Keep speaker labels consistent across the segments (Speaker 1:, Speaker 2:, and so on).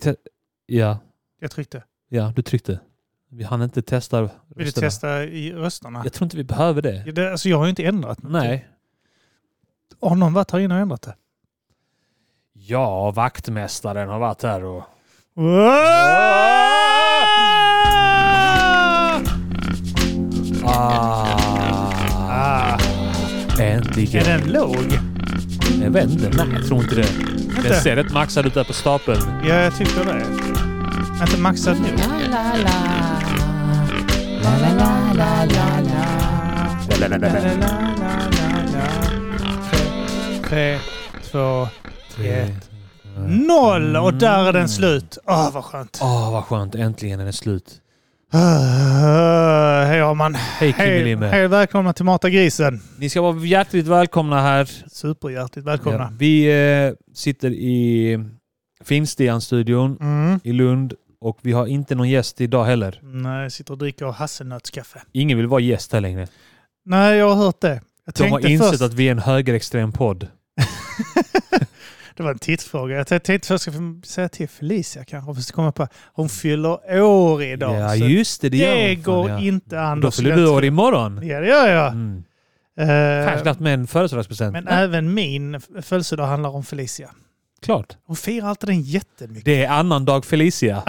Speaker 1: Te- Ja,
Speaker 2: Jag tryckte.
Speaker 1: ja, du tryckte. Vi hann inte testa
Speaker 2: Vill du
Speaker 1: rösterna.
Speaker 2: testa i rösterna?
Speaker 1: Jag tror inte vi behöver det.
Speaker 2: Ja, det- Alltså jag har ju inte ändrat något.
Speaker 1: Nej.
Speaker 2: Har någon varit här inne och ändrat det?
Speaker 1: Ja, vaktmästaren har varit här och...
Speaker 2: Ah!
Speaker 1: Ah,
Speaker 2: Ah,
Speaker 1: äntligen.
Speaker 2: är den låg?
Speaker 1: Jag vet inte. Nej, jag tror inte det. Den ser rätt maxad ut där på stapeln.
Speaker 2: Ja, jag tycker det. Inte maxad nu. Tre, två, ett, noll! Och där är den slut. Åh, vad skönt.
Speaker 1: Åh, Ah, vad skönt. Äntligen är det slut.
Speaker 2: Ah, Hej Arman.
Speaker 1: Hej
Speaker 2: Hej,
Speaker 1: Kimmelimme.
Speaker 2: hej välkomna till Mata Grisen.
Speaker 1: Ni ska vara hjärtligt välkomna här.
Speaker 2: Superhjärtligt välkomna.
Speaker 1: Ja, vi eh, sitter i Finstian-studion
Speaker 2: Mm.
Speaker 1: i Lund och vi har inte någon gäst idag heller.
Speaker 2: Nej, jag sitter och dricker hasselnötskaffe.
Speaker 1: Ingen vill vara gäst här längre.
Speaker 2: Nej, jag har hört det. Jag
Speaker 1: De har
Speaker 2: tänkte
Speaker 1: insett
Speaker 2: först...
Speaker 1: att vi är en högerextrem podd.
Speaker 2: Det var en tittfråga. Jag tänkte först ska jag säga till Felicia kanske. För att komma på. Hon fyller år idag.
Speaker 1: Ja,
Speaker 2: så
Speaker 1: just det. Det, gör
Speaker 2: det
Speaker 1: de fan,
Speaker 2: går
Speaker 1: ja.
Speaker 2: inte an.
Speaker 1: Då fyller du år imorgon.
Speaker 2: Ja, det gör jag.
Speaker 1: Mm.
Speaker 2: Eh,
Speaker 1: Fan, knappt med en födelsedagspresent.
Speaker 2: men
Speaker 1: Ja,
Speaker 2: även min f- födelsedag handlar om Felicia.
Speaker 1: Klart.
Speaker 2: Hon firar alltid den jättemycket.
Speaker 1: Det är annandag Felicia.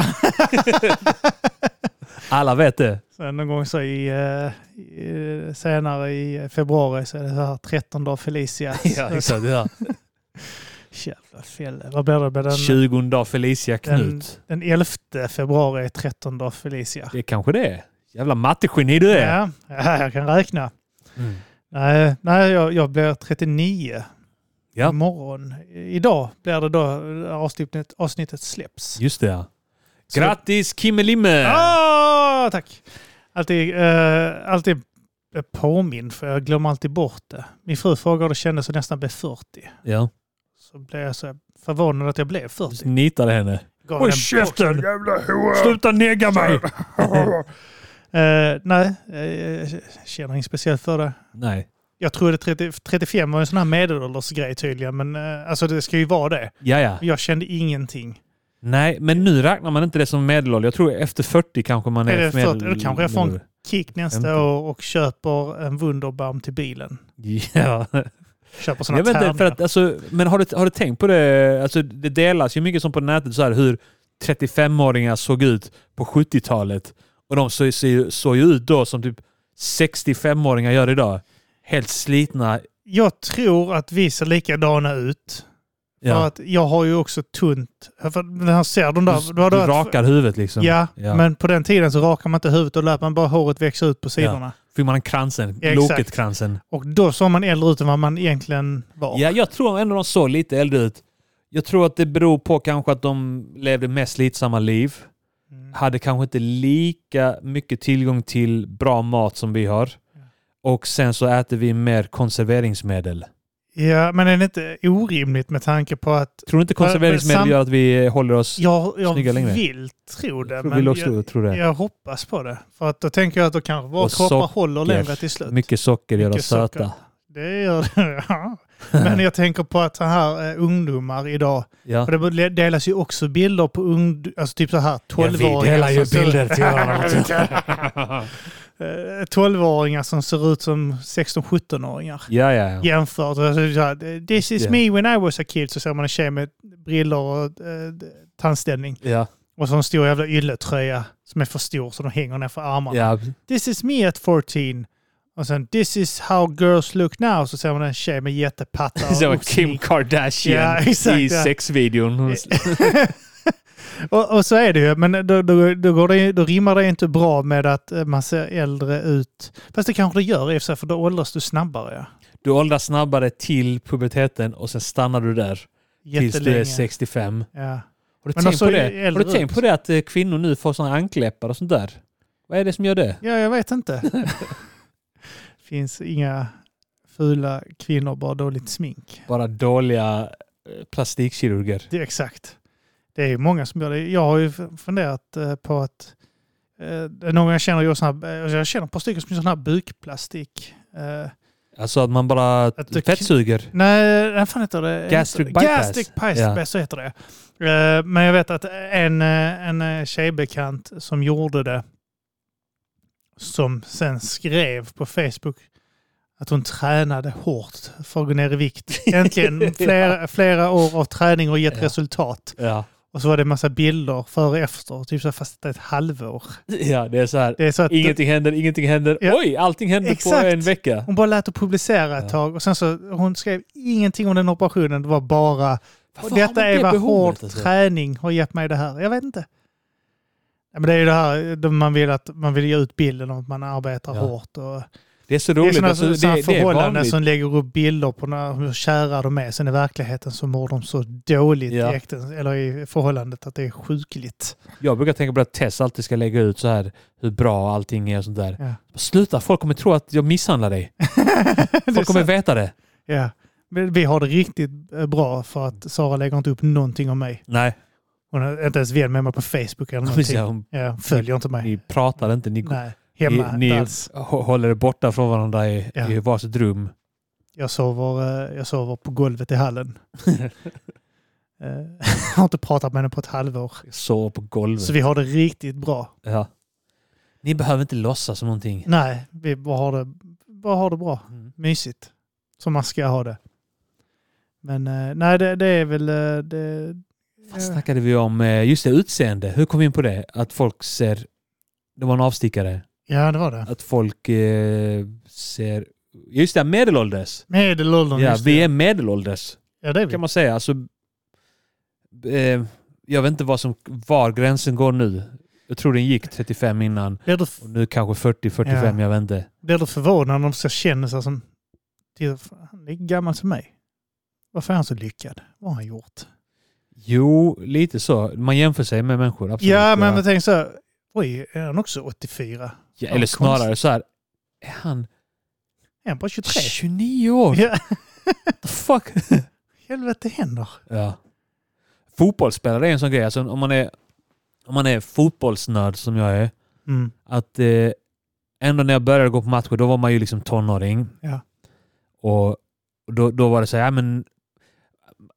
Speaker 1: Alla vet det.
Speaker 2: Sen någon gång så i, eh, i, senare i februari så är det så här 13 dagar Felicia.
Speaker 1: Ja, exakt. Ja.
Speaker 2: Jävla fel. Vad blir det? Blir Den,
Speaker 1: 20 dag Felicia Knut.
Speaker 2: den 11 februari är 13 dagar Felicia.
Speaker 1: Det kanske det är. Jävla mattegeni du är.
Speaker 2: Ja, ja, jag kan räkna.
Speaker 1: Mm.
Speaker 2: Nej, nej jag, jag blir 39
Speaker 1: Ja.
Speaker 2: imorgon. Idag blir det då avsnittet, avsnittet släpps.
Speaker 1: Just det. ja. Grattis Kimmelimme!
Speaker 2: Ah, tack! Alltid, eh, alltid påminn för jag glömmer alltid bort det. Min fru frågade och det kändes som nästan blev 40.
Speaker 1: Ja.
Speaker 2: Så blev jag så förvånad att jag blev 40.
Speaker 1: Nitade henne.
Speaker 2: Gav
Speaker 1: Håll
Speaker 2: henne en
Speaker 1: käften!
Speaker 2: box.
Speaker 1: Jävla hora! Sluta nega mig!
Speaker 2: Eh, nej, eh, jag känner inget speciellt för det.
Speaker 1: Nej.
Speaker 2: Jag trodde 30, 35 var en sån här medelåldersgrej tydligen, men eh, alltså det ska ju vara det.
Speaker 1: Ja, ja.
Speaker 2: Jag kände ingenting.
Speaker 1: Nej, men nu räknar man inte det som medelålder. Jag tror efter 40 kanske man är,
Speaker 2: Är det 40?
Speaker 1: medel-
Speaker 2: Då kanske jag får en- Kick nästa
Speaker 1: Femton.
Speaker 2: år och köper en Wunderbaum till bilen.
Speaker 1: Ja.
Speaker 2: Köper såna
Speaker 1: Jag vet inte, för
Speaker 2: tärningar.
Speaker 1: att, alltså, men har du, har du tänkt på det? Alltså, det delas ju mycket som på nätet så här, hur 35-åringar såg ut på 70-talet. Och de såg, såg, såg ju ut då som typ 65-åringar gör idag. Helt slitna.
Speaker 2: Jag tror att vi ser likadana ut. För
Speaker 1: Ja.
Speaker 2: att jag har ju också tunt... För att den här ser de där...
Speaker 1: Du,
Speaker 2: då har
Speaker 1: du
Speaker 2: varit-
Speaker 1: rakar huvudet liksom.
Speaker 2: Ja,
Speaker 1: Ja.
Speaker 2: men på den tiden så rakar man inte huvudet och lät man bara håret växa ut på sidorna.
Speaker 1: Fick man en kransen,
Speaker 2: Exakt.
Speaker 1: Loket-kransen.
Speaker 2: Och då såg man äldre ut än vad man egentligen var.
Speaker 1: Ja, jag tror ändå de såg lite äldre ut. Jag tror att det beror på kanske att de levde mest slitsamma liv.
Speaker 2: Mm.
Speaker 1: hade kanske inte lika mycket tillgång till bra mat som vi har. Och sen så äter vi mer konserveringsmedel.
Speaker 2: Ja, men är det inte orimligt med tanke på att
Speaker 1: Tror du inte
Speaker 2: Men- men
Speaker 1: konserveringsmedel
Speaker 2: sam-
Speaker 1: gör att vi eh, håller oss...
Speaker 2: jag, jag
Speaker 1: Snygga längre.
Speaker 2: vill tro det,
Speaker 1: Jag tror
Speaker 2: men
Speaker 1: vill också
Speaker 2: jag,
Speaker 1: tror det.
Speaker 2: jag hoppas på det. För att då tänker jag att då kanske våra
Speaker 1: Och
Speaker 2: kroppar
Speaker 1: socker.
Speaker 2: håller längre till slut.
Speaker 1: Mycket socker gör
Speaker 2: Mycket
Speaker 1: oss söta.
Speaker 2: socker. Det gör det, ja. Men jag tänker på att så här eh, ungdomar idag,
Speaker 1: Ja.
Speaker 2: för det delas ju också bilder på ungdomar, alltså typ så här 12-åringar. som ser-
Speaker 1: till
Speaker 2: Eh, 12-åringar som ser ut som 16-17-åringar.
Speaker 1: ja, ja, ja.
Speaker 2: Jämfört alltså, så här, this is
Speaker 1: Ja.
Speaker 2: me when I was a kid, så ser man en tjej med briller och eh, tandställning.
Speaker 1: Ja,
Speaker 2: Och så en stor jävla ylletröja som är för stor så de hänger ner för armarna.
Speaker 1: ja.
Speaker 2: This is me at 14. Och sen this is how girls look now. Så ser man en tjej med jättepattar.
Speaker 1: Så
Speaker 2: och,
Speaker 1: Kim Kardashian
Speaker 2: Ja, exakt,
Speaker 1: i
Speaker 2: ja.
Speaker 1: sexvideon. Hon-
Speaker 2: och, och så är det ju. Men då, då, då, går det, ju- då rimmar det ju inte bra med att eh, man ser äldre ut. Fast det kanske det gör i och för sig, för då åldras du snabbare.
Speaker 1: Du åldras snabbare till puberteten och sen stannar du där
Speaker 2: ja.
Speaker 1: tills du
Speaker 2: Jättelänge.
Speaker 1: är 65.
Speaker 2: Ja.
Speaker 1: Har du,
Speaker 2: Men
Speaker 1: tänkt
Speaker 2: alltså,
Speaker 1: på,
Speaker 2: är
Speaker 1: det? Har
Speaker 2: äldre
Speaker 1: du tänkt
Speaker 2: ut?
Speaker 1: på det att eh, kvinnor nu får såna ankläppar och sånt där? Vad är det som gör det?
Speaker 2: ja, jag vet inte. finns inga fula kvinnor, bara dåligt smink.
Speaker 1: Bara dåliga eh, plastikkirurger.
Speaker 2: Det är exakt. Det är många som gör det. Jag har ju funderat eh, på att eh, det är någon jag känner gör sån här, eh, jag känner på stycken som gör sån här bukplastik. Eh,
Speaker 1: Alltså att man bara
Speaker 2: Att du-
Speaker 1: fettsuger.
Speaker 2: nej, vad fan heter det?
Speaker 1: Gastric
Speaker 2: Gastric
Speaker 1: bypass.
Speaker 2: bypass,
Speaker 1: Ja.
Speaker 2: så heter det. Eh, Men jag vet att en, eh, en eh, tjejbekant som gjorde det, som sen skrev på Facebook att hon tränade hårt för att gå ner i vikt. Äntligen flera, flera år av träning och gett
Speaker 1: Ja.
Speaker 2: resultat.
Speaker 1: Ja.
Speaker 2: Och så var det en massa bilder före och efter, typ så här, fast det är ett halvår.
Speaker 1: ja, det är så här.
Speaker 2: Det är så att
Speaker 1: Ingenting händer, ingenting händer.
Speaker 2: Ja.
Speaker 1: Oj, allting händer
Speaker 2: Exakt.
Speaker 1: på en vecka.
Speaker 2: hon bara lät det publicera ett
Speaker 1: Ja.
Speaker 2: tag och sen så hon skrev ingenting om den operationen. Det var bara
Speaker 1: Varför har
Speaker 2: detta
Speaker 1: man
Speaker 2: är
Speaker 1: det
Speaker 2: vad hård
Speaker 1: behovet, alltså?
Speaker 2: träning har gett mig det här. Jag vet inte. Ja, men det är ju det här då man vill att man vill ge ut bilden om att man arbetar
Speaker 1: Ja.
Speaker 2: hårt. Och
Speaker 1: Det är så
Speaker 2: det är
Speaker 1: roligt.
Speaker 2: sådana
Speaker 1: alltså,
Speaker 2: sådana
Speaker 1: det, det är
Speaker 2: förhållanden
Speaker 1: vanligt.
Speaker 2: som lägger upp bilder på när, hur kära de är. Sen i verkligheten så mår de så dåligt
Speaker 1: Ja.
Speaker 2: i, äkten, eller i förhållandet att det är sjukligt.
Speaker 1: Jag brukar tänka på att Tess alltid ska lägga ut så här hur bra allting är och sånt där.
Speaker 2: Ja.
Speaker 1: Sluta, folk kommer tro att jag misshandlar dig.
Speaker 2: Det är
Speaker 1: Folk kommer
Speaker 2: sant.
Speaker 1: veta det.
Speaker 2: ja. Men vi har det riktigt eh, bra för att Sara lägger inte upp någonting om mig.
Speaker 1: Nej,
Speaker 2: Hon är inte ens vän med mig på Facebook eller
Speaker 1: precis.
Speaker 2: någonting. Ja,
Speaker 1: Hon-
Speaker 2: hon följer inte mig.
Speaker 1: Ni pratar inte. Ni,
Speaker 2: Nej, hemma
Speaker 1: ni,
Speaker 2: inte
Speaker 1: ni
Speaker 2: alls.
Speaker 1: hå- håller er borta från varandra i,
Speaker 2: Ja.
Speaker 1: i varsitt rum.
Speaker 2: Jag sover, eh, jag sover på golvet i hallen. Eh, jag har inte pratat med henne på ett halvår.
Speaker 1: Sover på golvet.
Speaker 2: Så vi har det riktigt bra.
Speaker 1: ja. Ni behöver inte låtsas som någonting.
Speaker 2: Nej, vi bara har det, bara har det bra.
Speaker 1: Mm.
Speaker 2: Mysigt. Som man ska ha det. Men eh, nej, det, det är väl... eh, Det,
Speaker 1: Vad snackade vi om? eh, Just det, utseende. Hur kom vi in på det? Att folk ser... Det var en avstickare.
Speaker 2: ja, det var det.
Speaker 1: Att folk eh, ser... Just det, medelålders.
Speaker 2: Medelåldern,
Speaker 1: Ja,
Speaker 2: just det.
Speaker 1: vi är medelålders.
Speaker 2: Ja, det är vi.
Speaker 1: kan man säga. Alltså, eh, jag vet inte vad som, var gränsen går nu. Jag tror den gick 35 innan
Speaker 2: Blir du,
Speaker 1: och nu kanske 40-45, jag vet inte.
Speaker 2: blir du förvånad när de ska känna sig som... till- fan, Han är gammal som mig. Varför är han så lyckad? Vad har han gjort?
Speaker 1: Jo, lite så. Man jämför sig med människor. Absolut.
Speaker 2: Ja, men jag tänker så här, oj, är han också 84?
Speaker 1: Ja, Eller snarare så här. Är han
Speaker 2: Är han bara 23?
Speaker 1: 29 år?
Speaker 2: Ja,
Speaker 1: The fuck?
Speaker 2: helvete händer.
Speaker 1: ja. Fotbollsspelare är en sån grej. Alltså, om, man är, om man är fotbollsnörd som jag är.
Speaker 2: Mm.
Speaker 1: att eh, ändå när jag började gå på matcher, då var man ju liksom tonåring.
Speaker 2: Ja.
Speaker 1: Och och då, då var det så här, ja, men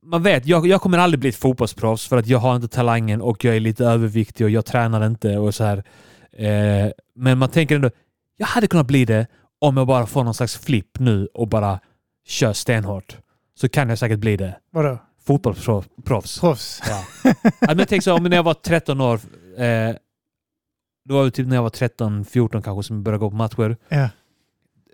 Speaker 1: man vet, jag, jag kommer aldrig bli ett fotbollsproffs för att jag har inte talangen och jag är lite överviktig och jag tränar inte och så här. Eh, men man tänker ändå, jag hade kunnat bli det om jag bara får någon slags flipp nu och bara kör stenhårt. Så kan jag säkert bli det.
Speaker 2: Vadå?
Speaker 1: Fotbollsproffs.
Speaker 2: Proffs?
Speaker 1: Ja. Ja, men jag tänker så, om när jag var 13 år, eh, då var det typ när jag var 13, 14 kanske som jag började gå på matcher.
Speaker 2: Ja.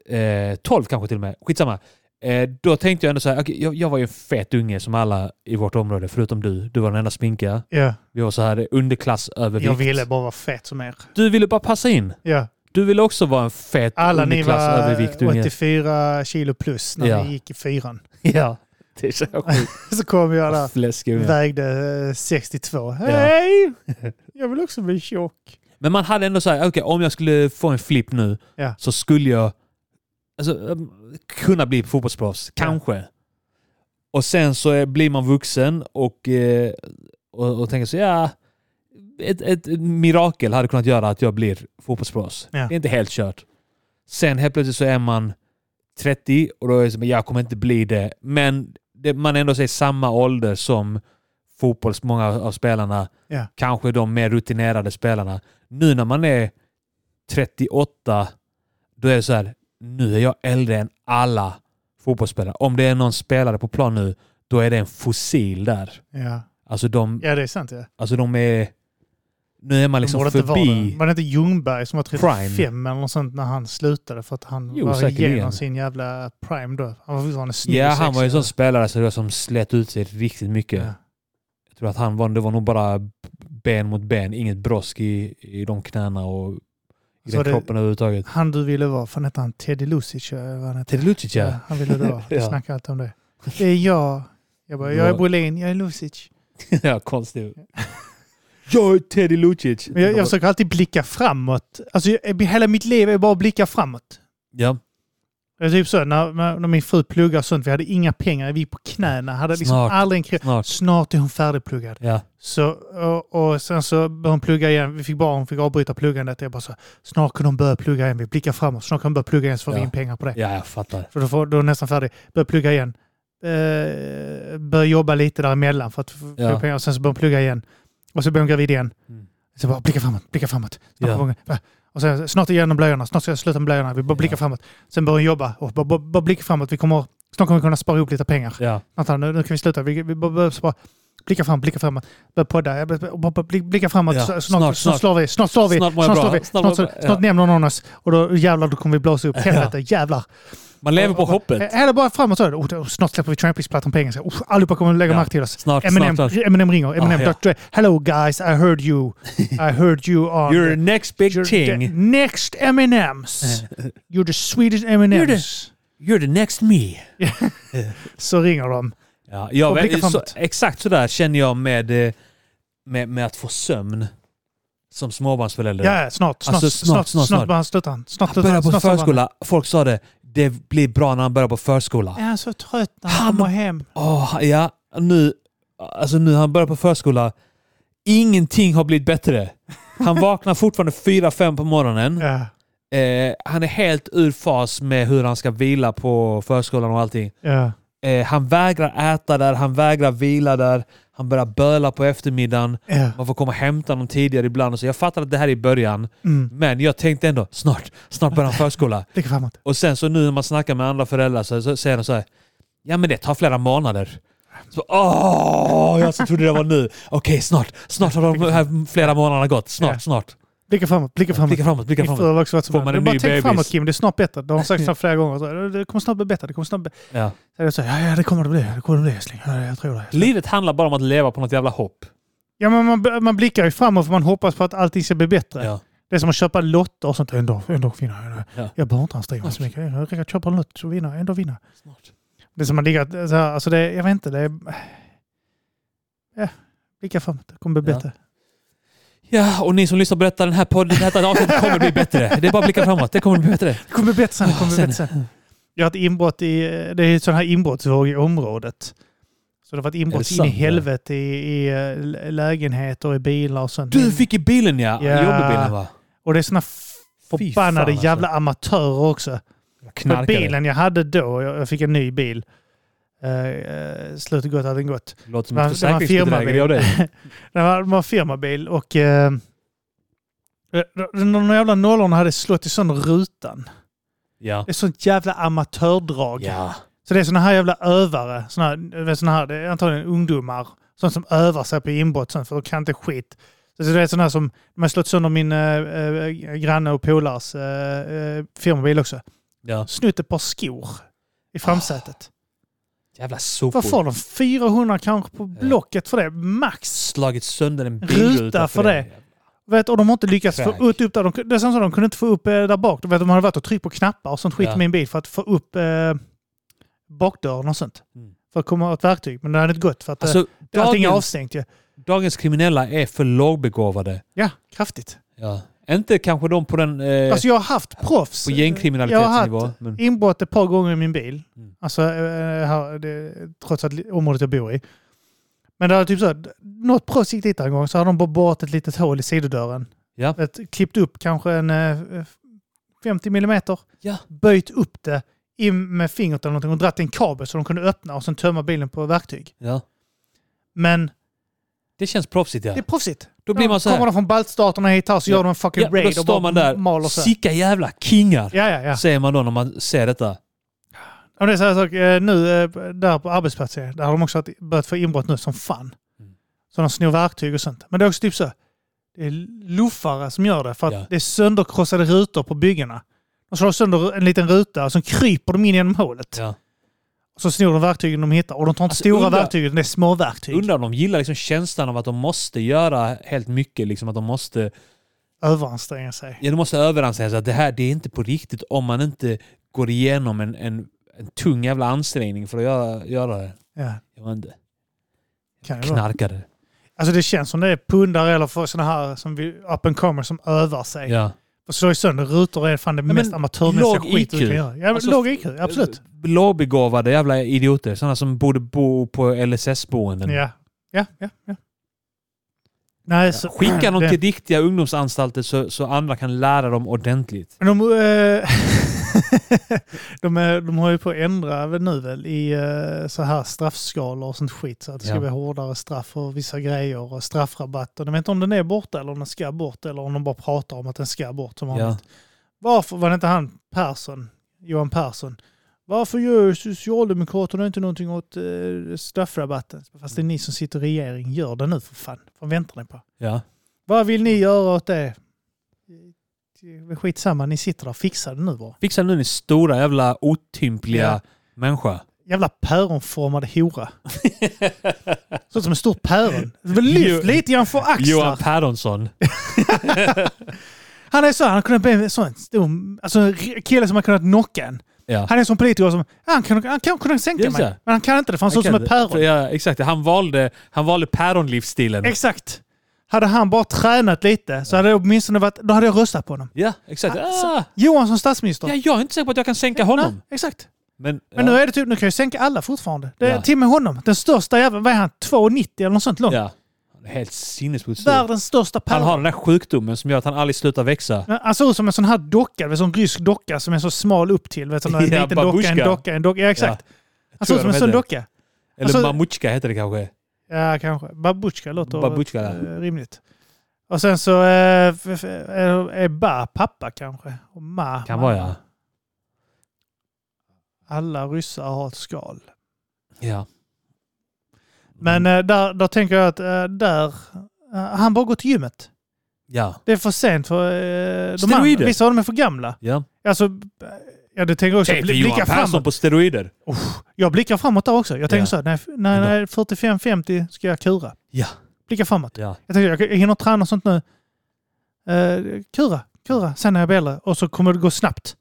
Speaker 1: Eh, 12 kanske till och med, skitsamma. Eh, då tänkte jag ändå så här, okej, jag, jag var ju en fet unge som alla i vårt område, förutom du. Du var den enda sminka.
Speaker 2: ja.
Speaker 1: Vi var så här underklassövervikt.
Speaker 2: Jag ville bara vara fet som er.
Speaker 1: Du ville bara passa in.
Speaker 2: Ja.
Speaker 1: Du ville också vara en fet
Speaker 2: Alla ni var
Speaker 1: underklassövervikt unge.
Speaker 2: 84 kilo plus när
Speaker 1: Ja.
Speaker 2: ni gick i fyran.
Speaker 1: Ja, det är så sjukt.
Speaker 2: Så kom jag där,
Speaker 1: Fläskunge.
Speaker 2: vägde eh, 62. Hej! Jag vill också bli tjock.
Speaker 1: Men man hade ändå så här, okej om jag skulle få en flipp nu
Speaker 2: Ja.
Speaker 1: så skulle jag alltså, um, kunna bli fotbollsproffs, kanske. Och sen så är, blir man vuxen och, eh, och, och tänker så ja, ett, ett mirakel hade kunnat göra att jag blir fotbollsproffs.
Speaker 2: Ja.
Speaker 1: Det är inte helt kört. Sen helt plötsligt så är man 30 och då är det som, jag kommer inte bli det. Men det, man är ändå så i samma ålder som fotbolls, många av spelarna.
Speaker 2: Ja.
Speaker 1: Kanske de mer rutinerade spelarna. Nu när man är 38, då är det så här, nu är jag äldre än alla fotbollsspelare. Om det är någon spelare på plan nu, då är det en fossil där.
Speaker 2: Ja,
Speaker 1: Alltså de,
Speaker 2: ja det är sant. Ja.
Speaker 1: alltså de är... Nu är man liksom
Speaker 2: De borde inte vara det.
Speaker 1: förbi...
Speaker 2: Var det inte Ljungberg som var 35
Speaker 1: Prime.
Speaker 2: eller något sånt när han slutade för att han
Speaker 1: Jo,
Speaker 2: var
Speaker 1: säkerligen.
Speaker 2: igenom sin jävla prime då? Han var fortfarande snygg.
Speaker 1: Ja,
Speaker 2: och
Speaker 1: han var ju en sån
Speaker 2: sexig.
Speaker 1: spelare så det var som slet ut sig riktigt mycket.
Speaker 2: Ja.
Speaker 1: Jag tror att han var, det var nog bara ben mot ben, inget brosk i, i de knäna och i
Speaker 2: Så
Speaker 1: den
Speaker 2: det-
Speaker 1: kroppen överhuvudtaget.
Speaker 2: Han du ville vara, fan hette han Teddy Lucic? eller vad han hette?
Speaker 1: Teddy Lucic ja.
Speaker 2: Han ville du vara. Vi
Speaker 1: Ja.
Speaker 2: snackar alltid om det. Det är jag. Jag, bara, jag är Bolin, jag är Lucic.
Speaker 1: ja, konstigt. Jag är Teddy Lucic.
Speaker 2: Men jag, jag försöker alltid blicka framåt. Alltså, jag, hela mitt liv är bara att blicka framåt.
Speaker 1: ja,
Speaker 2: Det är typ så när, när när min fru pluggar och sånt, vi hade inga pengar, vi gick på knäna, hade liksom
Speaker 1: Snart.
Speaker 2: aldrig en krona.
Speaker 1: snart.
Speaker 2: Snart är hon färdigpluggad.
Speaker 1: Ja.
Speaker 2: Så, och, och sen så började hon plugga igen. Vi fick bara, hon fick avbryta pluggandet. Jag bara så, snart kan hon börja plugga igen. Vi blickar framåt. Snart kan hon börja plugga igen så får
Speaker 1: Ja.
Speaker 2: vi in pengar på det.
Speaker 1: ja, jag fattar.
Speaker 2: För då, får, då är hon nästan färdig. Börja plugga igen. eh, bör jobba lite däremellan för att få
Speaker 1: Ja.
Speaker 2: pengar. Och sen så börjar hon plugga igen. Och så blir hon gravid igen.
Speaker 1: Mm.
Speaker 2: Så bara blicka framåt, blicka framåt. Snart
Speaker 1: Ja.
Speaker 2: kommer hon- va? Och sen snart igenom blöjorna, snart ska jag sluta med blöjorna. Vi bara blickar
Speaker 1: Ja.
Speaker 2: framåt. Sen börjar hon jobba och bara, bara, bara blicka framåt. Vi kommer, snart kommer vi kunna spara ihop lite pengar.
Speaker 1: Ja.
Speaker 2: Vänta, nu, nu kan vi sluta. Vi, vi bara, bara, bara blicka fram, blicka framåt. Börja podda. Jag bara- bara- bara blick- Blicka framåt.
Speaker 1: Ja, snart,
Speaker 2: Snart, snart,
Speaker 1: snart.
Speaker 2: snart slår vi. Snart slår vi.
Speaker 1: Snart mår jag
Speaker 2: slår
Speaker 1: bra.
Speaker 2: vi.
Speaker 1: Snart mår
Speaker 2: Snart,
Speaker 1: jag
Speaker 2: så-
Speaker 1: bra.
Speaker 2: snart
Speaker 1: Ja.
Speaker 2: nämner någon oss. Och då jävlar, då kommer vi blåsa upp. Helvete, jävlar.
Speaker 1: Man lever på
Speaker 2: Och- och-
Speaker 1: hoppet.
Speaker 2: Eller bara framåt. så. Oh, då- snart släpper vi Trampix-plattan på engelska. Oh, allihopa kommer lägga
Speaker 1: Ja.
Speaker 2: märke till oss.
Speaker 1: Snart,
Speaker 2: Eminem,
Speaker 1: snart. snart.
Speaker 2: Eminem ringer. Eminem,
Speaker 1: Ah, ja.
Speaker 2: Dr. Dre. Hello guys, I heard you. I heard you on...
Speaker 1: You're next big
Speaker 2: you're the
Speaker 1: thing.
Speaker 2: next Eminems. You're the Swedish Eminems.
Speaker 1: You're the next me.
Speaker 2: Så ringer de.
Speaker 1: Ja, jag
Speaker 2: Och
Speaker 1: vet,
Speaker 2: blicka
Speaker 1: så,
Speaker 2: framåt.
Speaker 1: exakt sådär känner jag med, eh, med, med att få sömn som småbarnsförälder.
Speaker 2: Ja, ja, snart, snart,
Speaker 1: Alltså, snart,
Speaker 2: snart,
Speaker 1: snart,
Speaker 2: snart,
Speaker 1: snart.
Speaker 2: snart bara han slutar han. Snart
Speaker 1: Han
Speaker 2: slutar
Speaker 1: börjar
Speaker 2: han.
Speaker 1: på
Speaker 2: Snart slutar han.
Speaker 1: förskola. Folk sa det. Det blir bra när han börjar på förskola.
Speaker 2: Är han så trött när
Speaker 1: Han-
Speaker 2: han kommer hem?
Speaker 1: Åh, ja, nu, alltså nu han börjar på förskola. Ingenting har blivit bättre. Han vaknar fortfarande 4-5 på morgonen.
Speaker 2: Ja,
Speaker 1: Eh, han är helt ur fas med hur han ska vila på förskolan och allting.
Speaker 2: ja.
Speaker 1: Eh, han vägrar äta där, han vägrar vila där. Han börjar böla på eftermiddagen.
Speaker 2: ja.
Speaker 1: Man får komma och hämta någon tidigare ibland. Och så jag fattar att det här är i början.
Speaker 2: Mm.
Speaker 1: Men jag tänkte ändå, snart, snart börjar han förskola.
Speaker 2: Blicka framåt.
Speaker 1: Och sen så nu när man snackar med andra föräldrar så, så säger de så här. Ja men det tar flera månader. Så, åh, jag så trodde det var nu. Okej, snart. Snart har de här flera månaderna gått.
Speaker 2: Ja.
Speaker 1: Snart, snart.
Speaker 2: Blicka framåt, blicka framåt.
Speaker 1: Blicka framåt, blicka
Speaker 2: Min fru
Speaker 1: framåt.
Speaker 2: har också varit så
Speaker 1: Får
Speaker 2: där.
Speaker 1: man
Speaker 2: Du
Speaker 1: en
Speaker 2: bara
Speaker 1: ny
Speaker 2: tänk
Speaker 1: bebis?
Speaker 2: framåt Kim, det är snart bättre. Det har hon sagt så flera gånger. Så, Det kommer snart bli bättre. Det kommer snart bli...
Speaker 1: Ja.
Speaker 2: Så jag säger, ja, ja, det kommer det bli. Det kommer det bli älskling. Ja, jag tror det.
Speaker 1: Livet handlar bara om att leva på något jävla hopp.
Speaker 2: Ja, men man, man blickar ju framåt för man hoppas på att allting ska bli bättre.
Speaker 1: Ja.
Speaker 2: Det är som att köpa lotter och sånt. En dag, en dag vinner jag.
Speaker 1: Ja.
Speaker 2: Jag behöver inte ens driva så mycket. Jag räcker att köpa en lott och vinna. En dag vinna.
Speaker 1: Snart.
Speaker 2: Det är som att ligga så här, alltså det, jag vet inte, det är... Ja, blicka framåt, det kommer bli
Speaker 1: Ja.
Speaker 2: bättre.
Speaker 1: Ja, och ni som lyssnar på detta, den här podden, det här avsnittet kommer bli bättre. Det är bara att blicka framåt. Det kommer bli bättre.
Speaker 2: Det kommer bli bättre sen, det kommer bli
Speaker 1: Ah, Sen. Mm.
Speaker 2: bättre sen. Jag har ett inbrott i, det är ett sån här inbrottsvåg i området. Så det har varit
Speaker 1: Är det
Speaker 2: inbrott in i
Speaker 1: sant,
Speaker 2: helvete i, i eh, lägenheter, i bilar och sånt.
Speaker 1: Du fick i bilen ja.
Speaker 2: Mm. Ja.
Speaker 1: Jobbbilen va?
Speaker 2: Och det är såna
Speaker 1: Fy
Speaker 2: förbannade
Speaker 1: fan, alltså.
Speaker 2: jävla amatörer också. Men
Speaker 1: Knarkare.
Speaker 2: bilen jag hade då, jag jag fick en ny bil. Uh, slutet gott, hade gått.
Speaker 1: Låter som
Speaker 2: Det var-
Speaker 1: ett
Speaker 2: det var en
Speaker 1: försäkringsbedrägeri av dig.
Speaker 2: Det var, det var en firmabil och eh, de, de jävla nollorna hade slått i sönder rutan.
Speaker 1: Ja.
Speaker 2: Det är sånt jävla amatördrag.
Speaker 1: Ja.
Speaker 2: Så det är såna här jävla övare, såna här, du vet, såna här, det är antagligen ungdomar, sånt som övar sig på inbrott sen för de kan inte skit. Så det är såna här som, de har slått sönder min eh, eh, granne och polars eh, eh, firmabil också.
Speaker 1: ja. Ah,
Speaker 2: Snott ett par skor i framsätet.
Speaker 1: Jävla sopor.
Speaker 2: Vad får de? 400 kanske på Blocket för det, max.
Speaker 1: Slagit sönder en
Speaker 2: Ruta
Speaker 1: bilruta
Speaker 2: för det. Vet, och de har inte lyckats
Speaker 1: Crack.
Speaker 2: få ut, upp där. De, det är som så de kunde inte få upp eh, där bak. De, vet, de hade varit och tryckt på knappar och sånt skit
Speaker 1: Ja.
Speaker 2: i min bil för att få upp eh, bakdörren och sånt.
Speaker 1: Mm.
Speaker 2: För att komma åt verktyg. Men det hade inte gått för att eh,
Speaker 1: Alltså,
Speaker 2: allting
Speaker 1: dagens,
Speaker 2: är avstängt ju.
Speaker 1: dagens kriminella är för lågbegåvade.
Speaker 2: Ja, kraftigt.
Speaker 1: Ja. Inte kanske de på den eh,
Speaker 2: Alltså jag har haft proffs.
Speaker 1: på
Speaker 2: Jag har
Speaker 1: gängkriminalitetsnivå.
Speaker 2: haft
Speaker 1: Men,
Speaker 2: inbrott ett par gånger i min bil.
Speaker 1: Mm.
Speaker 2: Alltså, eh, här, det, trots att li- området jag bor i. Men det var typ så att något proffs gick dit där en gång så hade de bara borrat ett litet hål i sidodörren.
Speaker 1: Ja.
Speaker 2: Ett, klippt upp kanske en eh, 50 millimeter.
Speaker 1: Ja.
Speaker 2: Böjt upp det in med fingret eller någonting och dratt en kabel så de kunde öppna och sen tömma bilen på verktyg.
Speaker 1: ja.
Speaker 2: Men
Speaker 1: Det känns proffsigt ja.
Speaker 2: det är proffsigt.
Speaker 1: Då blir man så
Speaker 2: kommer
Speaker 1: här.
Speaker 2: de från baltstaterna hit här så
Speaker 1: Ja.
Speaker 2: gör de en fucking
Speaker 1: Ja,
Speaker 2: raid
Speaker 1: då
Speaker 2: och bara
Speaker 1: står man där.
Speaker 2: maler så här.
Speaker 1: Sicka jävla kingar.
Speaker 2: Ja, ja, ja.
Speaker 1: Säger man då när man ser detta.
Speaker 2: Ja, men det är så här, sak, eh, nu eh, där på arbetsplatsen, där har de också haft- börjat få inbrott nu som fan.
Speaker 1: Mm.
Speaker 2: Så de snor verktyg och sånt. Men det är också typ så, det är luffare som gör det för att
Speaker 1: Ja.
Speaker 2: det är sönderkrossade rutor på byggena. De slår sönder en liten ruta och så kryper de in genom hålet.
Speaker 1: Ja.
Speaker 2: Och så snor de verktygen de hittar. Och de tar inte
Speaker 1: Alltså,
Speaker 2: stora
Speaker 1: undra-
Speaker 2: verktyg, utan det är små verktyg.
Speaker 1: Undrar om de gillar liksom känslan av att de måste göra helt mycket. Liksom att de måste,
Speaker 2: Överanstränga sig.
Speaker 1: ja, de måste överanstränga sig. Att det här det är inte på riktigt om man inte går igenom en, en, en tung jävla ansträngning för att göra, göra det.
Speaker 2: Ja,
Speaker 1: Jag vet inte.
Speaker 2: kan det vara.
Speaker 1: Knarkare.
Speaker 2: Alltså det känns som det är pundare eller för sådana här som vi, up and comers som övar sig.
Speaker 1: Ja.
Speaker 2: Och slår ju sönder rutor är fan det
Speaker 1: men
Speaker 2: mest amatörmässiga
Speaker 1: låg
Speaker 2: skit du
Speaker 1: IQ.
Speaker 2: kan göra. Ja, men
Speaker 1: Alltså,
Speaker 2: låg IQ, absolut.
Speaker 1: Lågbegåvade jävla idioter. Sådana som borde bo på LSS-boenden.
Speaker 2: Ja, ja, ja. ja. Nej, så,
Speaker 1: Skicka dem
Speaker 2: det-
Speaker 1: till riktiga ungdomsanstalter så, så andra kan lära dem ordentligt.
Speaker 2: Men de, eh, de, är, de håller ju på att ändra väl nu väl i eh, så här straffskalor och sånt skit. Så att det ska
Speaker 1: Ja.
Speaker 2: bli hårdare straff och vissa grejer och straffrabatt. Och de vet inte om den är borta eller om den ska bort eller om de bara pratar om att den ska bort som vanligt.
Speaker 1: Ja.
Speaker 2: Varför var det inte han Persson, Johan Persson? Varför gör Socialdemokraterna inte någonting åt eh, straffrabatten? Fast det är ni som sitter i regering. Gör det nu för fan. Vad väntar ni på?
Speaker 1: Ja.
Speaker 2: Vad vill ni göra åt det? Eh, Skitsamma, ni sitter där. Fixa det nu bara.
Speaker 1: Fixa nu din stora jävla otympliga
Speaker 2: Ja.
Speaker 1: människa.
Speaker 2: Jävla päronformade hora. Såg ut som en stor päron. Lyft lite grann för
Speaker 1: Johan
Speaker 2: axlar.
Speaker 1: Päronsson.
Speaker 2: Han är så, han kunde bli en sån stor, alltså en r- kille som har kunnat knocka en.
Speaker 1: Ja.
Speaker 2: Han är som politiker som, "Ja, han kan, han kan kunna sänka
Speaker 1: Just
Speaker 2: mig.
Speaker 1: det.
Speaker 2: Men han kan inte det för han såg ut som ett päron.
Speaker 1: Ja, exakt. Han valde, han valde päronlivsstilen.
Speaker 2: Exakt. Hade han bara tränat lite så hade det åtminstone varit, då hade jag röstat på honom.
Speaker 1: ja, exakt.
Speaker 2: Alltså,
Speaker 1: Ah,
Speaker 2: Johan som statsminister.
Speaker 1: ja, jag är inte säker på att jag kan sänka honom.
Speaker 2: Nej, exakt.
Speaker 1: Men,
Speaker 2: Men
Speaker 1: ja.
Speaker 2: nu är det typ, nu kan jag sänka alla fortfarande. Det är
Speaker 1: Ja.
Speaker 2: till och med honom. Den största jäveln, vad är han? 2,90 eller något sånt långt.
Speaker 1: Ja. Han är helt sinnessjukt stor.
Speaker 2: Världens största
Speaker 1: Han
Speaker 2: päron.
Speaker 1: har den där sjukdomen som gör att han aldrig slutar växa.
Speaker 2: Men Han såg ut som en sån här docka, en sån rysk docka som är så smal upp till. Vet, du, sån där en
Speaker 1: Ja,
Speaker 2: liten docka, en
Speaker 1: babushka.
Speaker 2: docka, en docka. Ja, exakt. Han såg ut som en sån docka.
Speaker 1: Eller
Speaker 2: Alltså-
Speaker 1: Mamutjka heter det kanske.
Speaker 2: Ja, kanske. Babutjka låter
Speaker 1: Babutjka, ja.
Speaker 2: eh, rimligt. Och sen så eh, f- f- är är ba pappa kanske. Och ma
Speaker 1: Kan
Speaker 2: mamma.
Speaker 1: vara ja.
Speaker 2: Alla ryssar har ett skal.
Speaker 1: ja. Mm.
Speaker 2: Men eh, där, där tänker jag att eh, där... eh, han bara går till gymmet.
Speaker 1: Ja.
Speaker 2: Det är för sent för... eh, de
Speaker 1: Steroider.
Speaker 2: andra, vissa av dem är för gamla.
Speaker 1: ja.
Speaker 2: Alltså, eh, ja, det tänker jag också.
Speaker 1: Tänk dig
Speaker 2: Bli- Blicka
Speaker 1: Johan
Speaker 2: framåt.
Speaker 1: Persson på steroider.
Speaker 2: Uff, jag blickar framåt där också. Jag tänker
Speaker 1: Ja.
Speaker 2: så här, när, jag- när, när jag är 45-50 ska jag kura.
Speaker 1: Ja.
Speaker 2: Blicka framåt.
Speaker 1: Ja.
Speaker 2: Jag tänker, jag, jag hinner träna och sånt nu. Eh, kura, kura, sen när jag blir äldre. Och så kommer det gå snabbt.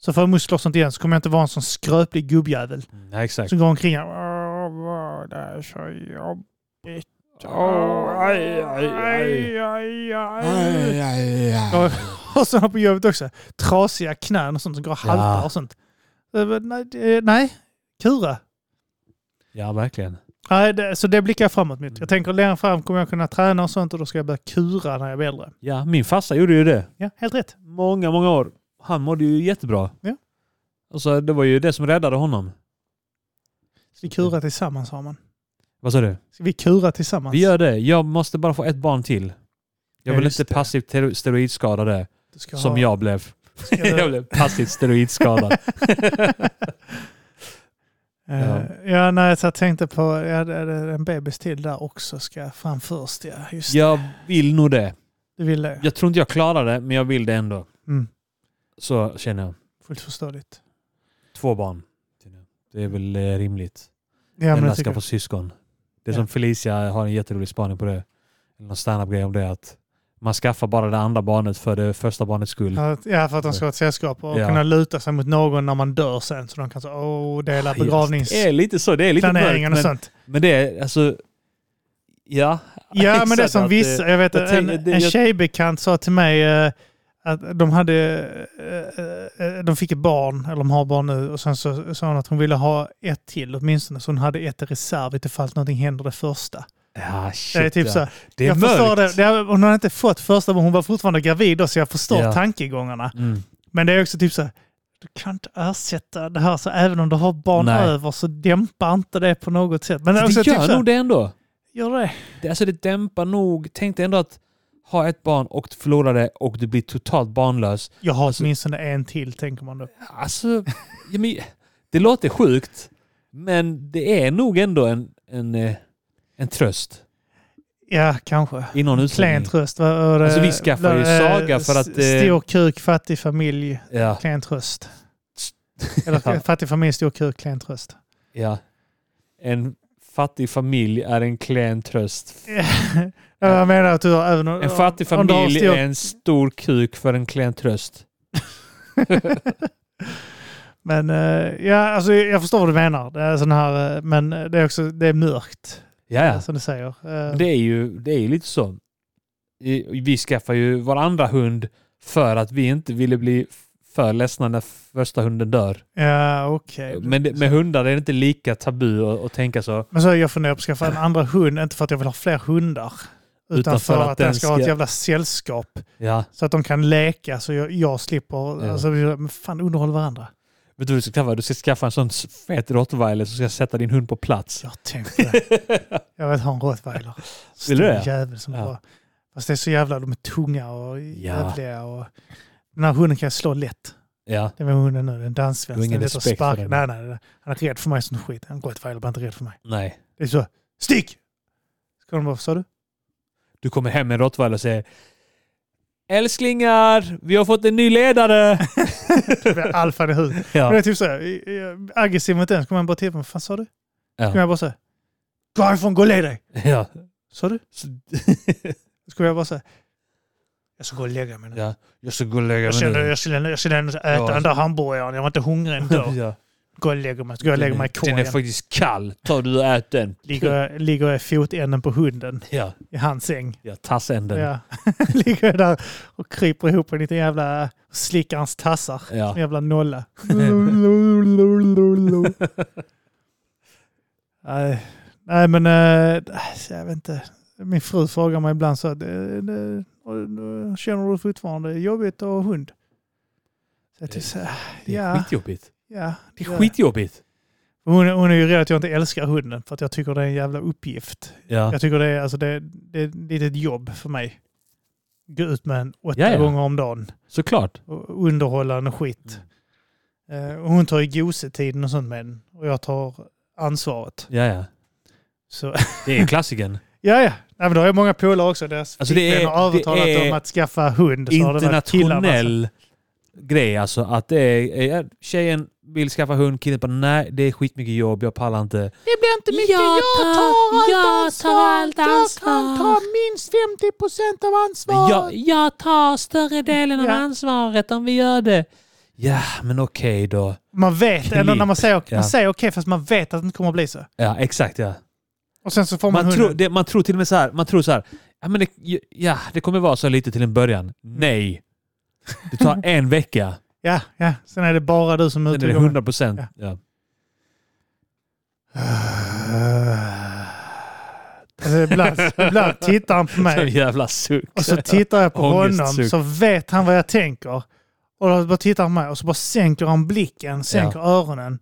Speaker 2: Så får jag muskler och sånt igen. Så kommer jag inte vara en sån skröplig gubbjävel
Speaker 1: ja exakt.
Speaker 2: som går omkring här. Åh, vad det är så jobbigt.
Speaker 1: Åh, aj, aj, aj.
Speaker 2: Aj, aj, aj. Och- Och sådana på jobbet också. Trasiga knän och sånt som går och haltar
Speaker 1: Ja.
Speaker 2: och sånt. Eh, men Nej, det- nej, kura.
Speaker 1: Ja, verkligen.
Speaker 2: Nej, det, så det blickar jag framåt mot. Jag tänker längre fram kommer jag kunna träna och sånt och då ska jag börja kura när jag blir äldre.
Speaker 1: Ja, min farsa gjorde ju det.
Speaker 2: Ja, helt rätt.
Speaker 1: Många, många år. Han mådde ju jättebra.
Speaker 2: Ja.
Speaker 1: Alltså, det var ju det som räddade honom.
Speaker 2: Så vi kurar tillsammans har man.
Speaker 1: Vad sa du?
Speaker 2: Ska vi kura tillsammans?
Speaker 1: Vi gör det. Jag måste bara få ett barn till. Jag
Speaker 2: Ja,
Speaker 1: vill
Speaker 2: just
Speaker 1: inte
Speaker 2: det.
Speaker 1: passivt tero- steroidskadade
Speaker 2: Du ska
Speaker 1: som
Speaker 2: ha-
Speaker 1: jag blev.
Speaker 2: ska du-
Speaker 1: Jag blev passivt steroidskadad.
Speaker 2: Eh, ja. nej, så jag tänkte på, ja, det är en bebis till där också ska fram först. Ja, just
Speaker 1: jag vill nog det.
Speaker 2: det. Du vill det?
Speaker 1: Jag tror inte jag klarar det, men jag vill det ändå.
Speaker 2: Mm,
Speaker 1: Så känner jag.
Speaker 2: fullt förståeligt.
Speaker 1: Två barn. Det är väl eh, rimligt.
Speaker 2: Ja, men
Speaker 1: Ella
Speaker 2: jag
Speaker 1: ska
Speaker 2: tycker,
Speaker 1: få syskon. Det är
Speaker 2: Ja.
Speaker 1: som Felicia har en jätterolig spaning på det. Eller någon standup-grej om det. Att man skaffar bara det andra barnet för det första barnets skull.
Speaker 2: att- ja, för att de ska ha ett sällskap och
Speaker 1: Ja.
Speaker 2: kunna luta sig mot någon när man dör sen så de kan så, åh, dela
Speaker 1: Det är
Speaker 2: begravningsplaneringen
Speaker 1: lite så. Det är lite mörkt.
Speaker 2: och
Speaker 1: Men,
Speaker 2: sånt.
Speaker 1: men det är alltså... Ja.
Speaker 2: Ja, men det är
Speaker 1: exakt,
Speaker 2: som
Speaker 1: att
Speaker 2: vissa. Jag vet
Speaker 1: jag
Speaker 2: en,
Speaker 1: tänker- det-
Speaker 2: en
Speaker 1: jag-
Speaker 2: tjejbekant sa till mig eh, att de hade, eh, eh, de fick ett barn, eller de har barn nu, och sen så sa hon att hon ville ha ett till åtminstone, så hon hade ett i reserv ifall någonting händer det första.
Speaker 1: Ja, shit,
Speaker 2: det är typ
Speaker 1: ja.
Speaker 2: så här,
Speaker 1: Det är
Speaker 2: jag förstår
Speaker 1: mörkt.
Speaker 2: det, det. har- Hon hade inte fått första, men hon var fortfarande gravid då, så jag förstår
Speaker 1: Ja.
Speaker 2: tankegångarna.
Speaker 1: Mm.
Speaker 2: Men det är också typ så här, du kan inte ersätta det här, så även om du har barn
Speaker 1: Nej.
Speaker 2: över så dämpar inte det på något sätt. Men det är också
Speaker 1: Det
Speaker 2: typ
Speaker 1: gör
Speaker 2: så här,
Speaker 1: nog det ändå.
Speaker 2: gör det.
Speaker 1: Det, alltså det dämpar nog. Tänk dig ändå att ha ett barn och förlora det och du blir totalt barnlös.
Speaker 2: Jag har
Speaker 1: Alltså-
Speaker 2: åtminstone en till, tänker man då.
Speaker 1: Alltså, ja, men, det låter sjukt. Men det är nog ändå en, en, eh, en tröst
Speaker 2: Ja, kanske.
Speaker 1: i någon
Speaker 2: Klen
Speaker 1: utsträckning.
Speaker 2: tröst. Vad var det?
Speaker 1: Alltså, vi skaffar ju
Speaker 2: Eh,
Speaker 1: Saga för att, eh,
Speaker 2: Stor kuk, fattig familj,
Speaker 1: Ja,
Speaker 2: klen tröst. Eller fattig familj, stor kuk, klen tröst.
Speaker 1: ja. En fattig familj är en klen tröst.
Speaker 2: Jag menar att du har även om-
Speaker 1: En fattig
Speaker 2: om du har
Speaker 1: familj
Speaker 2: stor-
Speaker 1: är en stor kuk för en klen tröst.
Speaker 2: Men eh, ja, alltså, jag förstår vad du menar. Det är sån här, eh, men det är också det är mörkt,
Speaker 1: Ja, ja.
Speaker 2: som du säger. Eh,
Speaker 1: Det är ju, det är ju lite så. I- Vi skaffar ju vår andra hund för att vi inte ville bli för ledsna när första hunden dör.
Speaker 2: Ja, okej.
Speaker 1: Men det, med hundar är det inte lika tabu att, att tänka så.
Speaker 2: Men så har jag funderat på att skaffa en andra hund, inte för att jag vill ha fler hundar. Utan för att, den ska ha ett jävla sällskap.
Speaker 1: Ja.
Speaker 2: Så att de kan leka så jag, jag slipper.
Speaker 1: Ja.
Speaker 2: Alltså, men fan, underhåll varandra.
Speaker 1: Vet du vad du ska skaffa? Du ska skaffa en sån fet rottweiler som ska sätta din hund på plats.
Speaker 2: Jag har tänkt på det. jag vill ha en rottweiler. Stor
Speaker 1: du det?
Speaker 2: jävel som
Speaker 1: Ja.
Speaker 2: bara... Fast det är så jävla... De är tunga och jävliga. Och, den här hunden kan jag slå lätt.
Speaker 1: Ja.
Speaker 2: Det var hunden nu. En
Speaker 1: Du har
Speaker 2: danssvensk.
Speaker 1: ingen
Speaker 2: Den vet att
Speaker 1: respekt för
Speaker 2: sparka.
Speaker 1: den.
Speaker 2: Nej, nej, nej. Han är rädd för mig som skit. En rottweiler blir inte rädd för mig.
Speaker 1: Nej.
Speaker 2: Det är så. Stick! Ska de bara... Sa du?
Speaker 1: Du kommer hem med en rottweiler och säger Älsklingar, vi har fått en ny ledare!
Speaker 2: Det blir Alfan i huvudet. Men det
Speaker 1: ja.
Speaker 2: är typ så här, i- i- aggressiv mot den, så kommer han bara till mig. Vad fan sa du?
Speaker 1: Ja.
Speaker 2: Så kommer jag bara så här, gå härifrån, gå och lägg dig!
Speaker 1: ja.
Speaker 2: Sa du?
Speaker 1: Så,
Speaker 2: Så kommer jag bara så här, jag ska gå och lägga mig nu.
Speaker 1: ja. Jag ska gå och lägga
Speaker 2: Jag
Speaker 1: mig
Speaker 2: känner,
Speaker 1: nu.
Speaker 2: jag känner, jag känner ändå att äta
Speaker 1: Ja. alltså-
Speaker 2: den där hamburgaren, jag var inte hungrig ändå.
Speaker 1: Ja.
Speaker 2: Gå och lägg mig, så går jag och lägger mig i
Speaker 1: Den är
Speaker 2: korgen.
Speaker 1: faktiskt kall. Ta du och ät den.
Speaker 2: Ligger jag, ligger jag i fotänden på hunden
Speaker 1: Ja,
Speaker 2: i hans säng.
Speaker 1: ja tassänden. Ja.
Speaker 2: Ja. ligger jag där och kryper ihop en liten jävla, slickar hans tassar.
Speaker 1: Ja.
Speaker 2: En jävla nolla. Nej, nej men eh, alltså, jag vet inte. Min fru frågar mig ibland så här, det, det, och, och, känner du fortfarande jobbigt att ha hund? Så jag typ så här,
Speaker 1: Det är
Speaker 2: ja,
Speaker 1: skitjobbigt.
Speaker 2: ja.
Speaker 1: Det är skitjobbigt.
Speaker 2: Hon, hon är ju rädd att jag inte älskar hunden för att jag tycker det är en jävla uppgift.
Speaker 1: Ja.
Speaker 2: Jag tycker det är, alltså det, det är ett litet jobb för mig. Gå ut med en åtta
Speaker 1: Ja, ja.
Speaker 2: gånger om dagen
Speaker 1: Såklart.
Speaker 2: och underhålla den och skit.
Speaker 1: Mm.
Speaker 2: Eh, och hon tar ju gosetiden och sånt med den och jag tar ansvaret.
Speaker 1: Ja, ja.
Speaker 2: Så
Speaker 1: Det är klassikern.
Speaker 2: Ja, ja. Nej, men då har jag många polare också. Deras
Speaker 1: Alltså,
Speaker 2: alltså,
Speaker 1: det är-
Speaker 2: har övertalat
Speaker 1: det är
Speaker 2: dem att skaffa hund. Så har det varit killarna som-
Speaker 1: internationell grej alltså. Att det är, är, tjejen vill skaffa hund, killen bara nej det är skitmycket jobb, jag pallar inte.
Speaker 2: Det blir inte mycket. Jag, tar, allt ansvar. Jag kan ta minst 50 procent av ansvaret.
Speaker 1: Jag, jag tar större delen av
Speaker 2: Ja.
Speaker 1: ansvaret om vi gör det. Ja, men okej då.
Speaker 2: Man vet, eller när man säger,
Speaker 1: Ja.
Speaker 2: man säger okej fast man vet att det inte kommer att bli så.
Speaker 1: Ja, exakt ja.
Speaker 2: Och sen så får man,
Speaker 1: Man tror,
Speaker 2: hunden.
Speaker 1: det, man tror till och med så här, man tror så här, ja, men det, ja det kommer vara så lite till en början.
Speaker 2: Mm.
Speaker 1: Nej. Det tar en vecka,
Speaker 2: Ja, ja. Sen är det bara du som är
Speaker 1: sen
Speaker 2: ute
Speaker 1: är det
Speaker 2: och går med-
Speaker 1: 100 procent.
Speaker 2: Ja.
Speaker 1: Ja.
Speaker 2: Alltså, ibland, ibland tittar han på
Speaker 1: Så
Speaker 2: mig
Speaker 1: jävla suck.
Speaker 2: och så tittar jag på honom
Speaker 1: Ångestsuck.
Speaker 2: så vet han vad jag tänker. Och då bara tittar han på mig och så bara sänker han blicken, sänker öronen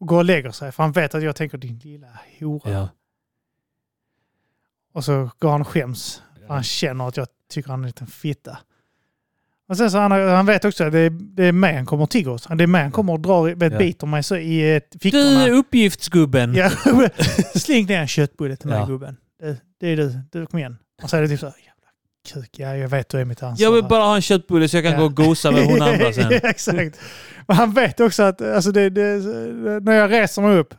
Speaker 2: och går och lägger sig. För han vet att jag tänker din lilla hora.
Speaker 1: Ja.
Speaker 2: Och så går han och skäms. För han känner att jag tycker han är en liten fitta. Och sen så han, han vet också att det är, det är mig han kommer och tigger hos. Det är mig han kommer och drar, i- vet,
Speaker 1: Ja.
Speaker 2: biter mig så i eh, fickorna.
Speaker 1: Du mm. uppgiftsgubben.
Speaker 2: Ja, släng ner en köttbulle till mig
Speaker 1: Ja.
Speaker 2: gubben. Det, det är du, du kom igen. Han säger det typ så här, jävla kuk, ja jag vet du är mitt ansvar.
Speaker 1: Jag vill bara ha en köttbulle så jag kan
Speaker 2: Alltså. Ja.
Speaker 1: gå och gosa med hon andra sen.
Speaker 2: Ja, Exakt. Men han vet också att alltså det, det, när jag reser mig upp,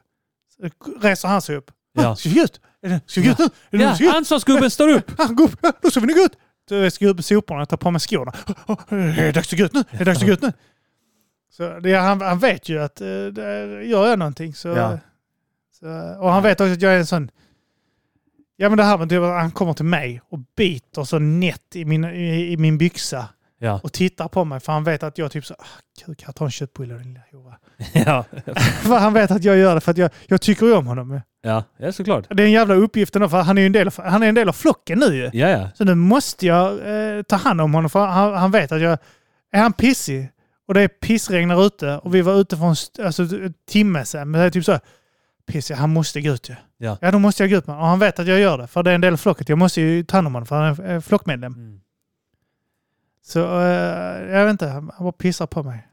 Speaker 2: så reser han sig upp.
Speaker 1: Ja.
Speaker 2: Ska vi gå ut? Är det- Ska vi gå ut nu? Är det någon som ska
Speaker 1: Ja,
Speaker 2: gå ut?
Speaker 1: ansvarsgubben står upp!
Speaker 2: Ah, gå upp! Ah, Då ska vi nu gå ut! Så jag ska gå ut med soporna och ta på mig skorna. Ah, ah, Är det dags att gå ut nu? Är det dags att gå ut nu? Så det, han, han vet ju att eh, där gör jag någonting så...
Speaker 1: Ja.
Speaker 2: Så, och han vet också att jag är en sån... Ja men det här med typ att han kommer till mig och biter så nätt i min, i, i min byxa
Speaker 1: Ja.
Speaker 2: och tittar på mig för han vet att jag typ så... Ah, kuk, här, ta en köttbulle din lilla hora.
Speaker 1: ja.
Speaker 2: För han vet att jag gör det för att jag, jag tycker ju om honom.
Speaker 1: Ja. ja, såklart.
Speaker 2: Det är en jävla uppgift ändå, för han är ju en del av, han är en del av flocken nu ju.
Speaker 1: Ja, ja.
Speaker 2: Så nu måste jag eh, ta hand om honom för han, han vet att jag... Är han pissig och det är pissregn där ute och vi var ute för en st- alltså, en timme sedan. Men det är typ så här, pissig, han måste gå ut ju.
Speaker 1: Ja.
Speaker 2: ja, då måste jag gå ut med honom. Och han vet att jag gör det för det är en del av flocket. Jag måste ju ta hand om honom för han är eh, flockmedlem.
Speaker 1: Mm.
Speaker 2: Så eh, jag vet inte, han han bara pissar på mig.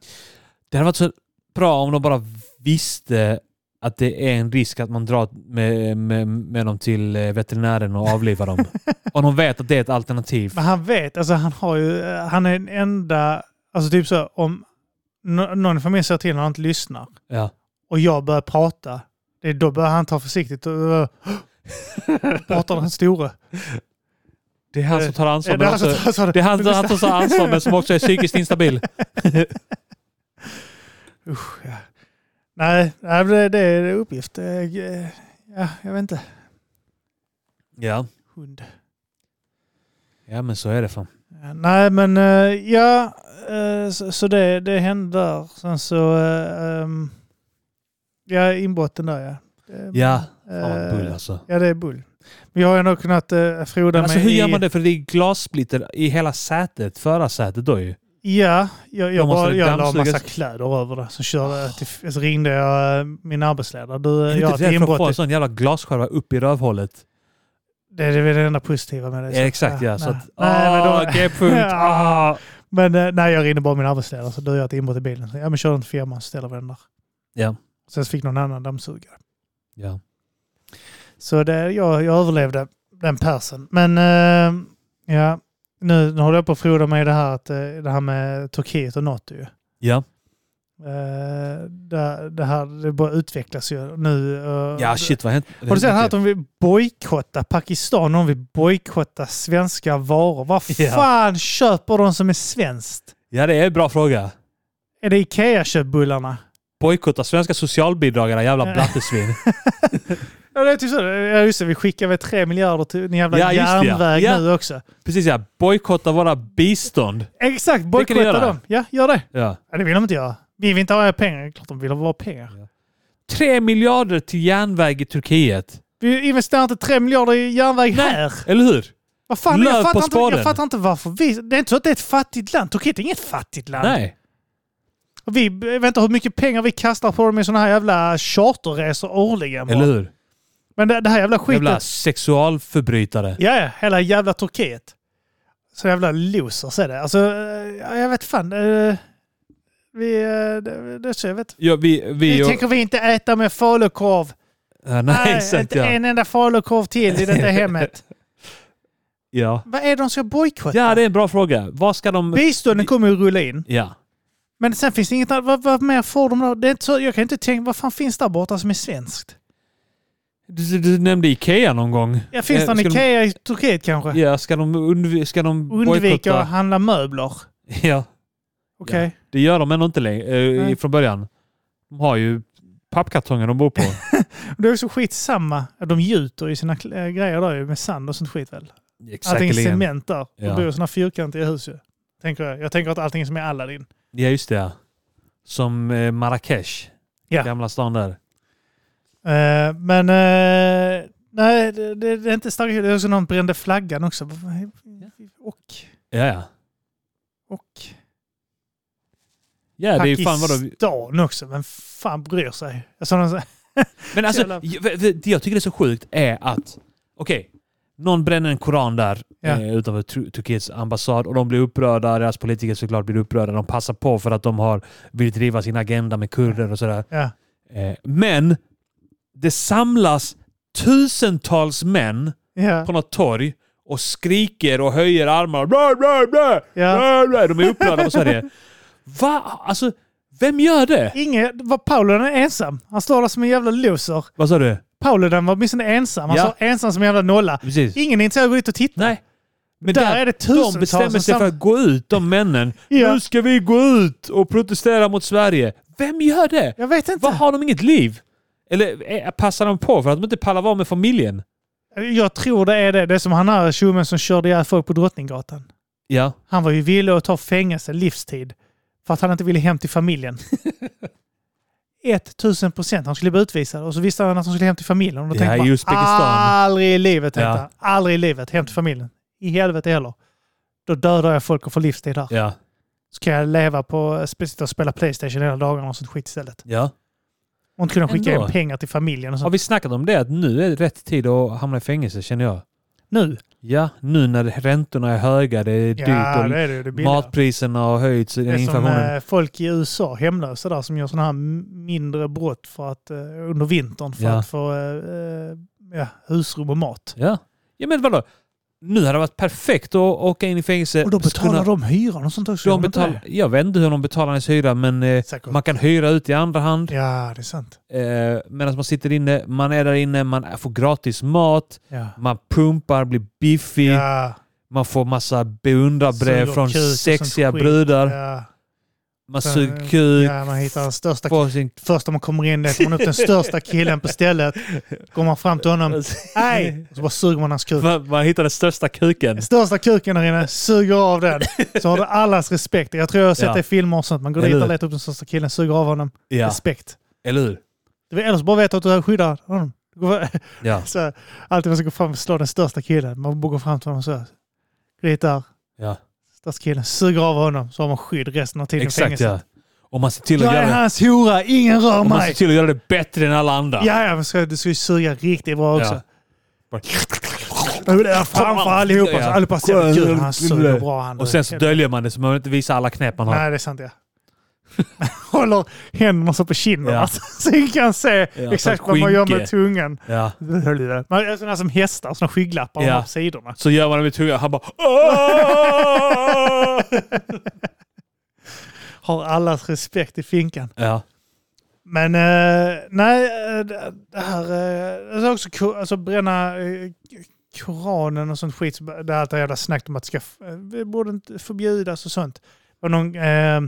Speaker 1: Det hade varit så bra om de bara visste att det är en risk att man drar med, med, med dem till eh, veterinären och avlivar dem. Om de vet att det är ett alternativ.
Speaker 2: Men han vet, alltså han har ju, eh, han är den enda, alltså typ så här, om nå- någon i familjen säger till när han inte lyssnar
Speaker 1: Ja.
Speaker 2: och jag börjar prata, det är då börjar han ta försiktigt och och- pratar den store. Alltså,
Speaker 1: Det är han som tar ansvar.
Speaker 2: det
Speaker 1: Men
Speaker 2: är han som
Speaker 1: också,
Speaker 2: tar- så-
Speaker 1: det är han, han som tar ansvar men som också är psykiskt instabil.
Speaker 2: Usch, ja. Nej, nej, men det det är uppgift. Det är- Ja, jag vet inte.
Speaker 1: Ja.
Speaker 2: Hund.
Speaker 1: ja, men så är det fan.
Speaker 2: Nej, men eh, ja, eh, så, så det, det hände där. Sen så, eh, ehm, ja, inbrotten där ja. Det-
Speaker 1: Ja,
Speaker 2: eh,
Speaker 1: fan vad bull alltså.
Speaker 2: Ja, det är bull. Men jag har ändå kunnat eh, froda
Speaker 1: Alltså,
Speaker 2: mig
Speaker 1: hur
Speaker 2: i...
Speaker 1: gör man det? För det är glassplitter i hela sätet, förarsätet då ju.
Speaker 2: Ja, jag,
Speaker 1: Då
Speaker 2: jag,
Speaker 1: måste
Speaker 2: bara,
Speaker 1: det
Speaker 2: jag la
Speaker 1: dammsugas.
Speaker 2: massa kläder över det. Så, körde jag till, så ringde jag eh, min arbetsledare. Du, eh,
Speaker 1: Är du
Speaker 2: jag har
Speaker 1: inte
Speaker 2: ett
Speaker 1: rädd för att få
Speaker 2: inbrott.
Speaker 1: en
Speaker 2: i-
Speaker 1: sån jävla glasskärva upp i rövhålet?
Speaker 2: Det är väl det enda positiva med det.
Speaker 1: Ja, exakt ja.
Speaker 2: nej,
Speaker 1: Så att,
Speaker 2: nej, men,
Speaker 1: ah,
Speaker 2: då,
Speaker 1: G-punkt. Ah.
Speaker 2: men eh, nej, jag ringde bara min arbetsledare. Så du, jag har ett inbrott i bilen. Så, ja, men kör den till firman så ställer vi den där.
Speaker 1: Ja.
Speaker 2: Sen så fick någon annan dammsugare.
Speaker 1: ja.
Speaker 2: Så det, jag, jag överlevde den persen. Men eh, ja, nu, nu håller jag på att froda mig i det här, att, eh, det här med Turkiet och NATO. Ju.
Speaker 1: Ja.
Speaker 2: Eh, det, det här det bara utvecklas ju nu. eh,
Speaker 1: ja, shit vad hänt?
Speaker 2: Har du sett här att de vill bojkotta Pakistan? De vill bojkotta svenska varor. Vad
Speaker 1: Ja.
Speaker 2: fan köper de som är svenskt?
Speaker 1: Ja, det är en bra fråga.
Speaker 2: Är det Ikea-köttbullarna?
Speaker 1: Bojkotta svenska socialbidragarna, jävla
Speaker 2: Ja.
Speaker 1: blattesvin.
Speaker 2: Ja, det är typ så. Ja, just det. Vi skickar väl tre miljarder till en jävla
Speaker 1: Ja, just det, ja.
Speaker 2: järnväg
Speaker 1: Ja.
Speaker 2: nu också.
Speaker 1: Precis ja, bojkotta våra bistånd.
Speaker 2: Exakt,
Speaker 1: göra.
Speaker 2: bojkotta dem. Ja, gör det.
Speaker 1: Ja.
Speaker 2: Ja, det vill de inte göra. Vi vill inte ha era pengar. Det är Klart de vill ha våra pengar.
Speaker 1: Tre miljarder till järnväg i Turkiet.
Speaker 2: Vi investerar inte tre miljarder i järnväg
Speaker 1: Nej.
Speaker 2: här.
Speaker 1: Eller hur?
Speaker 2: Vad fan,
Speaker 1: Löv
Speaker 2: jag,
Speaker 1: på
Speaker 2: fattar inte,
Speaker 1: spaden.
Speaker 2: jag fattar inte varför vi... Det är inte så att det är ett fattigt land. Turkiet är inget fattigt land.
Speaker 1: Nej.
Speaker 2: Och Vi, jag vet inte hur mycket pengar vi kastar på dem i sådana här jävla charterresor årligen. bara.
Speaker 1: Eller hur?
Speaker 2: Men det, det här jävla skiten.
Speaker 1: Jävla sexualförbrytare.
Speaker 2: Ja, ja. Hela jävla Turkiet. Så jävla losers är det. Alltså, eh, ja, jag vet fan. eh, Vi... eh, Det, det, så jag vet.
Speaker 1: Ja, vi, vi
Speaker 2: Nu
Speaker 1: och,
Speaker 2: tänker vi inte äta med falukorv.
Speaker 1: ja, nej,
Speaker 2: Nej,
Speaker 1: exakt
Speaker 2: inte
Speaker 1: ja.
Speaker 2: en enda falukorv till i detta hemmet.
Speaker 1: ja.
Speaker 2: Vad är det de ska bojkotta?
Speaker 1: Ja, det är en bra fråga. Vad ska de...
Speaker 2: Bistånden kommer ju rulla in.
Speaker 1: Ja.
Speaker 2: Men sen finns det inget annat. Vad, vad mer får de då? Det är inte så, jag kan inte tänka, vad fan finns där borta som är svenskt?
Speaker 1: Du, du nämnde Ikea någon gång.
Speaker 2: Ja, finns
Speaker 1: Eh,
Speaker 2: det en
Speaker 1: ska de-
Speaker 2: Ikea i Turkiet kanske?
Speaker 1: Ja, ska de, undvi- ska de
Speaker 2: Undvika att
Speaker 1: bojkotta?
Speaker 2: handla möbler.
Speaker 1: Ja.
Speaker 2: Okej.
Speaker 1: Det gör de ändå inte längre, eh,
Speaker 2: Nej.
Speaker 1: från början. De har ju pappkartonger de bor på.
Speaker 2: Det är också skitsamma. De gjuter i sina kl- äh, grejer där ju med sand och sånt skit väl? Allting är
Speaker 1: Säkerligen.
Speaker 2: cement där.
Speaker 1: Ja.
Speaker 2: De bor i sådana fyrkantiga hus ju. Tänker jag. jag tänker att allting är som i Aladdin.
Speaker 1: Ja, just det. ja. Som eh, Marrakesh.
Speaker 2: Ja.
Speaker 1: Gamla stan där.
Speaker 2: Eh, men eh, nej, det, det, det är inte starkt. Det är också någon brände flaggan också. Vad- Och,
Speaker 1: Ja, ja.
Speaker 2: och.
Speaker 1: Ja, det är ju fan vadå.
Speaker 2: Pakistan också. Vem fan bryr sig? Jag sa någon så här,
Speaker 1: Men alltså,
Speaker 2: Jävlar.
Speaker 1: jag- det jag tycker det är så sjukt är att, okej, någon bränner en koran där
Speaker 2: Ja.
Speaker 1: eh, utanför Tur- Turkiets ambassad och de blir upprörda. Deras politiker såklart blir upprörda. De passar på för att de har vill driva sin agenda med kurder och sådär.
Speaker 2: ja.
Speaker 1: Eh, men det samlas tusentals män
Speaker 2: Ja.
Speaker 1: på något torg och skriker och höjer armar. Blä, blä, blä,
Speaker 2: Ja.
Speaker 1: blä, blä. De är upprörda på Sverige. Va? Alltså, vem gör det?
Speaker 2: Inge, var Pauludan är ensam. Han står där som en jävla loser.
Speaker 1: Vad sa du?
Speaker 2: Pauludan var åtminstone ensam. Han
Speaker 1: Ja.
Speaker 2: står ensam som en jävla nolla.
Speaker 1: Precis.
Speaker 2: Ingen är intresserad av att gå dit och titta.
Speaker 1: Nej. Men
Speaker 2: Där
Speaker 1: den-
Speaker 2: är det
Speaker 1: de
Speaker 2: tusentals
Speaker 1: bestämmer
Speaker 2: som
Speaker 1: sig för
Speaker 2: samlas.
Speaker 1: att gå ut, de männen.
Speaker 2: Ja.
Speaker 1: Nu ska vi gå ut och protestera mot Sverige. Vem gör det?
Speaker 2: Jag vet inte.
Speaker 1: Vad har de inget liv? Eller eh, passar de på för att de inte pallar vara med familjen?
Speaker 2: Jag tror det är det. Det är som han här tjommen som körde ihjäl folk på Drottninggatan.
Speaker 1: Ja.
Speaker 2: Han var ju villig att ta fängelse livstid för att han inte ville hem till familjen. 1000 procent. Han skulle bli utvisad och så visste han att han skulle hem till familjen. Och då
Speaker 1: Ja,
Speaker 2: tänkte
Speaker 1: i
Speaker 2: man,
Speaker 1: Uzbekistan.
Speaker 2: aldrig i livet tänkte
Speaker 1: Ja.
Speaker 2: han. Aldrig i livet. Hem till familjen. I helvete heller. Då dödar jag folk och får livstid här.
Speaker 1: Ja.
Speaker 2: Så kan jag leva på sitta och spela Playstation hela dagarna och sånt skit istället.
Speaker 1: ja.
Speaker 2: Och inte kunna skicka
Speaker 1: Ändå.
Speaker 2: in pengar till familjen och
Speaker 1: Har
Speaker 2: sånt.
Speaker 1: vi snackat om det? Att nu är det rätt tid att hamna i fängelse känner jag.
Speaker 2: Nu?
Speaker 1: Ja, nu när räntorna är höga, det är
Speaker 2: Ja,
Speaker 1: dyrt
Speaker 2: det är det ju. Det är
Speaker 1: och
Speaker 2: billigare.
Speaker 1: matpriserna har höjts,
Speaker 2: Det är som
Speaker 1: inflationen.
Speaker 2: eh, folk i USA, hemlösa där, som gör sådana här m- mindre brott för att, eh, under vintern för
Speaker 1: Ja.
Speaker 2: att få eh, eh, ja, husrum och mat.
Speaker 1: Ja. ja, men vadå? Nu hade det varit perfekt att åka in i fängelse.
Speaker 2: Och då betalar
Speaker 1: Kunna-
Speaker 2: de hyran och sånt också. gör
Speaker 1: de
Speaker 2: de inte
Speaker 1: betal... Jag vet inte hur de betalar ens hyra, men eh,
Speaker 2: det? Säkert.
Speaker 1: man kan hyra ut i andra hand.
Speaker 2: Ja, det är sant.
Speaker 1: Eh, Medan man sitter inne, man är där inne, man får gratis mat,
Speaker 2: Ja.
Speaker 1: man pumpar, blir biffig,
Speaker 2: Ja,
Speaker 1: man får massa beundrarbrev
Speaker 2: Suger
Speaker 1: från
Speaker 2: kuk och sånt
Speaker 1: sexiga
Speaker 2: skit.
Speaker 1: brudar.
Speaker 2: ja,
Speaker 1: Man
Speaker 2: Sen- eh,
Speaker 1: suger kuk.
Speaker 2: ja, man hittar den största
Speaker 1: får sin...
Speaker 2: Först när man kommer in letar man upp den största killen på stället. Går man fram till honom. Nej! Och så bara suger man hans kuk.
Speaker 1: man, man hittar den största kuken.
Speaker 2: Den största kuken där inne, suger av den. Så har du allas respekt. Jag tror jag har sett
Speaker 1: Ja.
Speaker 2: det i filmer och sånt. Man går
Speaker 1: Eller
Speaker 2: dit och
Speaker 1: hur?
Speaker 2: letar upp den största killen, suger av honom.
Speaker 1: Ja,
Speaker 2: Respekt.
Speaker 1: eller hur?
Speaker 2: Du vet, Eller så bara vet du att du skyddar honom. Gå-
Speaker 1: Ja.
Speaker 2: Så, alltid man ska gå fram och slå den största killen. Man borde gå fram till honom så. här. Gritar.
Speaker 1: ja.
Speaker 2: Största killen. Suger av honom. Så har man skydd resten av tiden i
Speaker 1: Exakt
Speaker 2: fängelset.
Speaker 1: ja. Om man ser till att
Speaker 2: Jag är
Speaker 1: göra det,
Speaker 2: hans hora. Ingen rör
Speaker 1: om man ser
Speaker 2: mig.
Speaker 1: till att göra det bättre än alla andra.
Speaker 2: Ja, ja, men ska, du ska ju suga riktigt bra också.
Speaker 1: Ja. Bara-
Speaker 2: Jag vill där framför allihopa.
Speaker 1: Ja.
Speaker 2: Så allihopa ser gud han suger bra han.
Speaker 1: Och sen så döljer man det så man vill inte visa alla knep man har.
Speaker 2: Nej, det är sant ja. Håller händerna så på kinden.
Speaker 1: Ja.
Speaker 2: Alltså, så vi kan se
Speaker 1: Ja,
Speaker 2: exakt
Speaker 1: fast
Speaker 2: vad man gör med
Speaker 1: skynke.
Speaker 2: tungan.
Speaker 1: Ja.
Speaker 2: Man är sådana som hästar, sådana skygglappar
Speaker 1: Ja.
Speaker 2: på sidorna.
Speaker 1: Så gör man det med tungan. Han bara "Åh!"
Speaker 2: Har allas respekt i finkan.
Speaker 1: Ja.
Speaker 2: Men eh, nej, eh, det det här... eh, det är också ko- alltså, bränna eh, Koranen och sånt skit. så Det här jävla snacket om att det ska, f- eh, det borde inte förbjudas och sånt. Det var någon, eh,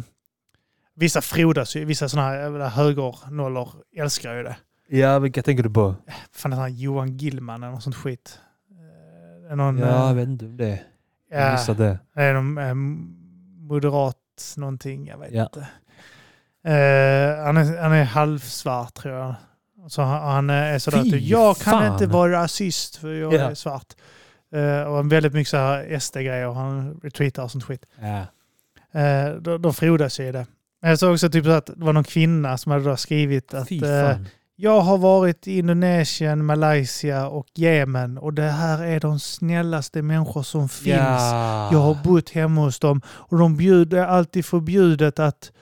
Speaker 2: vissa frodas ju, vissa sådana här jävla högernollor älskar ju det.
Speaker 1: ja, vilka tänker du på?
Speaker 2: Fan, han Johan Gillman eller något sånt skit. Eh, Någon,
Speaker 1: Ja, jag
Speaker 2: eh,
Speaker 1: vet inte om det. Jag
Speaker 2: ja,
Speaker 1: missade det.
Speaker 2: det är någon eh, moderat någonting, jag vet
Speaker 1: Ja.
Speaker 2: inte. Eh, han, är, han är halvsvart tror jag. Så han, han är sådär
Speaker 1: Fy
Speaker 2: typ, jag kan
Speaker 1: fan.
Speaker 2: inte vara rasist för jag
Speaker 1: Ja.
Speaker 2: är svart. Eh, och han väldigt mycket så här SD-grejer, han retweetar och sånt skit.
Speaker 1: Ja.
Speaker 2: Eh, då, då frodas ju i det. Men jag såg också typ så att det var någon kvinna som hade då skrivit att
Speaker 1: Fy
Speaker 2: eh,
Speaker 1: fan.
Speaker 2: jag har varit i Indonesien, Malaysia och Jemen och det här är de snällaste människor som finns.
Speaker 1: Ja.
Speaker 2: Jag
Speaker 1: Ah.
Speaker 2: har bott hemma hos dem och de bjuder det är alltid förbjudet att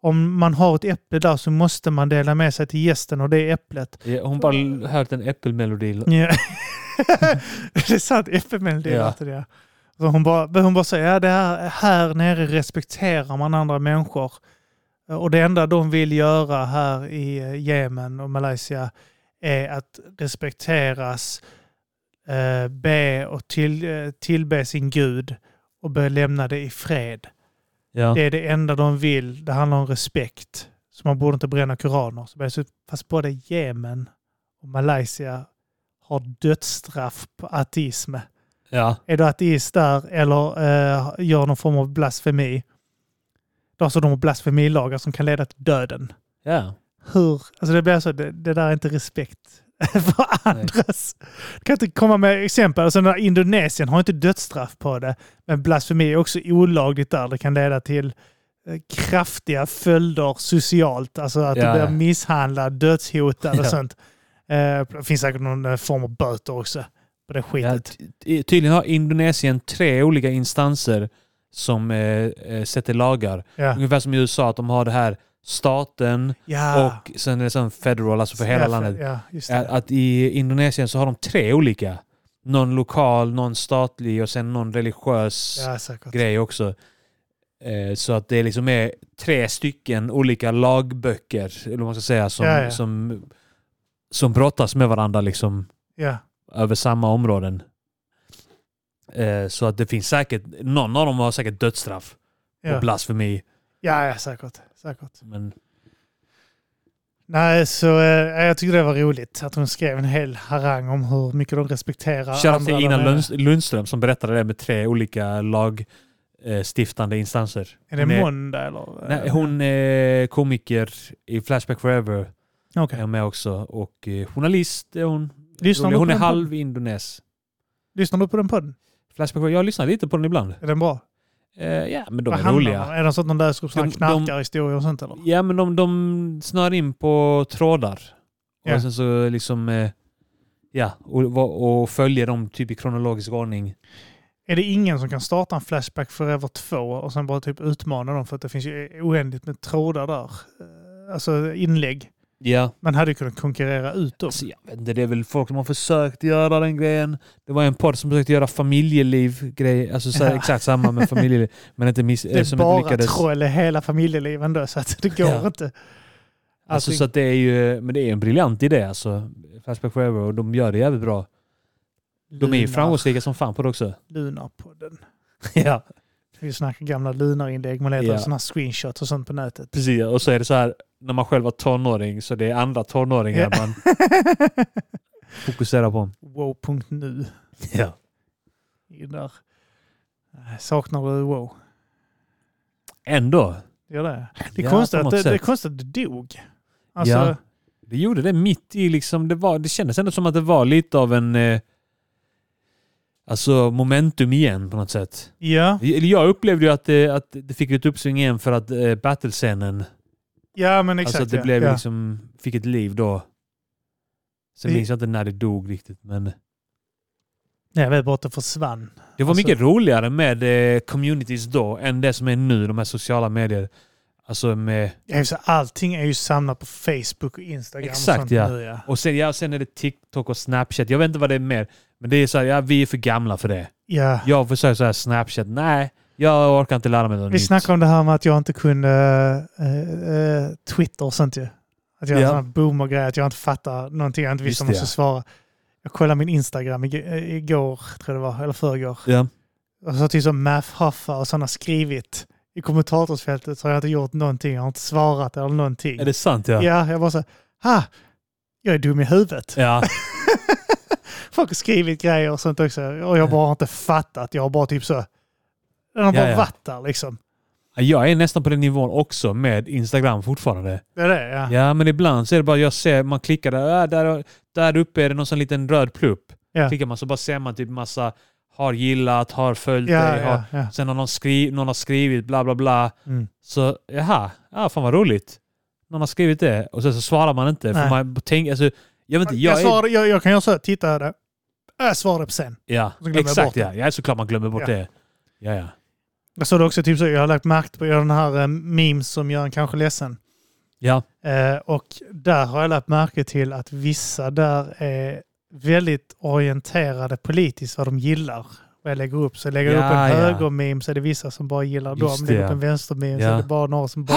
Speaker 2: om man har ett äpple där så måste man dela med sig till gästen och det är äpplet.
Speaker 1: Ja, Hon bara hört en äppelmelodi.
Speaker 2: Ja. det är sant, äppelmelodi
Speaker 1: Ja.
Speaker 2: låter det. Så hon, bara, men hon bara säger, ja, det här, här nere respekterar man andra människor. Och det enda de vill göra här i eh, Jemen och Malaysia är att respekteras, eh, be och till, eh, tillbe sin gud och börja lämna det i fred.
Speaker 1: Ja.
Speaker 2: Det är det enda de vill. Det handlar om respekt. Så man borde inte bränna koraner. Så börjar jag se- Fast både Jemen och Malaysia har dödsstraff på ateism.
Speaker 1: Ja.
Speaker 2: Är du ateist där eller eh, gör någon form av blasfemi? Då har alltså de har blasfemilagar som kan leda till döden.
Speaker 1: Ja.
Speaker 2: Hur? Alltså det blir så, det, det där är inte respekt för andras. Du kan inte komma med exempel. Alltså när Indonesien har inte dödsstraff på det, men blasfemi är också olagligt där. Det kan leda till eh, kraftiga följder socialt. Alltså att
Speaker 1: Ja,
Speaker 2: du
Speaker 1: ja.
Speaker 2: blir misshandlad, dödshotad och
Speaker 1: Ja.
Speaker 2: sånt. Eh, Det finns säkert någon eh, form av böter också på det
Speaker 1: Ja,
Speaker 2: skitet.
Speaker 1: ty- tydligen har Indonesien tre olika instanser som eh, eh, sätter lagar.
Speaker 2: Ja.
Speaker 1: Ungefär som i USA, att de har det här staten
Speaker 2: ja.
Speaker 1: och sen är det sån Ah. federal, alltså för hela
Speaker 2: Ja,
Speaker 1: landet.
Speaker 2: Ja, just
Speaker 1: Att,
Speaker 2: det.
Speaker 1: att i Indonesien så har de tre olika. Någon lokal, någon statlig och sen någon religiös
Speaker 2: Ja, säkert.
Speaker 1: grej också. Eh, Så att det liksom är tre stycken olika lagböcker, eller vad man ska säga, som,
Speaker 2: Ja, ja.
Speaker 1: som, som brottas med varandra liksom
Speaker 2: Ja.
Speaker 1: över samma områden. Eh, Så att det finns säkert, någon av dem har säkert dödsstraff
Speaker 2: Ja.
Speaker 1: och blasfemi.
Speaker 2: Ja, ja, säkert. säkert.
Speaker 1: Men
Speaker 2: Nej, så eh, jag tyckte det var roligt att hon skrev en hel harang om hur mycket de respekterar
Speaker 1: Shoutout till
Speaker 2: där
Speaker 1: Ina
Speaker 2: nere.
Speaker 1: Lund- Lundström som berättade det med tre olika lagstiftande instanser.
Speaker 2: Är det
Speaker 1: Hon är-
Speaker 2: måndag eller?
Speaker 1: Nej, hon är komiker i Flashback Forever.
Speaker 2: Eh, Okej.
Speaker 1: Är hon med också. Och eh, journalist är hon.
Speaker 2: Lyssnar du
Speaker 1: hon
Speaker 2: på
Speaker 1: är
Speaker 2: den podden?
Speaker 1: halv indones.
Speaker 2: Lyssnar du på den podden?
Speaker 1: Flashback Forever, jag lyssnar lite på den ibland.
Speaker 2: Är den bra?
Speaker 1: Eh, ja, men de
Speaker 2: Vad
Speaker 1: är
Speaker 2: handlar den
Speaker 1: roliga.
Speaker 2: om? Är det så att de läser upp sådana
Speaker 1: De- de-
Speaker 2: knarkarhistorier och sånt eller?
Speaker 1: Ja, men de, de snör in på trådar.
Speaker 2: Ja.
Speaker 1: Och sen så liksom... Eh, ja, och, och, och följer dem typ i kronologisk ordning.
Speaker 2: Är det ingen som kan starta en Flashback Forever 2 och sen bara typ utmana dem för att det finns ju oändligt med trådar där? Eh, Alltså inlägg.
Speaker 1: Ja.
Speaker 2: Man hade ju kunnat konkurrera ut dem.
Speaker 1: Alltså, jag vet inte, det är väl folk som har försökt göra den grejen. Det var en podd som försökte göra familjeliv-grej, alltså så här,
Speaker 2: Ja.
Speaker 1: exakt samma med familjeliv, men inte miss,
Speaker 2: Det
Speaker 1: eh,
Speaker 2: är
Speaker 1: som inte
Speaker 2: bara
Speaker 1: lyckades.
Speaker 2: troll i hela familjelivet ändå så att det går
Speaker 1: Ja.
Speaker 2: inte.
Speaker 1: Alltså,
Speaker 2: Allting-
Speaker 1: så att det är ju, men det är en briljant idé alltså. Flashback Forever och de gör det jävligt bra. De är ju
Speaker 2: Lunar-
Speaker 1: framgångsrika som fan på det också.
Speaker 2: Lunarpodden.
Speaker 1: ja,
Speaker 2: Vi snackar gamla lunarinlägg, man letar
Speaker 1: Ja.
Speaker 2: efter sådana här screenshots och sånt på nätet.
Speaker 1: precis. Och så är det så här, när man själv var tonåring så det är andra tonåringar man fokuserar på.
Speaker 2: wow.nu.
Speaker 1: Ja.
Speaker 2: Där. Saknar du wow?
Speaker 1: Ändå.
Speaker 2: Gör det? Det är,
Speaker 1: Ja, på
Speaker 2: konstigt att
Speaker 1: något
Speaker 2: det, det är
Speaker 1: sätt.
Speaker 2: konstigt att det dog. Alltså,
Speaker 1: Ja. Det gjorde det mitt i liksom, det, var, det kändes ändå som att det var lite av en eh, alltså momentum igen på något sätt.
Speaker 2: Ja,
Speaker 1: Eller Jag upplevde ju att det, att det fick ett uppsving igen för att eh, battlescenen,
Speaker 2: ja men exakt.
Speaker 1: alltså att det
Speaker 2: ja.
Speaker 1: blev
Speaker 2: ja.
Speaker 1: liksom, fick ett liv då. Sen
Speaker 2: Det-
Speaker 1: minns jag inte när det dog riktigt men
Speaker 2: Nej, jag vet bara att det försvann.
Speaker 1: det var
Speaker 2: Alltså-
Speaker 1: mycket roligare med eh, communities då än det som är nu, de här sociala medier. Alltså med
Speaker 2: Ja, så Allting är ju samlat på Facebook och Instagram
Speaker 1: Exakt,
Speaker 2: och sånt
Speaker 1: ja.
Speaker 2: nu ja.
Speaker 1: Och sen, ja, sen är det TikTok och Snapchat. Jag vet inte vad det är mer. Men det är så här, ja, vi är för gamla för det.
Speaker 2: ja.
Speaker 1: Jag försöker så här Snapchat. Nej, jag orkar inte lära mig något
Speaker 2: Vi
Speaker 1: nytt.
Speaker 2: snackade om det här med att jag inte kunde eh, eh, Twitter och sånt ju. Att jag
Speaker 1: Ja.
Speaker 2: yeah. sån här boomer-grej, att jag inte fattar någonting, jag inte
Speaker 1: Just
Speaker 2: visste om
Speaker 1: det,
Speaker 2: jag skulle svara. Jag kollade min Instagram ig- eh, igår, tror jag det var, eller förrgår.
Speaker 1: Ja.
Speaker 2: Och så till som Math Huffa och sådana har skrivit i kommentatorsfältet så har jag inte gjort någonting, jag har inte svarat eller någonting.
Speaker 1: Är det sant? Ja.
Speaker 2: Ja, jag bara så ha, jag är dum i huvudet.
Speaker 1: ja.
Speaker 2: Folk har skrivit grejer och sånt också och jag bara har inte fattat. Jag har bara typ så, den har
Speaker 1: Ja,
Speaker 2: bara
Speaker 1: ja.
Speaker 2: varit där liksom.
Speaker 1: Jag är nästan på den nivån också med Instagram fortfarande.
Speaker 2: Det är det, ja.
Speaker 1: Ja, men ibland så är det bara jag ser, man klickar där, ah, där, där uppe är det någon sån liten röd plupp.
Speaker 2: Ja.
Speaker 1: Klickar man så bara ser man typ massa har gillat, har följt
Speaker 2: Ja,
Speaker 1: dig, har
Speaker 2: ja, ja.
Speaker 1: Sen har någon, skri- någon har skrivit bla bla bla.
Speaker 2: Mm.
Speaker 1: Så jaha, ja, fan vad roligt. Någon har skrivit det och sen så svarar man inte. För
Speaker 2: Nej.
Speaker 1: man tänker, alltså, jag vet inte,
Speaker 2: Jag,
Speaker 1: jag, är,
Speaker 2: svarar, jag, jag kan göra så, här, titta här. Jag svarar på sen.
Speaker 1: ja,
Speaker 2: så glömmer jag bort
Speaker 1: exakt
Speaker 2: det.
Speaker 1: ja. ja, såklart man glömmer bort
Speaker 2: Ja.
Speaker 1: det. Ja, ja.
Speaker 2: Jag såg det också typ så, jag har lagt märke på jag har den här eh, memes som gör en kanske ledsen.
Speaker 1: Ja,
Speaker 2: Eh, och där har jag lagt märke till att vissa där är väldigt orienterade politiskt vad de gillar. Vad jag lägger upp. Så jag lägger jag upp
Speaker 1: Ja, ja.
Speaker 2: en högermeme så är det vissa som bara gillar
Speaker 1: Just
Speaker 2: dem.
Speaker 1: det,
Speaker 2: Lägger upp
Speaker 1: ja.
Speaker 2: en vänstermeme så
Speaker 1: Ja.
Speaker 2: är det bara några som bara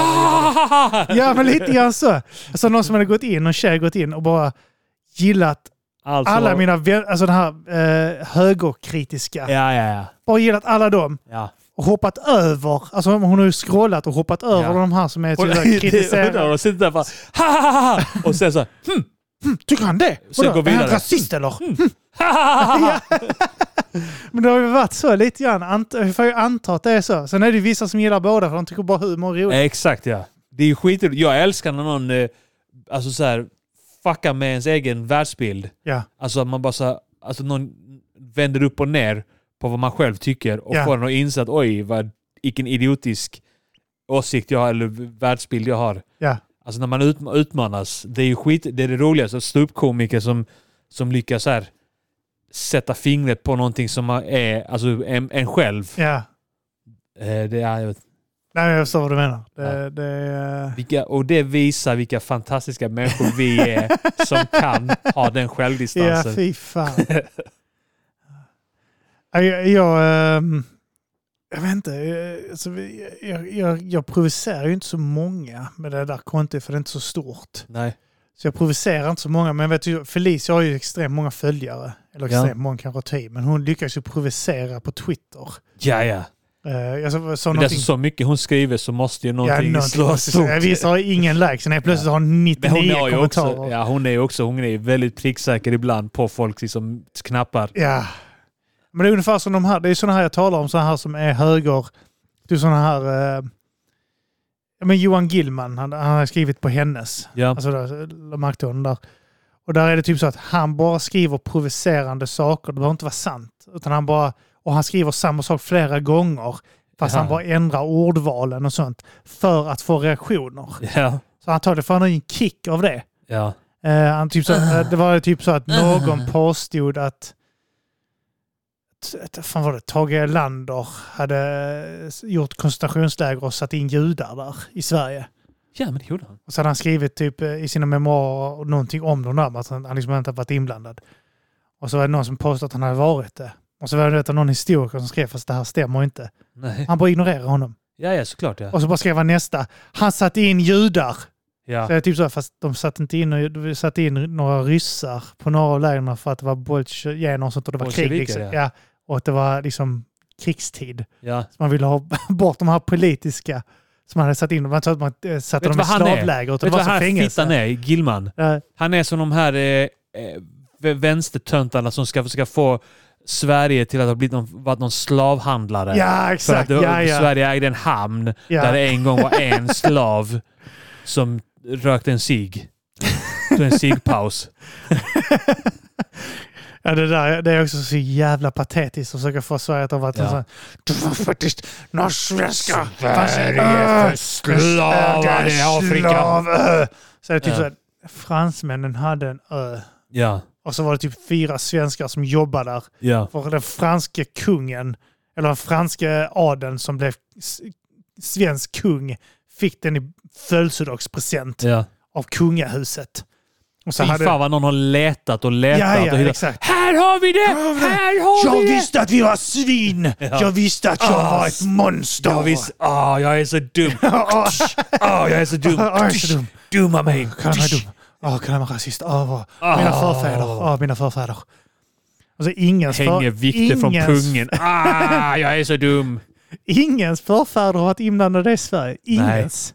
Speaker 2: gillar dem. Ja men lite grann så. Alltså någon som hade gått in, någon tjej gått in och bara gillat
Speaker 1: alltså,
Speaker 2: alla mina, vän- alltså den här eh, högerkritiska.
Speaker 1: Ja, ja, ja.
Speaker 2: Bara gillat alla dem
Speaker 1: ja.
Speaker 2: och hoppat över. Alltså hon har ju scrollat och hoppat över de här som är
Speaker 1: Och,
Speaker 2: till och, kritiserade.
Speaker 1: och, sitter där bara, ha, ha, ha, ha. och sen så,
Speaker 2: Tycker han det?
Speaker 1: Sen
Speaker 2: Vadå?
Speaker 1: går
Speaker 2: Är han
Speaker 1: vidare.
Speaker 2: rasist eller?
Speaker 1: ha, ha, ha, ha.
Speaker 2: Men det har ju varit så lite grann. Ant- Vi får ju anta att det är så. Sen är det ju vissa som gillar båda för de tycker bara humor är
Speaker 1: Ja,
Speaker 2: roligt.
Speaker 1: Exakt ja. Det är ju skitroligt. Jag älskar när någon, eh, alltså så här, fuckar med ens egen världsbild.
Speaker 2: Ja.
Speaker 1: Alltså att man bara så här, alltså någon vänder upp och ner på vad man själv tycker och
Speaker 2: Ja.
Speaker 1: får en att inse att oj, vad, vilken idiotisk åsikt jag har eller världsbild jag har.
Speaker 2: Ja.
Speaker 1: Alltså när man utma- utmanas, det är ju skit, det är det roligaste, ståuppkomiker som, som lyckas så här sätta fingret på någonting som är, alltså en, en själv.
Speaker 2: Ja.
Speaker 1: Eh, Det är, jag vet,
Speaker 2: Nej, men jag förstår vad du menar. Det,
Speaker 1: Ja.
Speaker 2: det, är-
Speaker 1: vilka, och det visar vilka fantastiska människor vi är som kan ha den
Speaker 2: Ja,
Speaker 1: självdistansen.
Speaker 2: fy fan. Ja, jag, jag, ehm, jag vet inte. eh, Alltså, vi- jag, jag, jag provocerar ju inte så många med det där kontot för det är inte så stort.
Speaker 1: Nej.
Speaker 2: Så jag provocerar inte så många. Men jag vet ju, Felicia har ju extremt många följare. Eller
Speaker 1: Ja.
Speaker 2: extremt många kanske tio. Men hon lyckas ju provocera på Twitter.
Speaker 1: Ja, ja.
Speaker 2: Eh, Jag sa, sa
Speaker 1: Men det är
Speaker 2: någonting...
Speaker 1: alltså så mycket hon skriver så måste ju
Speaker 2: ja,
Speaker 1: någonting,
Speaker 2: någonting
Speaker 1: slå
Speaker 2: måste jag
Speaker 1: stort.
Speaker 2: säga. Vissa har ingen likes. Nej, plötsligt har hon
Speaker 1: Men
Speaker 2: 99
Speaker 1: hon är ju
Speaker 2: kommentarer.
Speaker 1: också,
Speaker 2: ja.
Speaker 1: ja, hon är ju också, hon är ju väldigt pricksäker ibland på folk liksom knappar.
Speaker 2: Men det är ungefär som de här. Det är sådana här jag talar om. Sådana här som är höger. Du sådana här... Eh, ja, men Johan Gillman, han, han har skrivit på hennes.
Speaker 1: Ja,
Speaker 2: Alltså där, Markton där. Och där är det typ så att han bara skriver provocerande saker. Det behöver inte vara sant. Utan han bara, och han skriver samma sak flera gånger. Fast
Speaker 1: Jaha.
Speaker 2: han bara ändrar ordvalen och sånt. För att få reaktioner.
Speaker 1: ja,
Speaker 2: Så han tar det för han har ju en kick av det.
Speaker 1: ja.
Speaker 2: Eh, han typ så, eh, det var ju typ så att någon påstod att att- Fan var det? Tage Erlander hade eh, gjort koncentrationsläger och satt in judar där i Sverige.
Speaker 1: Ja, men det gjorde han.
Speaker 2: Och så hade han skrivit typ eh, i sina memoarer någonting om de där, med att han han liksom inte har varit inblandad. Och så var det någon som påstod att han hade varit det. Och så var det vet, någon historiker som skrev, fast det här stämmer inte.
Speaker 1: Nej.
Speaker 2: Han bara ignorerar honom.
Speaker 1: Ja, ja, såklart ja.
Speaker 2: Och så bara skrev han nästa. Han satte in judar. Så
Speaker 1: Ja,
Speaker 2: jag är typ så här, fast de satte inte in, de satte in några ryssar på några av lägren för att det var bolsjeviker och sånt och det var krig.
Speaker 1: Bolsjeviker,
Speaker 2: Liksom.
Speaker 1: ja.
Speaker 2: Ja. och att det var liksom krigstid.
Speaker 1: ja.
Speaker 2: Så man ville ha bort de här politiska som man hade satt in. Man sa att man eh, satte
Speaker 1: Vet
Speaker 2: dem i
Speaker 1: vad han är?
Speaker 2: slavläger. Utan
Speaker 1: Vet
Speaker 2: det
Speaker 1: du
Speaker 2: var
Speaker 1: vad
Speaker 2: som
Speaker 1: här fittan
Speaker 2: fängelse.
Speaker 1: är, Gilman?
Speaker 2: Ja,
Speaker 1: Han är som de här eh, eh, v- vänstertöntarna som ska försöka få Sverige till att ha blivit någon, varit någon slavhandlare.
Speaker 2: Ja,
Speaker 1: För att
Speaker 2: exakt.
Speaker 1: det,
Speaker 2: Ja, ja.
Speaker 1: Sverige ägde en hamn
Speaker 2: Ja.
Speaker 1: där det en gång var en slav som rökte en cigg. Så en cigpaus.
Speaker 2: Ja, det, där, det är också så jävla patetiskt att försöka få Sverige att ha varit en
Speaker 1: Ja.
Speaker 2: sån... Du var faktiskt norsk-svenska! Äh,
Speaker 1: Sverige för slavar i Afrika.
Speaker 2: Så är det typ
Speaker 1: Ja.
Speaker 2: så här, fransmännen hade en ö.
Speaker 1: Ja,
Speaker 2: Och så var det typ fyra svenskar som jobbade där.
Speaker 1: ja.
Speaker 2: För den franske kungen, eller den franske adeln som blev s- svensk kung, fick den i födelsedagspresent
Speaker 1: ja.
Speaker 2: av kungahuset. Och så
Speaker 1: Fy
Speaker 2: hade...
Speaker 1: fan vad någon har letat och letat.
Speaker 2: Ja, ja,
Speaker 1: och hittat.
Speaker 2: exakt.
Speaker 1: Här har vi det! Här har
Speaker 2: Jag
Speaker 1: vi det!
Speaker 2: visste att vi var svin!
Speaker 1: Ja.
Speaker 2: Jag visste att jag
Speaker 1: Ah,
Speaker 2: var ett monster!
Speaker 1: Jag visste... Ah, jag är så dum.
Speaker 2: Ah,
Speaker 1: Ah, jag är så dum.
Speaker 2: Ah, jag är så dum.
Speaker 1: Dumma mig.
Speaker 2: kan han vara dum? Ah, kan han vara rasist? Ah, vad- mina
Speaker 1: Ah.
Speaker 2: förfäder. Ah, mina förfäder. Alltså, ingens,
Speaker 1: Hänger vikter från
Speaker 2: ingens-
Speaker 1: pungen. Ah, jag är så dum.
Speaker 2: Ingens förfäder har varit inblandade i Sverige. Ingens.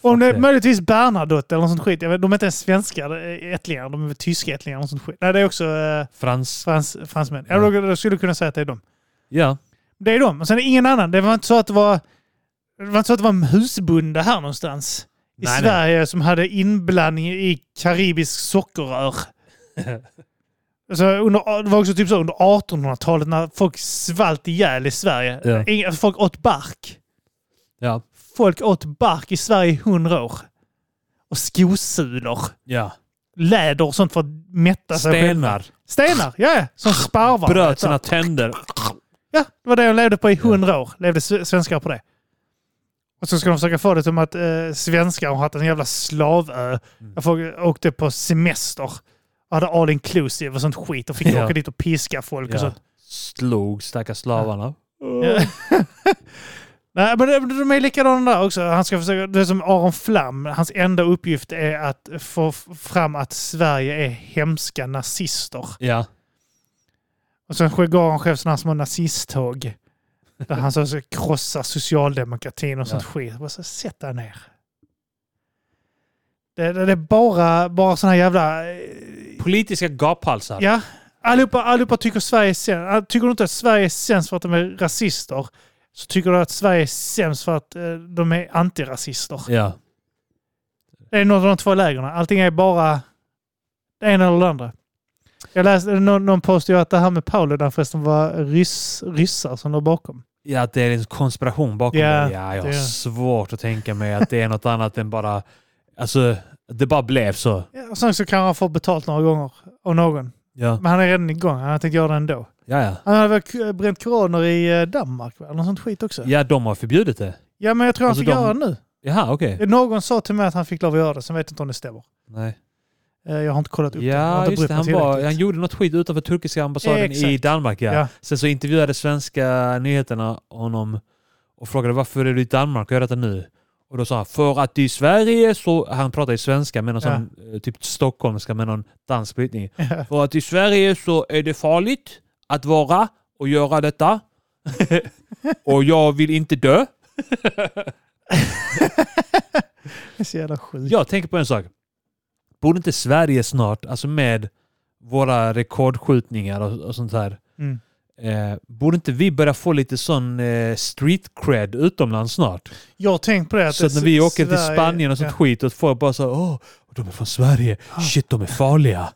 Speaker 2: Om det är
Speaker 1: det.
Speaker 2: möjligtvis Bernadotte eller något sånt skit. Jag vet, de är inte ens svenskar, det är ättlingar. De är väl tyska ättlingar eller något sånt skit. Nej, det är också eh,
Speaker 1: Frans.
Speaker 2: frans, fransmän.
Speaker 1: Ja.
Speaker 2: Jag, jag skulle kunna säga att det är de.
Speaker 1: Ja.
Speaker 2: Det är de. Och sen är det ingen annan. Det var inte så att det var, det var, inte så att det var en husbonde här någonstans i
Speaker 1: Nej, nej.
Speaker 2: Sverige som hade inblandning i karibisk sockerrör. alltså under, det var också typ så under 1800-talet när folk svalt ihjäl i Sverige.
Speaker 1: Ja.
Speaker 2: Ingen- alltså, Folk åt bark.
Speaker 1: Ja.
Speaker 2: Folk åt bark i Sverige i hundra år. Och skosulor.
Speaker 1: Ja.
Speaker 2: Läder och sånt för att mätta sig. själv.
Speaker 1: Stenar.
Speaker 2: Stenar, ja. ja. Som sparvar.
Speaker 1: Bröt sina tänder.
Speaker 2: Ja, det var det de levde på i hundra år. Levde sve- svenskar på det. Och så ska de försöka få det som att eh, svenskar har haft en jävla slavö.
Speaker 1: Mm.
Speaker 2: Där folk åkte på semester och hade all inclusive och sånt skit och fick
Speaker 1: Ja.
Speaker 2: åka dit och piska folk och
Speaker 1: Ja.
Speaker 2: sånt.
Speaker 1: Slog stackars slavarna.
Speaker 2: Ja. Nej, men de- de är likadana där också. Han ska försöka, det är som Aron Flam, hans enda uppgift är att få f- fram att Sverige är hemska nazister.
Speaker 1: Ja.
Speaker 2: Och sen sk- går han själv sådana här små nazisttåg. Där han så så krossar socialdemokratin och sånt skit. Och så sätt dig ner. Det, det, det är bara, bara sådana här jävla... eh,
Speaker 1: Politiska gaphalsar.
Speaker 2: Ja, allihopa, allihopa tycker Sverige är sämst. Ah, Tycker du inte att Sverige är sämst för att de är rasister så tycker du att Sverige är sämst för att eh, de är antirasister.
Speaker 1: Ja.
Speaker 2: Det är något av de två lägren. Allting är bara det ena eller det andra. Jag läste, någon, någon postade ju att det här med Paludan förresten var ryss, ryssar som låg bakom.
Speaker 1: Ja, att det är en konspiration bakom
Speaker 2: Ja,
Speaker 1: det. Ja, jag har
Speaker 2: det är det.
Speaker 1: svårt att tänka mig att det är något annat än bara... Alltså, det bara blev så.
Speaker 2: Ja, och sen så kan han få betalt några gånger av någon.
Speaker 1: Ja,
Speaker 2: Men han är redan igång. Han har tänkt göra det ändå.
Speaker 1: ja. Ja,
Speaker 2: Han hade väl k- bränt koraner i eh, Danmark va? eller något sånt skit också. Ja,
Speaker 1: ja de har förbjudit det.
Speaker 2: men jag tror han
Speaker 1: Alltså,
Speaker 2: fick
Speaker 1: de-
Speaker 2: göra det nu. Eh,
Speaker 1: Jaha, okej.
Speaker 2: Någon sa till mig att han fick lov att göra det, sen vet jag inte om det stämmer.
Speaker 1: Nej.
Speaker 2: Eh, Jag har inte kollat upp det. Jag har
Speaker 1: Ja,
Speaker 2: inte
Speaker 1: just
Speaker 2: brytt
Speaker 1: det.
Speaker 2: mig
Speaker 1: Han, var, han
Speaker 2: tillräckligt.
Speaker 1: gjorde något skit utanför turkiska ambassaden i
Speaker 2: Exakt.
Speaker 1: Danmark. Ja.
Speaker 2: Ja.
Speaker 1: Sen så intervjuade svenska nyheterna honom och frågade varför är du i Danmark och gör detta nu? Och då sa han för att i Sverige så... Han pratade i svenska med någon
Speaker 2: Ja.
Speaker 1: sån, eh, typ stockholmska med någon dansk brytning. För att i Sverige så är det farligt att vara och göra detta. och jag vill inte dö.
Speaker 2: Det är så jävla sjukt.
Speaker 1: Jag tänker på en sak. Borde inte Sverige snart, alltså med våra rekordskjutningar och, och sånt här.
Speaker 2: Mm.
Speaker 1: Eh, borde inte vi börja få lite sån eh, street cred utomlands snart?
Speaker 2: Jag har tänkt på det. Att
Speaker 1: Så att
Speaker 2: det-
Speaker 1: när vi åker till
Speaker 2: Sverige-
Speaker 1: Spanien och sånt skit och folk bara så åh, de är från Sverige,
Speaker 2: Ah."
Speaker 1: shit de är farliga.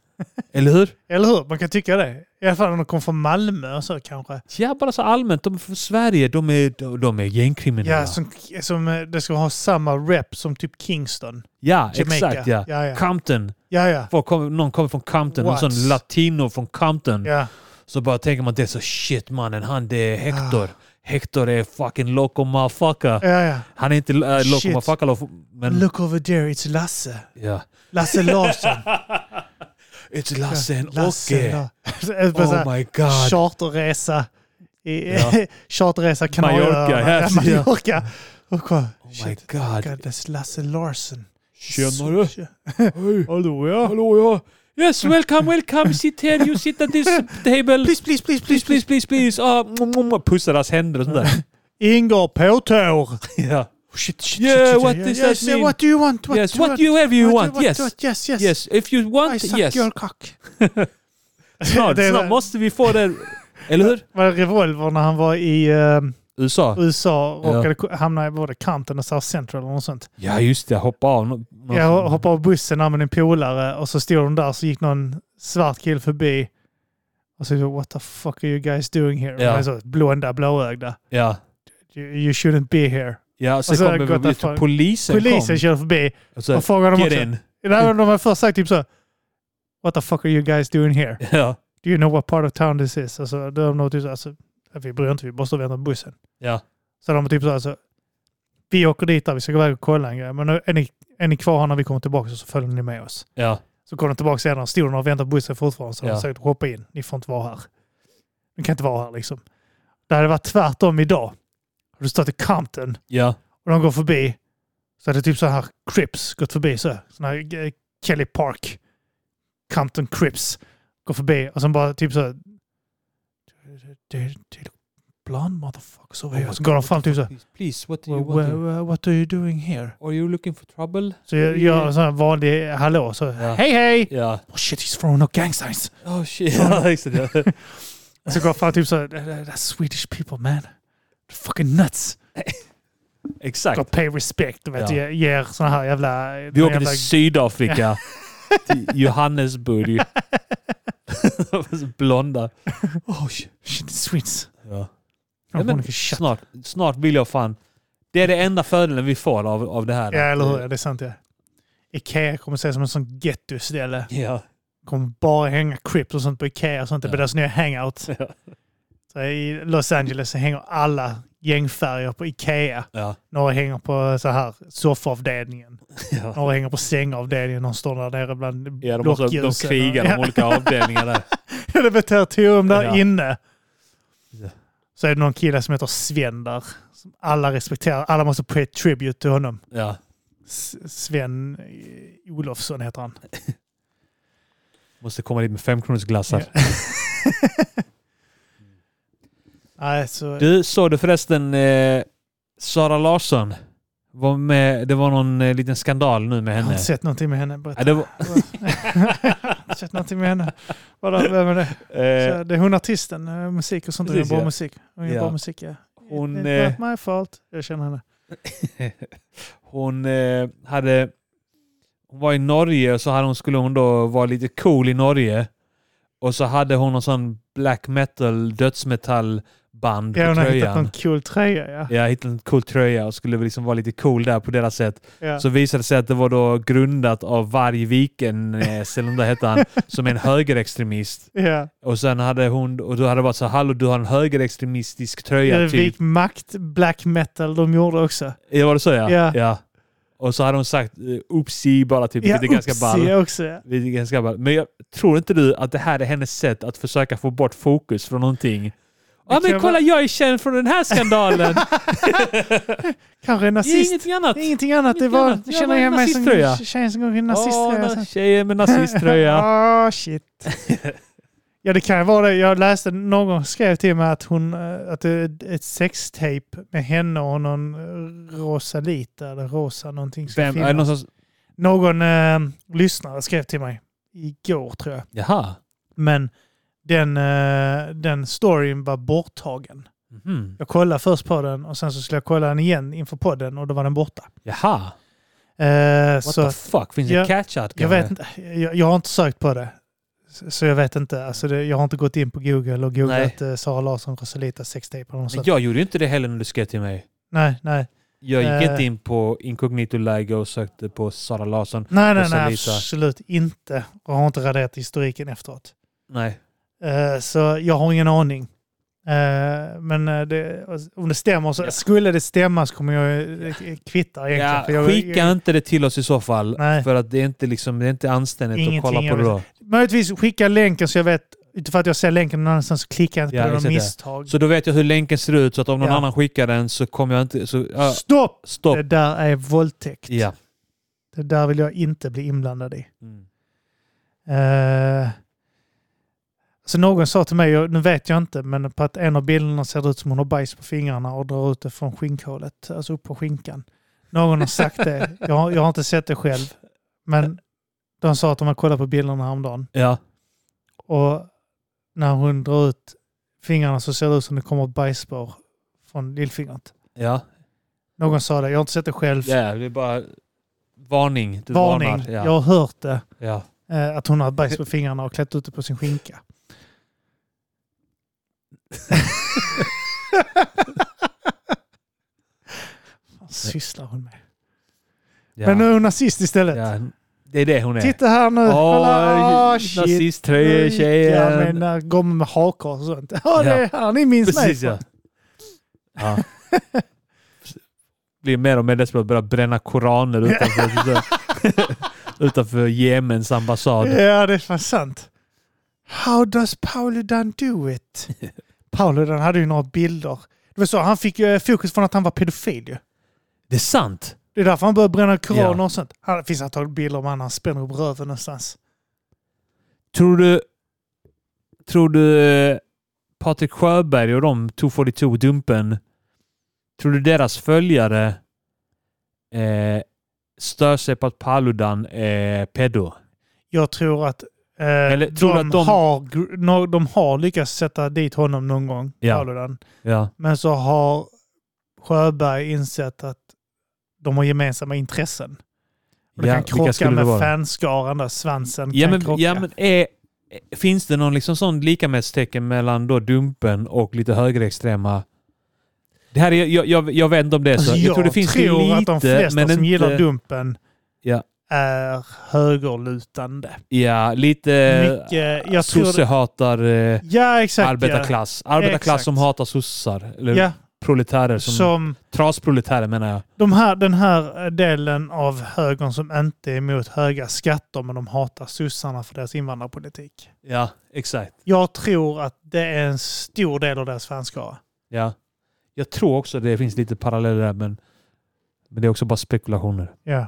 Speaker 1: Eller hur?
Speaker 2: Eller hur? Man kan tycka det. I alla fall om de kommer från Malmö och så kanske.
Speaker 1: Ja, bara så allmänt, de är från Sverige, de är, de, de är gängkriminella.
Speaker 2: Ja, som, som eh, det ska ha samma rep som typ Kingston.
Speaker 1: Ja,
Speaker 2: Jamaica.
Speaker 1: exakt ja.
Speaker 2: Ja, ja.
Speaker 1: Compton.
Speaker 2: Ja, ja.
Speaker 1: Folk kommer- någon kommer från Compton, någon
Speaker 2: Watts.
Speaker 1: sån latino från Compton.
Speaker 2: ja.
Speaker 1: Så bara tänker man det är så shit mannen, han det är Hector.
Speaker 2: Ah.
Speaker 1: Hector är fucking loco motherfucker.
Speaker 2: ja, ja.
Speaker 1: Han är inte äh, loco
Speaker 2: Shit.
Speaker 1: motherfucker, lo- men...
Speaker 2: Look over there, it's Lasse.
Speaker 1: ja.
Speaker 2: Lasse Larsson.
Speaker 1: It's Lasse and Åke.
Speaker 2: Eh, Lasse. Lasse.
Speaker 1: Oh my god.
Speaker 2: Charterresa. I,
Speaker 1: Ja.
Speaker 2: charterresa Kanarieöarna.
Speaker 1: Mallorca, ja,
Speaker 2: Ja,
Speaker 1: ja.
Speaker 2: Mallorca. Och kolla.
Speaker 1: Oh my
Speaker 2: Shit.
Speaker 1: god.
Speaker 2: God, that's Lasse Larsson.
Speaker 1: Tjena du. Hej.
Speaker 2: Hallå ja.
Speaker 1: Hallå ja. Yes, welcome, welcome. Sit here, you sit at this table. Please, please, please, please, please, please. please. Ah, mm, mm, pussa deras händer och sånt där.
Speaker 2: Ingår på tår.
Speaker 1: Ja.
Speaker 2: Shit, shit,
Speaker 1: Yeah,
Speaker 2: shit, shit.
Speaker 1: what does
Speaker 2: yes,
Speaker 1: that
Speaker 2: yeah,
Speaker 1: mean?
Speaker 2: What do you want? What
Speaker 1: Yes,
Speaker 2: do
Speaker 1: what you have you
Speaker 2: what
Speaker 1: want.
Speaker 2: what
Speaker 1: Yes.
Speaker 2: do you- yes, yes.
Speaker 1: Yes, if you
Speaker 2: I
Speaker 1: want,
Speaker 2: suck
Speaker 1: yes.
Speaker 2: your cock.
Speaker 1: Snart,
Speaker 2: Det är-
Speaker 1: snart måste vi få det. Eller hur?
Speaker 2: Var det revolver när han var i, eh,
Speaker 1: USA?
Speaker 2: USA råkade hamna i både Compton och South Central och något sånt.
Speaker 1: Ja, just det. Hoppa av. Nå- nå-
Speaker 2: Jag hoppade av bussen där med en polare och så stod de där så gick någon svart kille förbi. Och så what the fuck are you guys doing here?
Speaker 1: Ja.
Speaker 2: Och han så, blonda, blåögda.
Speaker 1: Ja.
Speaker 2: You, you shouldn't be here.
Speaker 1: Ja, sen
Speaker 2: Och så
Speaker 1: kom
Speaker 2: gått
Speaker 1: vi
Speaker 2: därifrån.
Speaker 1: polisen.
Speaker 2: Polisen körde förbi
Speaker 1: kom. Och så,
Speaker 2: och frågade dem
Speaker 1: Get
Speaker 2: också.
Speaker 1: in.
Speaker 2: Nej, de har först sagt typ så What the fuck are you guys doing here?
Speaker 1: Ja.
Speaker 2: Do you know what part of town this is? Alltså, de har typ så alltså, vi bryr inte, vi måste vänta på bussen.
Speaker 1: Ja.
Speaker 2: Så de har typ så alltså, vi åker dit där, vi ska gå iväg och kolla en grej. Men nu är ni, är ni kvar här när vi kommer tillbaka så följer ni med oss.
Speaker 1: Ja.
Speaker 2: Så kom de tillbaka senare, stod de och väntade på bussen fortfarande. Så
Speaker 1: Ja.
Speaker 2: de försökte hoppa in. Ni får inte vara här. Ni kan inte vara här liksom. Det hade varit tvärtom idag. Har du stått i Compton
Speaker 1: Ja.
Speaker 2: och de går förbi. Så hade typ så här Crips gått förbi så. Sån här eh, Kelly Park. Compton Crips. Går förbi och sen bara typ så. här, Det det- det är blond motherfucker. Så,
Speaker 1: Oh my
Speaker 2: så går de
Speaker 1: God,
Speaker 2: fram typ så. här,
Speaker 1: Please, please, what do you
Speaker 2: "Wha-
Speaker 1: want?
Speaker 2: wha-
Speaker 1: here?
Speaker 2: wha- What are you doing here?
Speaker 1: Are you looking for trouble?
Speaker 2: Så jag gör en sån här vanlig hallå. Så
Speaker 1: Ja.
Speaker 2: hej hej!
Speaker 1: Ja.
Speaker 2: Oh shit he's throwing up gang signs.
Speaker 1: Oh shit. Ja, just det.
Speaker 2: Så går jag fram typ så här, that's Swedish people man. They're fucking nuts.
Speaker 1: Exakt.
Speaker 2: Got pay respect. Du vet,
Speaker 1: Ja.
Speaker 2: Ge- ger såna här jävla...
Speaker 1: Vi
Speaker 2: någon
Speaker 1: åker
Speaker 2: jävla
Speaker 1: till Sydafrika. till Johannesburg. Blonda. Oh, shit.
Speaker 2: Shit, Swedes.
Speaker 1: Ja.
Speaker 2: De
Speaker 1: Ja, men
Speaker 2: får shit.
Speaker 1: Snart, snart vill jag fan... Det är det enda fördelen vi får av, av det här.
Speaker 2: Ja, eller hur? Ja, Det är sant ja. Ikea kommer ses som en sån gettoställe.
Speaker 1: Ja.
Speaker 2: Kommer bara hänga Crips och sånt på Ikea och sånt. Det blir
Speaker 1: Ja.
Speaker 2: deras nya hangout.
Speaker 1: Ja.
Speaker 2: Så I Los Angeles så hänger alla gängfärger på Ikea.
Speaker 1: Ja.
Speaker 2: Några hänger på så här soffavdelningen.
Speaker 1: ja.
Speaker 2: Några hänger på sängavdelningen. Någon står där nere bland
Speaker 1: ja de, måste, de
Speaker 2: blockljusen.
Speaker 1: krigar
Speaker 2: Ja.
Speaker 1: de olika avdelningarna där.
Speaker 2: det blir territorium där
Speaker 1: Ja.
Speaker 2: inne.
Speaker 1: Ja.
Speaker 2: Så är det någon kille som heter Sven där. Som alla respekterar. Alla måste pay tribute till honom.
Speaker 1: Ja.
Speaker 2: S- Sven eh, Olofsson heter han.
Speaker 1: Måste komma dit med femkronorsglassar.
Speaker 2: Ja. Nej, så,
Speaker 1: Du, såg du förresten eh, Sara Larsson? Var med, det var någon eh, liten skandal nu med
Speaker 2: jag har
Speaker 1: henne.
Speaker 2: inte sett någonting med henne. Berätta.
Speaker 1: Ja, det var,
Speaker 2: Jag har sett någonting med henne. Vadå, vem är det?
Speaker 1: eh,
Speaker 2: Så, det är hon artisten, eh, musik och sånt. Hon gör
Speaker 1: Precis,
Speaker 2: bra
Speaker 1: ja.
Speaker 2: musik. Hon gör
Speaker 1: Ja.
Speaker 2: bra musik, ja.
Speaker 1: Hon, eh,
Speaker 2: It's not my fault. Jag känner henne.
Speaker 1: hon eh, hade... Hon var i Norge och så hade hon, skulle hon då vara lite cool i Norge. Och så hade hon någon sån black metal, dödsmetall band
Speaker 2: Ja,
Speaker 1: på
Speaker 2: hon har hittat
Speaker 1: tröjan.
Speaker 2: någon cool tröja, ja.
Speaker 1: Ja, hittade en cool tröja och skulle väl liksom vara lite cool där på deras sätt.
Speaker 2: ja.
Speaker 1: Så visade det sig att det var då grundat av Vargviken, eh, Selunda hette han, som är en högerextremist.
Speaker 2: ja.
Speaker 1: Och sen hade hon, och då hade det varit så här, hallå du har en högerextremistisk tröja
Speaker 2: Det
Speaker 1: typ.
Speaker 2: gick makt black metal de gjorde också.
Speaker 1: Ja, var det så ja?
Speaker 2: Ja.
Speaker 1: ja. Och så hade hon sagt eh, oopsie bara typ, vilket är ganska
Speaker 2: Upsi
Speaker 1: ball.
Speaker 2: också. ja.
Speaker 1: Vilket är ganska ball. Men jag tror inte du att det här är hennes sätt att försöka få bort fokus från någonting? Ja
Speaker 2: kan
Speaker 1: men kolla
Speaker 2: vara-
Speaker 1: jag är känd från den här skandalen!
Speaker 2: Kanske en
Speaker 1: Det är
Speaker 2: nazist.
Speaker 1: ingenting annat!
Speaker 2: Ingenting annat. Det
Speaker 1: Ingenting
Speaker 2: var,
Speaker 1: annat.
Speaker 2: jag
Speaker 1: Jag
Speaker 2: känner
Speaker 1: var en
Speaker 2: igen mig som
Speaker 1: nazisttröja.
Speaker 2: tjejen som går i
Speaker 1: Åh,
Speaker 2: nazisttröja.
Speaker 1: na- tjejer med nazisttröja.
Speaker 2: Åh, shit. ja, det kan ju vara det. Jag läste, någon gång skrev till mig att, hon, eh, att det är ett sextape med henne och någon eh, Rosalita eller Rosa någonting. ska
Speaker 1: Vem? Är det
Speaker 2: finnas.
Speaker 1: någon som...
Speaker 2: Någon eh, lyssnare skrev till mig igår tror jag.
Speaker 1: Jaha.
Speaker 2: Men den, eh, den storyn var borttagen.
Speaker 1: Mhm.
Speaker 2: Jag kollade först på den och sen så skulle jag kolla den igen inför podden och då var den borta.
Speaker 1: Jaha.
Speaker 2: Eh,
Speaker 1: What
Speaker 2: så
Speaker 1: the fuck? Finns
Speaker 2: Ja,
Speaker 1: det catch-out?
Speaker 2: jag vet inte. Jag, jag har inte sökt på det. Så så jag vet inte. Alltså det, jag har inte gått in på Google och googlat eh, Sara Larsson, Rosalita, sextape eller något
Speaker 1: Men
Speaker 2: sånt.
Speaker 1: jag gjorde ju inte det heller när du skrev till mig.
Speaker 2: Nej, nej.
Speaker 1: Jag gick
Speaker 2: Eh.
Speaker 1: inte in på incognito-läge och sökte på Sara Larsson.
Speaker 2: Nej, nej, nej.
Speaker 1: Rosalita.
Speaker 2: Absolut inte. Och har inte raderat historiken efteråt.
Speaker 1: Nej.
Speaker 2: Eh, så jag har ingen aning. Eh, men eh, det, om det stämmer så,
Speaker 1: Ja.
Speaker 2: skulle det stämma så kommer jag eh, kvitta egentligen.
Speaker 1: Ja,
Speaker 2: för jag,
Speaker 1: skicka
Speaker 2: jag,
Speaker 1: inte det till oss i så fall.
Speaker 2: Nej.
Speaker 1: För att det är inte, liksom, det är inte anständigt
Speaker 2: Ingenting
Speaker 1: att kolla
Speaker 2: jag
Speaker 1: på det
Speaker 2: vill-
Speaker 1: då.
Speaker 2: möjligtvis skicka länken så jag vet, utifrån att jag ser länken någon annanstans så klickar jag inte
Speaker 1: Ja,
Speaker 2: på den
Speaker 1: exakt
Speaker 2: av
Speaker 1: det.
Speaker 2: misstag.
Speaker 1: Så då vet jag hur länken ser ut, så att om någon
Speaker 2: Ja.
Speaker 1: annan skickar den så kommer jag inte... Så, ja,
Speaker 2: Stopp!
Speaker 1: stopp!
Speaker 2: Det där är våldtäkt.
Speaker 1: Ja.
Speaker 2: Det där vill jag inte bli inblandad i.
Speaker 1: Mm.
Speaker 2: Eh, så någon sa till mig, jag- nu vet jag inte, men på att en av bilderna ser det ut som hon har bajs på fingrarna och drar ut det från skinkhålet, alltså upp på skinkan. Någon har sagt det. Jag, har- jag har inte sett det själv. Men de sa att de har kollat på bilderna häromdagen.
Speaker 1: Ja.
Speaker 2: Och när hon drar ut fingrarna så ser det ut som det kommer bajsspår från lillfingret.
Speaker 1: Ja,
Speaker 2: Någon sa det, jag har inte sett det själv.
Speaker 1: ja det är bara varning. Du
Speaker 2: Varning,
Speaker 1: varnar. Ja.
Speaker 2: jag har hört det.
Speaker 1: Ja.
Speaker 2: Eh, att hon har bajs på fingrarna och klätt ut det på sin skinka. Vad sysslar hon med?
Speaker 1: Ja.
Speaker 2: Men nu är hon nazist istället.
Speaker 1: ja. Det är det hon är.
Speaker 2: Titta här nu!
Speaker 1: Åh,
Speaker 2: Kolla! Ah, shit!
Speaker 1: Nazisttröjor,
Speaker 2: Ja,
Speaker 1: tjejen.
Speaker 2: men när går med hakor och sånt. Ja, det
Speaker 1: Ja.
Speaker 2: är han. Ni minns mig.
Speaker 1: Precis ja. ja. Blir mer och mer desperat att börja bränna koraner utanför, utanför Jemens ambassad.
Speaker 2: Ja, det är fan sant. How does Pauludan do it? Pauludan hade ju några bilder. Det var så, han fick ju eh, fokus från att han var pedofil ju.
Speaker 1: Det är sant!
Speaker 2: Det är därför han började bränna koraner
Speaker 1: Ja.
Speaker 2: och sånt. Han, det finns antagligen bilder om han, han spänner upp röven någonstans.
Speaker 1: Tror du... Tror du eh, Patrik Sjöberg och de 242 Dumpen, tror du deras följare eh, stör sig på att Paludan är pedo?
Speaker 2: Jag tror att, eh,
Speaker 1: Eller tror
Speaker 2: de,
Speaker 1: du att de-
Speaker 2: Har, gr- no, de har lyckats sätta dit honom någon gång,
Speaker 1: Ja.
Speaker 2: Paludan.
Speaker 1: Ja.
Speaker 2: Men så har Sjöberg insett att de har gemensamma intressen. Och det
Speaker 1: Ja,
Speaker 2: kan
Speaker 1: vilka
Speaker 2: krocka
Speaker 1: skulle det
Speaker 2: med
Speaker 1: vara?
Speaker 2: fanskaran där, svansen
Speaker 1: Ja
Speaker 2: kan
Speaker 1: men,
Speaker 2: krocka.
Speaker 1: ja, men alltså, är, finns det någon liksom sån likamässtecken mellan då Dumpen och lite högerextrema? Det här är, jag, jag, jag vet inte om det är så.
Speaker 2: Alltså,
Speaker 1: jag, tror det finns lite,
Speaker 2: att de flesta
Speaker 1: men
Speaker 2: som
Speaker 1: inte,
Speaker 2: gillar Dumpen
Speaker 1: Ja.
Speaker 2: är högerlutande.
Speaker 1: Ja, lite eh,
Speaker 2: Mycket, jag tror det,
Speaker 1: sossehatar eh,
Speaker 2: ja, exakt.
Speaker 1: arbetarklass. Arbetarklass
Speaker 2: Exakt.
Speaker 1: som hatar sossar. Eller
Speaker 2: Ja. Ja,
Speaker 1: proletärer. Som,
Speaker 2: som
Speaker 1: trasproletärer menar jag.
Speaker 2: de här, den här eh, delen av högern som inte är emot höga skatter men de hatar sossarna för deras invandrarpolitik.
Speaker 1: Ja, exakt.
Speaker 2: Jag tror att det är en stor del av deras fanskara.
Speaker 1: Ja. Jag tror också det finns lite paralleller där men, men det är också bara spekulationer.
Speaker 2: Ja.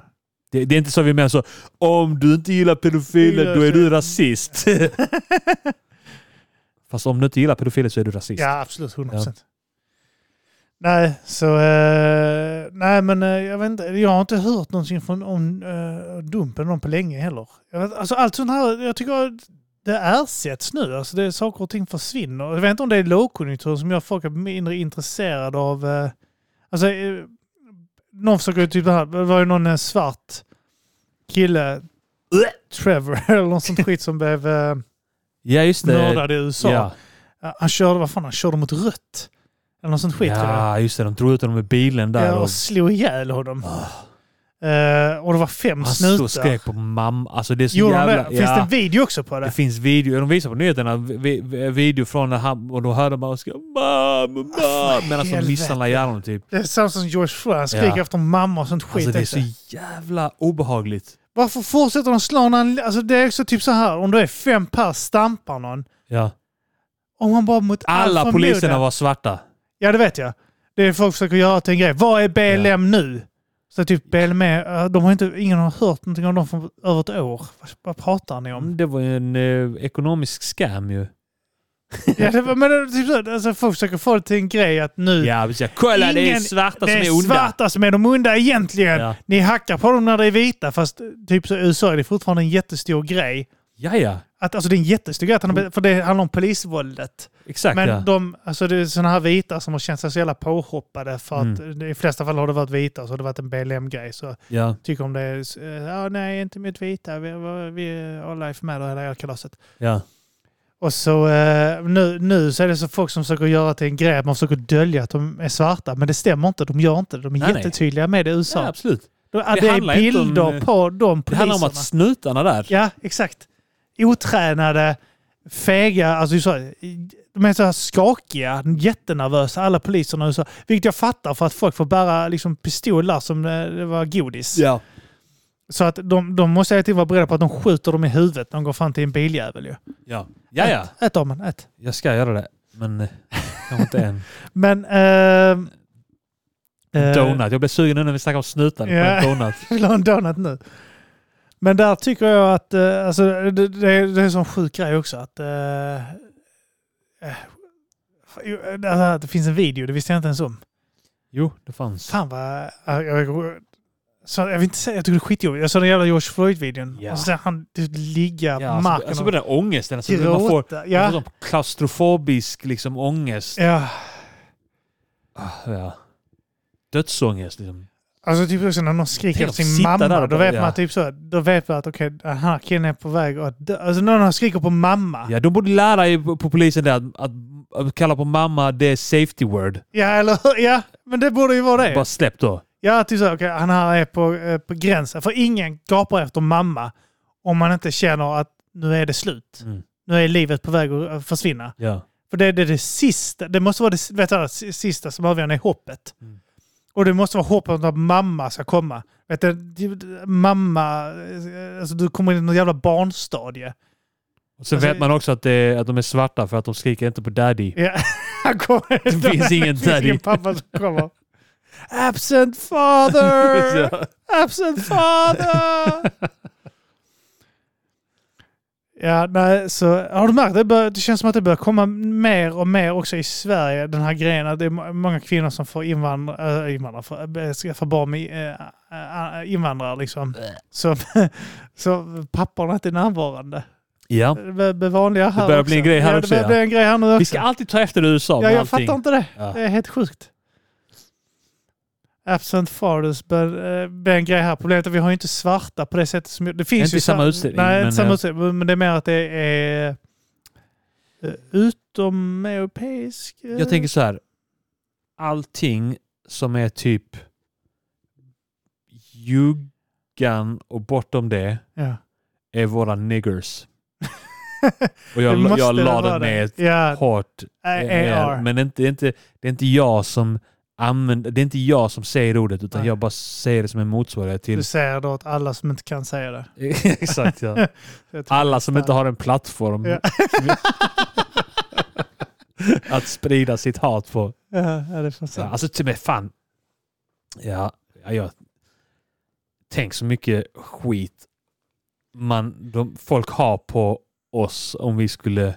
Speaker 1: Det, det är inte så vi menar så. Om du inte gillar pedofiler, då är du rasist. Fast om du inte gillar pedofiler så är du rasist.
Speaker 2: Ja, absolut. 100 procent. Nej, så... eh, nej, men eh, jag vet inte. Jag har inte hört någonting från om, eh, Dumpen någon på länge heller. Jag vet, alltså, allt sånt här, jag tycker att det ersätts nu. Alltså, det är, saker och ting försvinner. Jag vet inte om det är lågkonjunktur som gör folk är mindre intresserade av... eh, alltså, eh, någon försöker ju typ det här. Det var ju någon eh, svart kille, Trevor, eller något sånt skit som blev eh,
Speaker 1: ja just det.
Speaker 2: mördad i USA.
Speaker 1: ja.
Speaker 2: Ja, Han körde, vad fan, han körde mot rött. Eller något sånt skit. tror jag.
Speaker 1: ja, just det. De drog ut honom ur bilen där.
Speaker 2: ja,
Speaker 1: och
Speaker 2: och slog ihjäl honom.
Speaker 1: Ah.
Speaker 2: Eh, och det var fem
Speaker 1: han stod
Speaker 2: snutar.
Speaker 1: och skrek på mamma. Alltså det är så
Speaker 2: Gjorde han
Speaker 1: jävla...
Speaker 2: det? Finns det
Speaker 1: ja.
Speaker 2: en video också på
Speaker 1: det
Speaker 2: det?
Speaker 1: finns video. De visar på nyheterna vi, vi, video från när han... Och då hörde man och skrek mamma, mamma. Medan de
Speaker 2: Alltså, helvete.
Speaker 1: misshandlar ihjäl honom typ.
Speaker 2: Det är samma som George Floyd. Han skriker
Speaker 1: Ja.
Speaker 2: efter mamma och sånt skit.
Speaker 1: Alltså det är
Speaker 2: också.
Speaker 1: så jävla obehagligt.
Speaker 2: Varför fortsätter de slå när han... Alltså det är också typ så här. Om det är fem pers stampar någon.
Speaker 1: Ja.
Speaker 2: Om han bara mot all
Speaker 1: Alla
Speaker 2: förmodan-
Speaker 1: poliserna var svarta.
Speaker 2: Ja, det vet jag. Det är folk försöker göra till en grej. Vad är BLM nu? Så typ BLM, eh, de har inte, ingen har hört någonting om dem för över ett år. Vad, vad pratar ni om?
Speaker 1: Mm, Det var ju en eh, ekonomisk scam ju.
Speaker 2: Ja, det var, men det, är typ så, alltså, folk försöker få det till en grej att nu...
Speaker 1: Ja, precis. Kolla det är
Speaker 2: Ingen-
Speaker 1: svarta
Speaker 2: det
Speaker 1: som
Speaker 2: är
Speaker 1: är onda.
Speaker 2: svarta som är de onda egentligen.
Speaker 1: Ja.
Speaker 2: Ni hackar på dem när det är vita. Fast typ så i USA är det fortfarande en jättestor grej.
Speaker 1: Ja, ja. Att,
Speaker 2: Att, alltså det är en jättestor grej, att han har- för det handlar om polisvåldet.
Speaker 1: Exakt
Speaker 2: Men
Speaker 1: ja.
Speaker 2: de, alltså det är sådana här vita som har känt sig så jävla påhoppade för att
Speaker 1: Mm.
Speaker 2: i flesta fall har det varit vita och så har det varit en BLM-grej. Så
Speaker 1: ja.
Speaker 2: tycker om det är, eh, ja nej inte mot vita, vi, vi, vi alla är för med och hela jävla kalaset.
Speaker 1: Ja.
Speaker 2: Och så eh, nu, nu så är det så folk som försöker göra till en grej att man försöker dölja att de är svarta. Men det stämmer inte. De gör inte det. De är
Speaker 1: Nej, nej.
Speaker 2: jättetydliga med det i USA.
Speaker 1: ja, absolut.
Speaker 2: De- att
Speaker 1: Det
Speaker 2: det,
Speaker 1: handlar
Speaker 2: är
Speaker 1: inte om,
Speaker 2: bilder
Speaker 1: eh,
Speaker 2: på de
Speaker 1: Det
Speaker 2: poliserna.
Speaker 1: handlar om att snutarna där.
Speaker 2: Ja, exakt. Otränade, fega, alltså så, de är så här skakiga, jättenervösa, alla poliserna. Så, vilket jag fattar för att folk får bära liksom, pistoler som eh, det var godis.
Speaker 1: Ja.
Speaker 2: Så att de, de måste alltid vara beredda på att de skjuter dem i huvudet när de går fram till en biljävel. ju.
Speaker 1: Ja. Ja, ja.
Speaker 2: Ät, ät Arman, ät.
Speaker 1: Jag ska göra det. Men eh, kanske inte än.
Speaker 2: Men... ehm, eh,
Speaker 1: Donut. Jag blev sugen nu när vi snackade om snutar.
Speaker 2: Ja.
Speaker 1: på en Donut.
Speaker 2: Jag vill ha en donut nu. Men där tycker jag att eh, alltså, det, det, är- det är en sån sjuk grej också. Att, eh, eh, jo, eh, det här- det finns en video, det visste jag inte ens om.
Speaker 1: Jo, det fanns.
Speaker 2: Fan vad... eh, Jag, jag, så jag vill inte säga, jag tycker det är skitjobbigt. Jag såg den jävla George Floyd-videon.
Speaker 1: Ja.
Speaker 2: Och så där han typ ligga
Speaker 1: Ja,
Speaker 2: på marken
Speaker 1: alltså, alltså
Speaker 2: och
Speaker 1: på den här ångesten. Alltså, man får,
Speaker 2: gråta.
Speaker 1: man får
Speaker 2: Ja.
Speaker 1: sån klaustrofobisk liksom, ångest.
Speaker 2: ja.
Speaker 1: Ah, ja. Dödsångest liksom.
Speaker 2: Alltså typ också när någon skriker
Speaker 1: Tänk
Speaker 2: åt
Speaker 1: att
Speaker 2: sin
Speaker 1: sitta
Speaker 2: mamma,
Speaker 1: där och
Speaker 2: då
Speaker 1: bara-
Speaker 2: vet
Speaker 1: ja.
Speaker 2: man typ så, då vet man att okej, den här killen är på väg att dö. Alltså när någon skriker på mamma. Ja,
Speaker 1: Ja, de borde lära er på på polisen det att, att, att kalla på mamma, det är safety word.
Speaker 2: eller hur? Ja, men det borde ju vara det.
Speaker 1: Bara släpp då.
Speaker 2: Ja, typ så, okej, han här är på, eh, på gränsen. För ingen gapar efter mamma om man inte känner att nu är det slut.
Speaker 1: Mm.
Speaker 2: Nu är livet på väg att eh, försvinna.
Speaker 1: Ja.
Speaker 2: För det, det är det sista. Det måste vara det vet du, det sista som avgör är hoppet.
Speaker 1: Mm.
Speaker 2: Och det måste vara hoppet om att mamma ska komma. Vet du, du- mamma, eh, alltså du kommer in i någon jävla barnstadie.
Speaker 1: Och sen
Speaker 2: Alltså-
Speaker 1: vet man också att, det, är- att de är svarta för att de skriker inte på daddy.
Speaker 2: Ja, han kommer.
Speaker 1: Det finns ingen
Speaker 2: Det finns ingen
Speaker 1: daddy.
Speaker 2: pappa som kommer. Absent father!
Speaker 1: Ja.
Speaker 2: Absent father! Ja, nej, så har du märkt det? Bör, det känns som att det börjar komma mer och mer också i Sverige, den här grejen att det är må- många kvinnor som får invandra, äh, invandra för, äh, skaffar barn med äh, äh, invandrare liksom. Så, så papporna inte är närvarande.
Speaker 1: ja.
Speaker 2: Det börjar bli vanligare här
Speaker 1: Det börjar bli
Speaker 2: också.
Speaker 1: en grej här
Speaker 2: ja,
Speaker 1: också,
Speaker 2: Det börjar
Speaker 1: ja.
Speaker 2: bli en grej här nu också.
Speaker 1: Vi ska alltid ta efter USA
Speaker 2: ja,
Speaker 1: med
Speaker 2: jag
Speaker 1: allting.
Speaker 2: fattar inte det.
Speaker 1: Ja.
Speaker 2: Det är helt sjukt. Absent fathers blir eh, blir en grej här. Problemet är att vi har ju inte svarta på det sättet som... Det finns
Speaker 1: Inte
Speaker 2: ju
Speaker 1: i samma
Speaker 2: svar-
Speaker 1: utsträckning,
Speaker 2: Nej,
Speaker 1: men,
Speaker 2: inte samma
Speaker 1: eh,
Speaker 2: utsträckning. Men det är mer att det är eh, utom europeisk... eh,
Speaker 1: Jag tänker så här. Allting som är typ juggan och bortom det
Speaker 2: Ja.
Speaker 1: är våra niggers. Och
Speaker 2: Det
Speaker 1: jag,
Speaker 2: måste
Speaker 1: jag
Speaker 2: det
Speaker 1: la
Speaker 2: vara
Speaker 1: det med ett
Speaker 2: Ja,
Speaker 1: hårt
Speaker 2: AR.
Speaker 1: är, men det är, inte, det, är inte, det är inte jag som använder, det är inte jag som säger ordet utan
Speaker 2: Nej.
Speaker 1: jag bara säger det som en motsvarighet till...
Speaker 2: Du säger då att alla som inte kan säga det.
Speaker 1: Exakt ja.
Speaker 2: Jag tror-
Speaker 1: Alla som inte har en plattform
Speaker 2: Ja.
Speaker 1: att sprida sitt hat på.
Speaker 2: Ja, ja, det är fan
Speaker 1: Ja,
Speaker 2: sant.
Speaker 1: alltså till och med fan. Ja, ja, jag... Tänk så mycket skit man, de, folk har på oss om vi skulle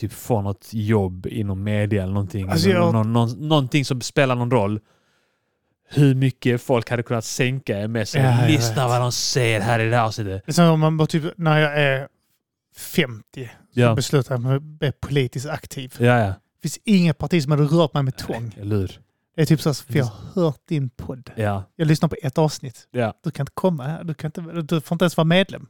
Speaker 1: typ få något jobb inom media eller någonting.
Speaker 2: Alltså,
Speaker 1: Eller
Speaker 2: jag-
Speaker 1: någon, någon, någonting som spelar någon roll. Hur mycket folk hade kunnat sänka er med sig.
Speaker 2: Ja, jag
Speaker 1: Lyssna
Speaker 2: vet.
Speaker 1: vad de säger här i det här avsnittet.
Speaker 2: Det är som om man bara typ, när jag är 50
Speaker 1: Ja,
Speaker 2: beslutar jag mig att bli politiskt aktiv.
Speaker 1: ja, ja.
Speaker 2: Det finns inget parti som hade rört mig med tång.
Speaker 1: Eller hur?
Speaker 2: Det är typ så här, för jag har hört din podd.
Speaker 1: Ja.
Speaker 2: Jag lyssnar på ett avsnitt.
Speaker 1: Ja.
Speaker 2: Du kan inte komma här. Du, kan inte, du får inte ens vara medlem.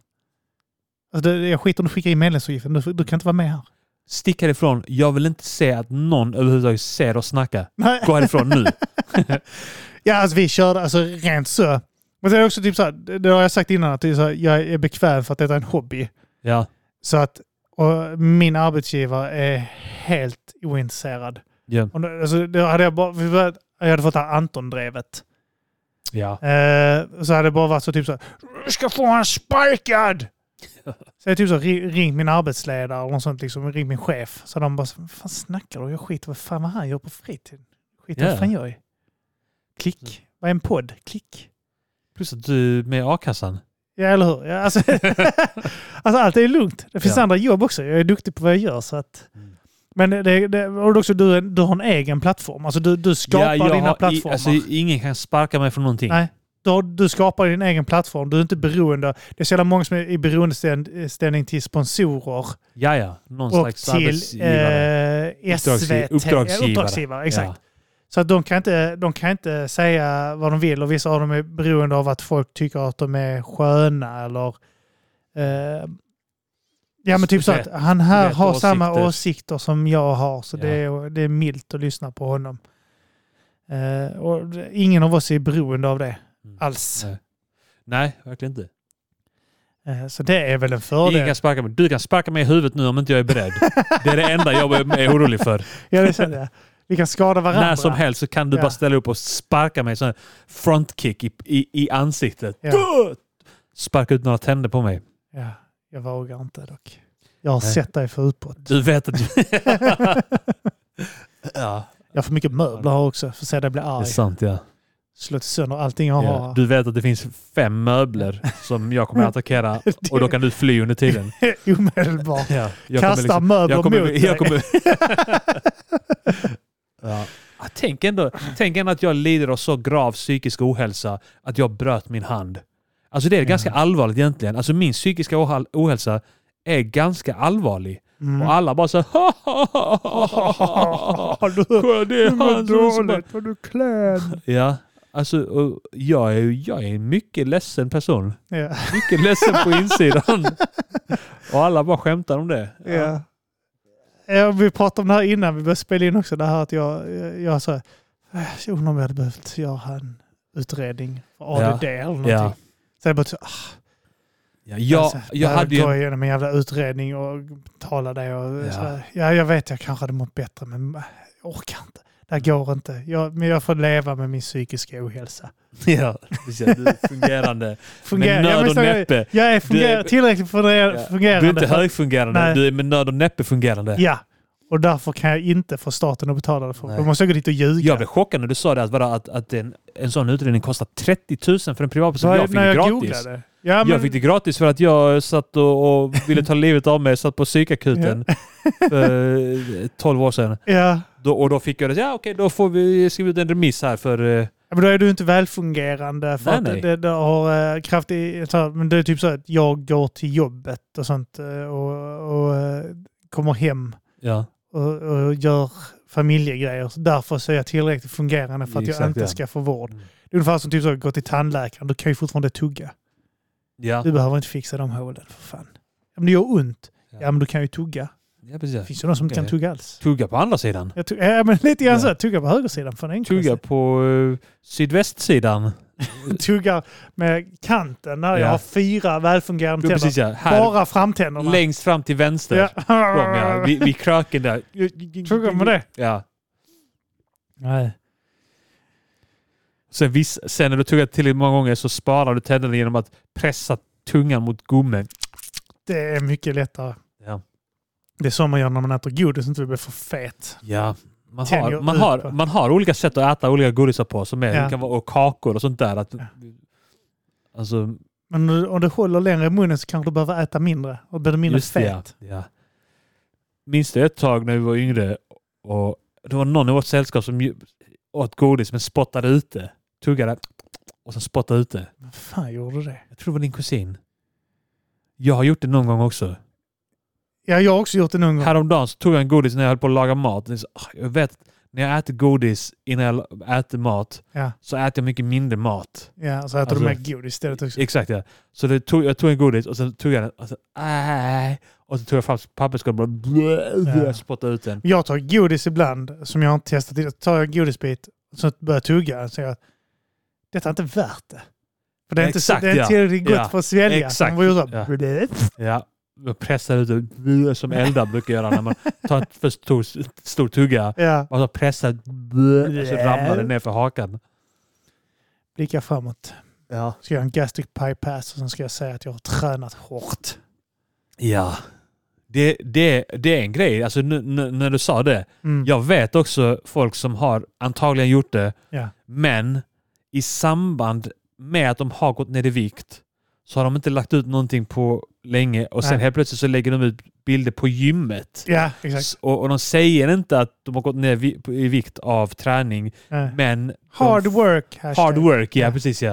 Speaker 2: Alltså, det- jag skiter om du skickar in medlemsavgiften. Du, du kan inte vara med här.
Speaker 1: Stick härifrån. Jag vill inte se att någon överhuvudtaget ser oss snacka.
Speaker 2: Nej.
Speaker 1: Gå härifrån nu.
Speaker 2: Ja, alltså vi körde alltså rent så. Men det är också typ så här, det det har jag sagt innan, att det är så här, jag är bekväm för att detta är en hobby.
Speaker 1: Ja,
Speaker 2: Så att och min arbetsgivare är helt ointresserad.
Speaker 1: ja.
Speaker 2: Och då, alltså, då hade jag, bara, vi började- jag hade fått det här Anton-drevet.
Speaker 1: ja.
Speaker 2: Eh, så hade det bara varit så typ så här, du ska få han sparkad! Så jag typ så ri- ringt min arbetsledare och något sånt, liksom, ringt min chef. Så de bara, så, vad fan snackar du? Jag skiter vad fan vad han gör på fritiden. Skiter
Speaker 1: Ja.
Speaker 2: vad fan gör jag i. Klick. Vad är en podd? Klick.
Speaker 1: Plus att du med a-kassan.
Speaker 2: Ja, eller hur? Ja, alltså, alltså allt är lugnt. Det finns
Speaker 1: Ja.
Speaker 2: andra jobb också. Jag är duktig på vad jag gör. Så att...
Speaker 1: Mm.
Speaker 2: Men det, det, och också du, är- du har en egen plattform. Alltså du, du skapar
Speaker 1: jag
Speaker 2: dina
Speaker 1: har i-
Speaker 2: plattformar.
Speaker 1: Alltså, ingen kan sparka mig från någonting.
Speaker 2: Nej. Du, har- du skapar din egen plattform. Du är inte beroende. Det är så jävla många som är i beroendeställning till sponsorer
Speaker 1: Ja, ja. Någon
Speaker 2: och
Speaker 1: slags
Speaker 2: till
Speaker 1: arbetsgivare.
Speaker 2: eh,
Speaker 1: Uppdragsgi-
Speaker 2: SVT.
Speaker 1: uppdragsgivare.
Speaker 2: Uppdragsgivare, exakt. Så att de, kan inte, de kan inte säga vad de vill och vissa av dem är beroende av att folk tycker att de är sköna eller... Eh, ja men typ så att
Speaker 1: Rätt-
Speaker 2: han här
Speaker 1: rätt
Speaker 2: har samma
Speaker 1: åsikter.
Speaker 2: åsikter som jag har så
Speaker 1: Ja.
Speaker 2: det, är, det är milt att lyssna på honom. Eh, och det- ingen av oss är beroende av det
Speaker 1: Mm.
Speaker 2: alls.
Speaker 1: Nej. Nej, verkligen inte.
Speaker 2: Eh, så det är väl en
Speaker 1: Ingen
Speaker 2: fördel.
Speaker 1: kan sparka mig. Du kan sparka mig i huvudet nu om inte jag är beredd. Det är det enda jag är orolig för.
Speaker 2: Ja, det är så det. Vi kan skada varandra.
Speaker 1: När som helst så kan du
Speaker 2: Ja.
Speaker 1: bara ställa upp och sparka mig. Sån här frontkick i, i, i ansiktet.
Speaker 2: Ja.
Speaker 1: Gah! Sparka ut några tänder på mig.
Speaker 2: Ja, jag vågar inte dock. Jag har
Speaker 1: Nej.
Speaker 2: sett dig för utbrott.
Speaker 1: Du vet att du... ja,
Speaker 2: Jag har för mycket möbler här också för att se att jag blir
Speaker 1: det är
Speaker 2: arg.
Speaker 1: sant ja.
Speaker 2: Slå sönder allting jag
Speaker 1: ja.
Speaker 2: har.
Speaker 1: Du vet att det finns fem möbler som jag kommer att attackera och då kan du fly under tiden.
Speaker 2: Omedelbart.
Speaker 1: Ja, jag kommer
Speaker 2: Kasta
Speaker 1: liksom-
Speaker 2: möbler
Speaker 1: jag kommer,
Speaker 2: mot dig.
Speaker 1: jag kommer, ja. Ja, tänk, ändå, tänk ändå att jag lider av så grav psykisk ohälsa att jag bröt min hand. Alltså det är ganska allvarligt egentligen. Alltså min psykiska ohal- ohälsa är ganska allvarlig.
Speaker 2: Mm.
Speaker 1: Och alla bara så här, "Ha, ha, ha, ha, ha, ha, ha." Kolla, Det är
Speaker 2: Du mår
Speaker 1: han som... bara-
Speaker 2: dåligt, vad du är klen.
Speaker 1: Ja, alltså och jag är, ju- jag är en mycket ledsen person.
Speaker 2: Ja.
Speaker 1: Mycket ledsen på insidan. Och alla bara skämtar om det.
Speaker 2: Ja. Ja, vi pratade om det här innan vi började spela in också. Det här att jag, jag, jag så här, "Äh, jag undrar om jag hade behövt göra en utredning för
Speaker 1: Ja.
Speaker 2: ADD eller någonting.
Speaker 1: Ja.
Speaker 2: Så jag bara så, ah,
Speaker 1: Ja, jag,
Speaker 2: alltså,
Speaker 1: jag hade ju...
Speaker 2: gå igenom en jävla utredning och tala det och
Speaker 1: Ja.
Speaker 2: ja. så här, ja, jag vet jag kanske hade mått bättre men äh, jag orkar inte. Det här går inte. Jag, men jag får leva med min psykiska ohälsa.
Speaker 1: Ja, precis. Du är fungerande.
Speaker 2: Fungerar-
Speaker 1: med
Speaker 2: ja,
Speaker 1: nöd
Speaker 2: men
Speaker 1: och
Speaker 2: så-
Speaker 1: näppe.
Speaker 2: Jag är funger-
Speaker 1: Du-
Speaker 2: tillräckligt funger-
Speaker 1: Ja.
Speaker 2: fungerande.
Speaker 1: Du är inte
Speaker 2: för-
Speaker 1: högfungerande,
Speaker 2: Nej.
Speaker 1: du är med nöd och näppe fungerande.
Speaker 2: Ja, och därför kan jag inte få staten att betala det för.
Speaker 1: Nej.
Speaker 2: Då måste jag gå dit och ljuga.
Speaker 1: Jag blev chockad när du sa det, att, vadå, att, att en, en sån utredning kostar 30 000 för en privatperson.
Speaker 2: Vad-
Speaker 1: Jag fick
Speaker 2: när
Speaker 1: det
Speaker 2: jag
Speaker 1: gratis.
Speaker 2: googlade. Ja, men,
Speaker 1: Jag fick det gratis för att jag satt och, och ville ta livet av mig. Satt på psykakuten för eh, 12 år sedan.
Speaker 2: ja.
Speaker 1: Då, och då fick jag det. Ja, okej, då får vi skriva ut en remiss här för... eh,
Speaker 2: Ja, men då är du inte välfungerande. För
Speaker 1: Nej,
Speaker 2: att
Speaker 1: nej.
Speaker 2: Det, det har eh, kraftig, så här, men det är typ så att jag går till jobbet och sånt eh, och, och eh, kommer hem
Speaker 1: Ja,
Speaker 2: och, och gör familjegrejer. Så därför så är jag tillräckligt fungerande för att jag
Speaker 1: Exakt,
Speaker 2: inte
Speaker 1: ja. Mm.
Speaker 2: ska få vård. Det är ungefär som typ så att gå till tandläkaren. Du kan ju fortfarande tugga.
Speaker 1: ja.
Speaker 2: Du behöver inte fixa de hålen för fan. Ja, men det gör ont.
Speaker 1: Ja.
Speaker 2: Ja, men du kan ju tugga.
Speaker 1: ja
Speaker 2: Det
Speaker 1: precis.
Speaker 2: finns ju de som inte kan
Speaker 1: Okej.
Speaker 2: tugga alls.
Speaker 1: Tugga på andra sidan.
Speaker 2: Jag tog, ja, men lite grann
Speaker 1: Ja.
Speaker 2: så. Tugga på högersidan. För den
Speaker 1: Tugga på eh, sydvästsidan.
Speaker 2: tuggar med kanten där. Jag
Speaker 1: Ja.
Speaker 2: har fyra välfungerande
Speaker 1: Jo,
Speaker 2: tänder.
Speaker 1: precis ja. Här,
Speaker 2: Bara framtänderna.
Speaker 1: längst fram till vänster.
Speaker 2: ja.
Speaker 1: Kom, ja. Vid, vid kröken där.
Speaker 2: Tugga med det.
Speaker 1: Ja.
Speaker 2: Nej.
Speaker 1: Sen, viss, sen när du tuggar till många gånger så sparar du tänderna genom att pressa tungan mot gummen.
Speaker 2: Det är mycket lättare.
Speaker 1: Ja.
Speaker 2: Det är så man gör när man äter godis och inte vill bli för fet.
Speaker 1: Ja. Man har,
Speaker 2: Tänjer
Speaker 1: man,
Speaker 2: ut
Speaker 1: har,
Speaker 2: på.
Speaker 1: man har olika sätt att äta olika godisar på som är,
Speaker 2: Ja.
Speaker 1: det kan vara, och kakor och sånt där. Att,
Speaker 2: Ja.
Speaker 1: Alltså,
Speaker 2: Men om du- om du håller längre i munnen så kanske du behöver äta mindre. Och blir du mindre
Speaker 1: just det, ja.
Speaker 2: fet.
Speaker 1: ja. Minns du ett tag när vi var yngre och det var någon i vårt sällskap som ju- åt godis men spottade ute. Tuggade och sen spottade ute.
Speaker 2: Vad fan gjorde du det?
Speaker 1: Jag tror det var din kusin. Jag har gjort det någon gång också.
Speaker 2: Ja, jag har också gjort det någon gång.
Speaker 1: Häromdagen så tog jag en godis när jag höll på att laga mat. Det är så, ah, Jag vet, att när jag äter godis innan jag la- äter mat
Speaker 2: Ja.
Speaker 1: så äter jag mycket mindre mat.
Speaker 2: Ja, så äter
Speaker 1: Alltså-
Speaker 2: du mer godis istället också.
Speaker 1: Exakt ja. Så det tog, jag tog en godis och sen tog jag den och så, äh, och så tog jag fram papperskorgen och bara
Speaker 2: Ja.
Speaker 1: spottade ut den.
Speaker 2: Jag tar godis ibland som jag inte testat. Jag tar en godisbit och så börjar jag tugga och säger att detta är inte värt det. För det är inte,
Speaker 1: Exakt,
Speaker 2: så, det är inte
Speaker 1: ja.
Speaker 2: tillräckligt gott
Speaker 1: Ja.
Speaker 2: för att svälja.
Speaker 1: Exakt,
Speaker 2: Man får göra så här,
Speaker 1: ja.
Speaker 2: blöp.
Speaker 1: Ja. Jag pressade ut den som eldar brukar göra när man tar en för stor, stor tugga.
Speaker 2: ja.
Speaker 1: Och så pressar och så ramlar den ner för hakan.
Speaker 2: Blicka framåt.
Speaker 1: Ja.
Speaker 2: Ska jag göra en gastric bypass och sen ska jag säga att jag har tränat hårt.
Speaker 1: Ja. Det, det, det är en grej. Alltså, nu, nu, när du sa det.
Speaker 2: Mm.
Speaker 1: Jag vet också folk som har antagligen gjort det.
Speaker 2: Ja.
Speaker 1: Men i samband med att de har gått ner i vikt så har de inte lagt ut någonting på länge och sen
Speaker 2: Nej.
Speaker 1: helt plötsligt så lägger de ut bilder på gymmet.
Speaker 2: Ja, exakt.
Speaker 1: S- Och, och de säger inte att de har gått ner vi- på- i vikt av träning,
Speaker 2: Ja.
Speaker 1: men
Speaker 2: Hard
Speaker 1: de,
Speaker 2: work. hashtag.
Speaker 1: hard work, ja
Speaker 2: Ja.
Speaker 1: precis ja.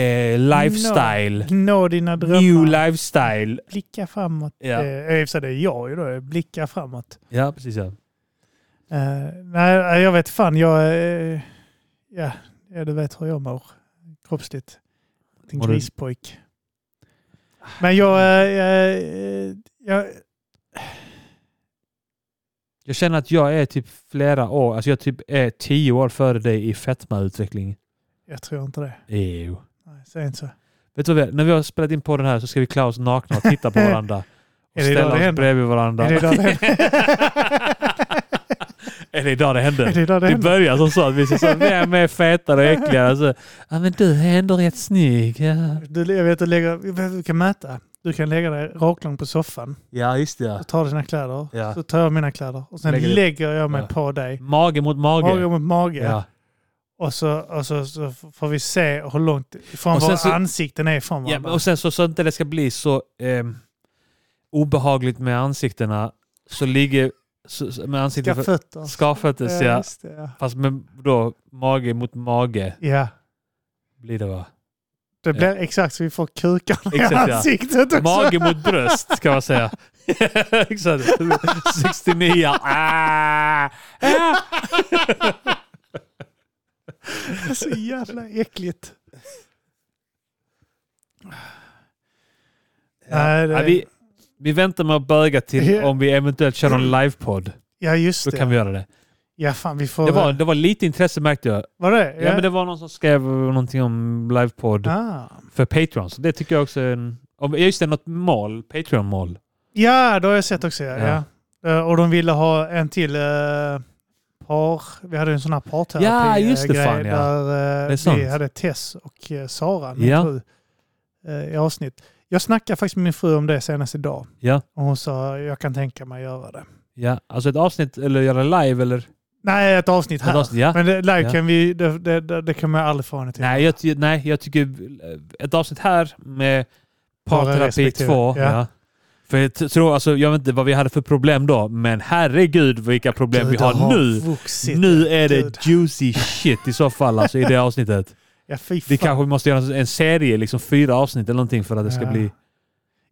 Speaker 1: Eh, lifestyle.
Speaker 2: Nå dina
Speaker 1: New
Speaker 2: drömmar.
Speaker 1: lifestyle.
Speaker 2: Blicka framåt.
Speaker 1: Ja.
Speaker 2: Eh, I och för sig, det är jag ju då. Blicka framåt.
Speaker 1: Ja, precis ja.
Speaker 2: Eh, nej, jag vet fan. Jag, eh, ja, ja, du vet hur jag mår kroppsligt. En
Speaker 1: Mår du-
Speaker 2: grispojk. Men jag, eh, jag, eh, jag,
Speaker 1: Jag känner att jag är typ flera år, alltså jag typ är tio år före dig i fetmautveckling.
Speaker 2: jag tror inte det.
Speaker 1: Ew.
Speaker 2: Nej, säg inte så.
Speaker 1: Vet du vad, vi- när vi har spelat in på den här så ska vi klä oss nakna och titta på varandra. Och
Speaker 2: Är det idag
Speaker 1: ställa
Speaker 2: det
Speaker 1: oss
Speaker 2: händer?
Speaker 1: bredvid varandra.
Speaker 2: Är det idag det händer?
Speaker 1: Är det idag det händer?
Speaker 2: Är det idag det
Speaker 1: Det
Speaker 2: händer?
Speaker 1: börjar som så att vi ska säga vem är fetare och äckligare? Så, ja men du är ändå rätt snygg. Ja,
Speaker 2: Du, jag vet, du, lägger, jag vet, du kan mäta. Du kan lägga dig raklång på soffan.
Speaker 1: ja just det. Ja.
Speaker 2: Du tar dina kläder.
Speaker 1: Ja.
Speaker 2: Så tar jag mina kläder. Och sen
Speaker 1: Lägger
Speaker 2: lägger,
Speaker 1: du-
Speaker 2: jag mig
Speaker 1: Ja.
Speaker 2: på dig.
Speaker 1: Mage mot mage.
Speaker 2: Mage mot mage.
Speaker 1: Ja.
Speaker 2: Och, så, och så, så får vi se hur långt
Speaker 1: Och
Speaker 2: från
Speaker 1: sen
Speaker 2: våra
Speaker 1: så-
Speaker 2: ansikten är från
Speaker 1: Ja,
Speaker 2: varandra.
Speaker 1: men och sen så, så inte det ska bli så ehm, obehagligt med ansiktena så ligger så, så- med ansiktet
Speaker 2: Ska
Speaker 1: för-
Speaker 2: fötter.
Speaker 1: skavföttes ja.
Speaker 2: just det, ja.
Speaker 1: Fast med då mage mot mage
Speaker 2: ja.
Speaker 1: blir det va?
Speaker 2: Det blir exakt så vi får kukarna i
Speaker 1: Exakt, ja.
Speaker 2: ansiktet också.
Speaker 1: Mage mot bröst ska man säga. Exakt. 69 ah, ah.
Speaker 2: Så jävla äckligt. Nej, det,
Speaker 1: Ja, vi, vi väntar med att böga till om vi eventuellt kör
Speaker 2: Mm.
Speaker 1: en livepodd.
Speaker 2: ja, just
Speaker 1: Då
Speaker 2: det.
Speaker 1: kan vi göra det.
Speaker 2: Ja, fan vi får...
Speaker 1: Det var, det var lite intresse märkte jag.
Speaker 2: var det?
Speaker 1: Ja, men det var någon som skrev någonting om livepodd
Speaker 2: ah.
Speaker 1: för Patreon. Så det tycker jag också är en... Om, just det, något mål. Patreon-mål.
Speaker 2: ja, det har jag sett också. Ja.
Speaker 1: Ja.
Speaker 2: Ja. Eh, Och de ville ha en till eh, par... Vi hade ju en sån här parterapi
Speaker 1: Ja, just det,
Speaker 2: eh,
Speaker 1: fan,
Speaker 2: grej
Speaker 1: ja.
Speaker 2: Där eh,
Speaker 1: Det är sant.
Speaker 2: vi hade Tess och eh, Sara, min
Speaker 1: Ja.
Speaker 2: fru, eh, i avsnitt. Jag snackade faktiskt med min fru om det senast idag.
Speaker 1: Ja.
Speaker 2: Och hon sa, jag kan tänka mig att göra det.
Speaker 1: Ja, alltså ett avsnitt eller göra live eller?
Speaker 2: Nej, ett avsnitt här.
Speaker 1: Ett avsnitt, ja.
Speaker 2: Men det, live
Speaker 1: Ja.
Speaker 2: kan vi, det, det, det, det kan man aldrig få henne till.
Speaker 1: Nej jag, ty- nej, jag tycker eh, ett avsnitt här med
Speaker 2: Bara
Speaker 1: parterapi
Speaker 2: respektive,
Speaker 1: 2. Ja.
Speaker 2: ja.
Speaker 1: För jag t- tror, alltså, jag vet inte vad vi hade för problem då, men herregud vilka problem
Speaker 2: Gud,
Speaker 1: vi
Speaker 2: det
Speaker 1: har, nu.
Speaker 2: vuxit.
Speaker 1: Nu är det
Speaker 2: Gud.
Speaker 1: juicy shit i så fall alltså, i det avsnittet.
Speaker 2: Ja, fy
Speaker 1: Vi
Speaker 2: fan.
Speaker 1: kanske måste göra en serie, liksom fyra avsnitt eller någonting för att det ska
Speaker 2: Ja.
Speaker 1: bli...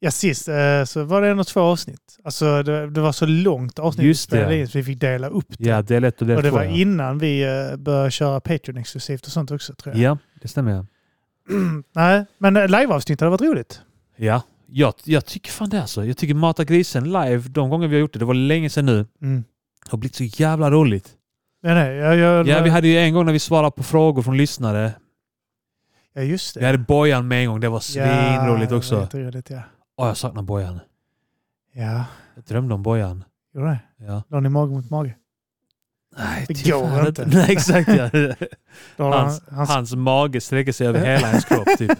Speaker 2: Ja, sist eh, så var det en och två avsnitt. Alltså det, det var så långt avsnitt
Speaker 1: Just
Speaker 2: vi spelade
Speaker 1: det.
Speaker 2: in så vi fick dela upp det.
Speaker 1: Ja, det är lätt och det
Speaker 2: och det var
Speaker 1: ja.
Speaker 2: innan vi eh, började köra Patreon exklusivt och sånt också tror jag.
Speaker 1: ja, det stämmer. Ja.
Speaker 2: Nej, men eh, liveavsnitt hade varit roligt.
Speaker 1: ja. Jag, jag tycker fan det alltså. Jag tycker Mata Grisen live, de gånger vi har gjort det, det var länge sedan nu,
Speaker 2: Mm.
Speaker 1: har blivit så jävla roligt.
Speaker 2: Nej, nej, jag, jag,
Speaker 1: Ja, vi hade ju en gång när vi svarade på frågor från lyssnare.
Speaker 2: ja, just det.
Speaker 1: Vi hade Bojan med en gång. Det var svinroligt
Speaker 2: det var
Speaker 1: också.
Speaker 2: jätteroligt, ja.
Speaker 1: Åh, jag saknar Bojan.
Speaker 2: Ja,
Speaker 1: Jag drömde om Bojan.
Speaker 2: gjorde det.
Speaker 1: Ja.
Speaker 2: Lade ni mage mot mage?
Speaker 1: Nej,
Speaker 2: Det
Speaker 1: ty
Speaker 2: går
Speaker 1: fan
Speaker 2: inte.
Speaker 1: Nej, exakt. Ja.
Speaker 2: Då har
Speaker 1: Hans-
Speaker 2: han, hans,
Speaker 1: Hans mage sträcker sig över hela hans kropp. Typ.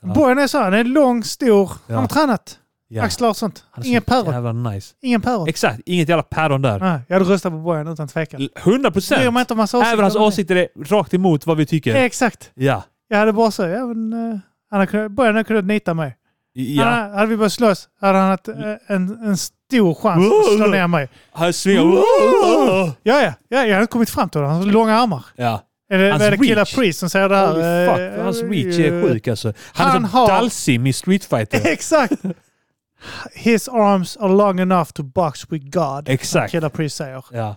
Speaker 1: ja.
Speaker 2: Bojan är så, här, han är lång, stor,
Speaker 1: Ja.
Speaker 2: han har tränat.
Speaker 1: Ja.
Speaker 2: Axlar och sånt.
Speaker 1: Han är så
Speaker 2: Ingen päron.
Speaker 1: Jävla nice.
Speaker 2: Ingen päron.
Speaker 1: Exakt, inget jävla päron där.
Speaker 2: Nej, jag hade röstat på Bojan utan tvekan.
Speaker 1: 100
Speaker 2: Bryr
Speaker 1: procent!
Speaker 2: mig inte om hans åsikter.
Speaker 1: Även hans åsikter är rakt emot vad vi
Speaker 2: Ja,
Speaker 1: tycker.
Speaker 2: Exakt.
Speaker 1: Ja.
Speaker 2: Jag hade bara så, ja men... eh, han hade kunnat, Bojan hade kunnat nita mig.
Speaker 1: ja.
Speaker 2: Han, hade vi börjat slåss hade han haft eh, en, en stor chans att slå ner mig.
Speaker 1: Han svingar...
Speaker 2: Ja, ja. ja jag hade kommit fram till honom. Han har långa armar.
Speaker 1: Ja.
Speaker 2: Är det,
Speaker 1: Hans
Speaker 2: är det Killa
Speaker 1: reach.
Speaker 2: Priest som säger det här?
Speaker 1: Holy
Speaker 2: Eh,
Speaker 1: fuck, hans reach är sjuk alltså. Han, är
Speaker 2: Han
Speaker 1: som
Speaker 2: har-
Speaker 1: Dalsim i Street Fighter.
Speaker 2: Exakt! His arms are long enough to box with God.
Speaker 1: Exakt.
Speaker 2: Killa Priest säger.
Speaker 1: Ja.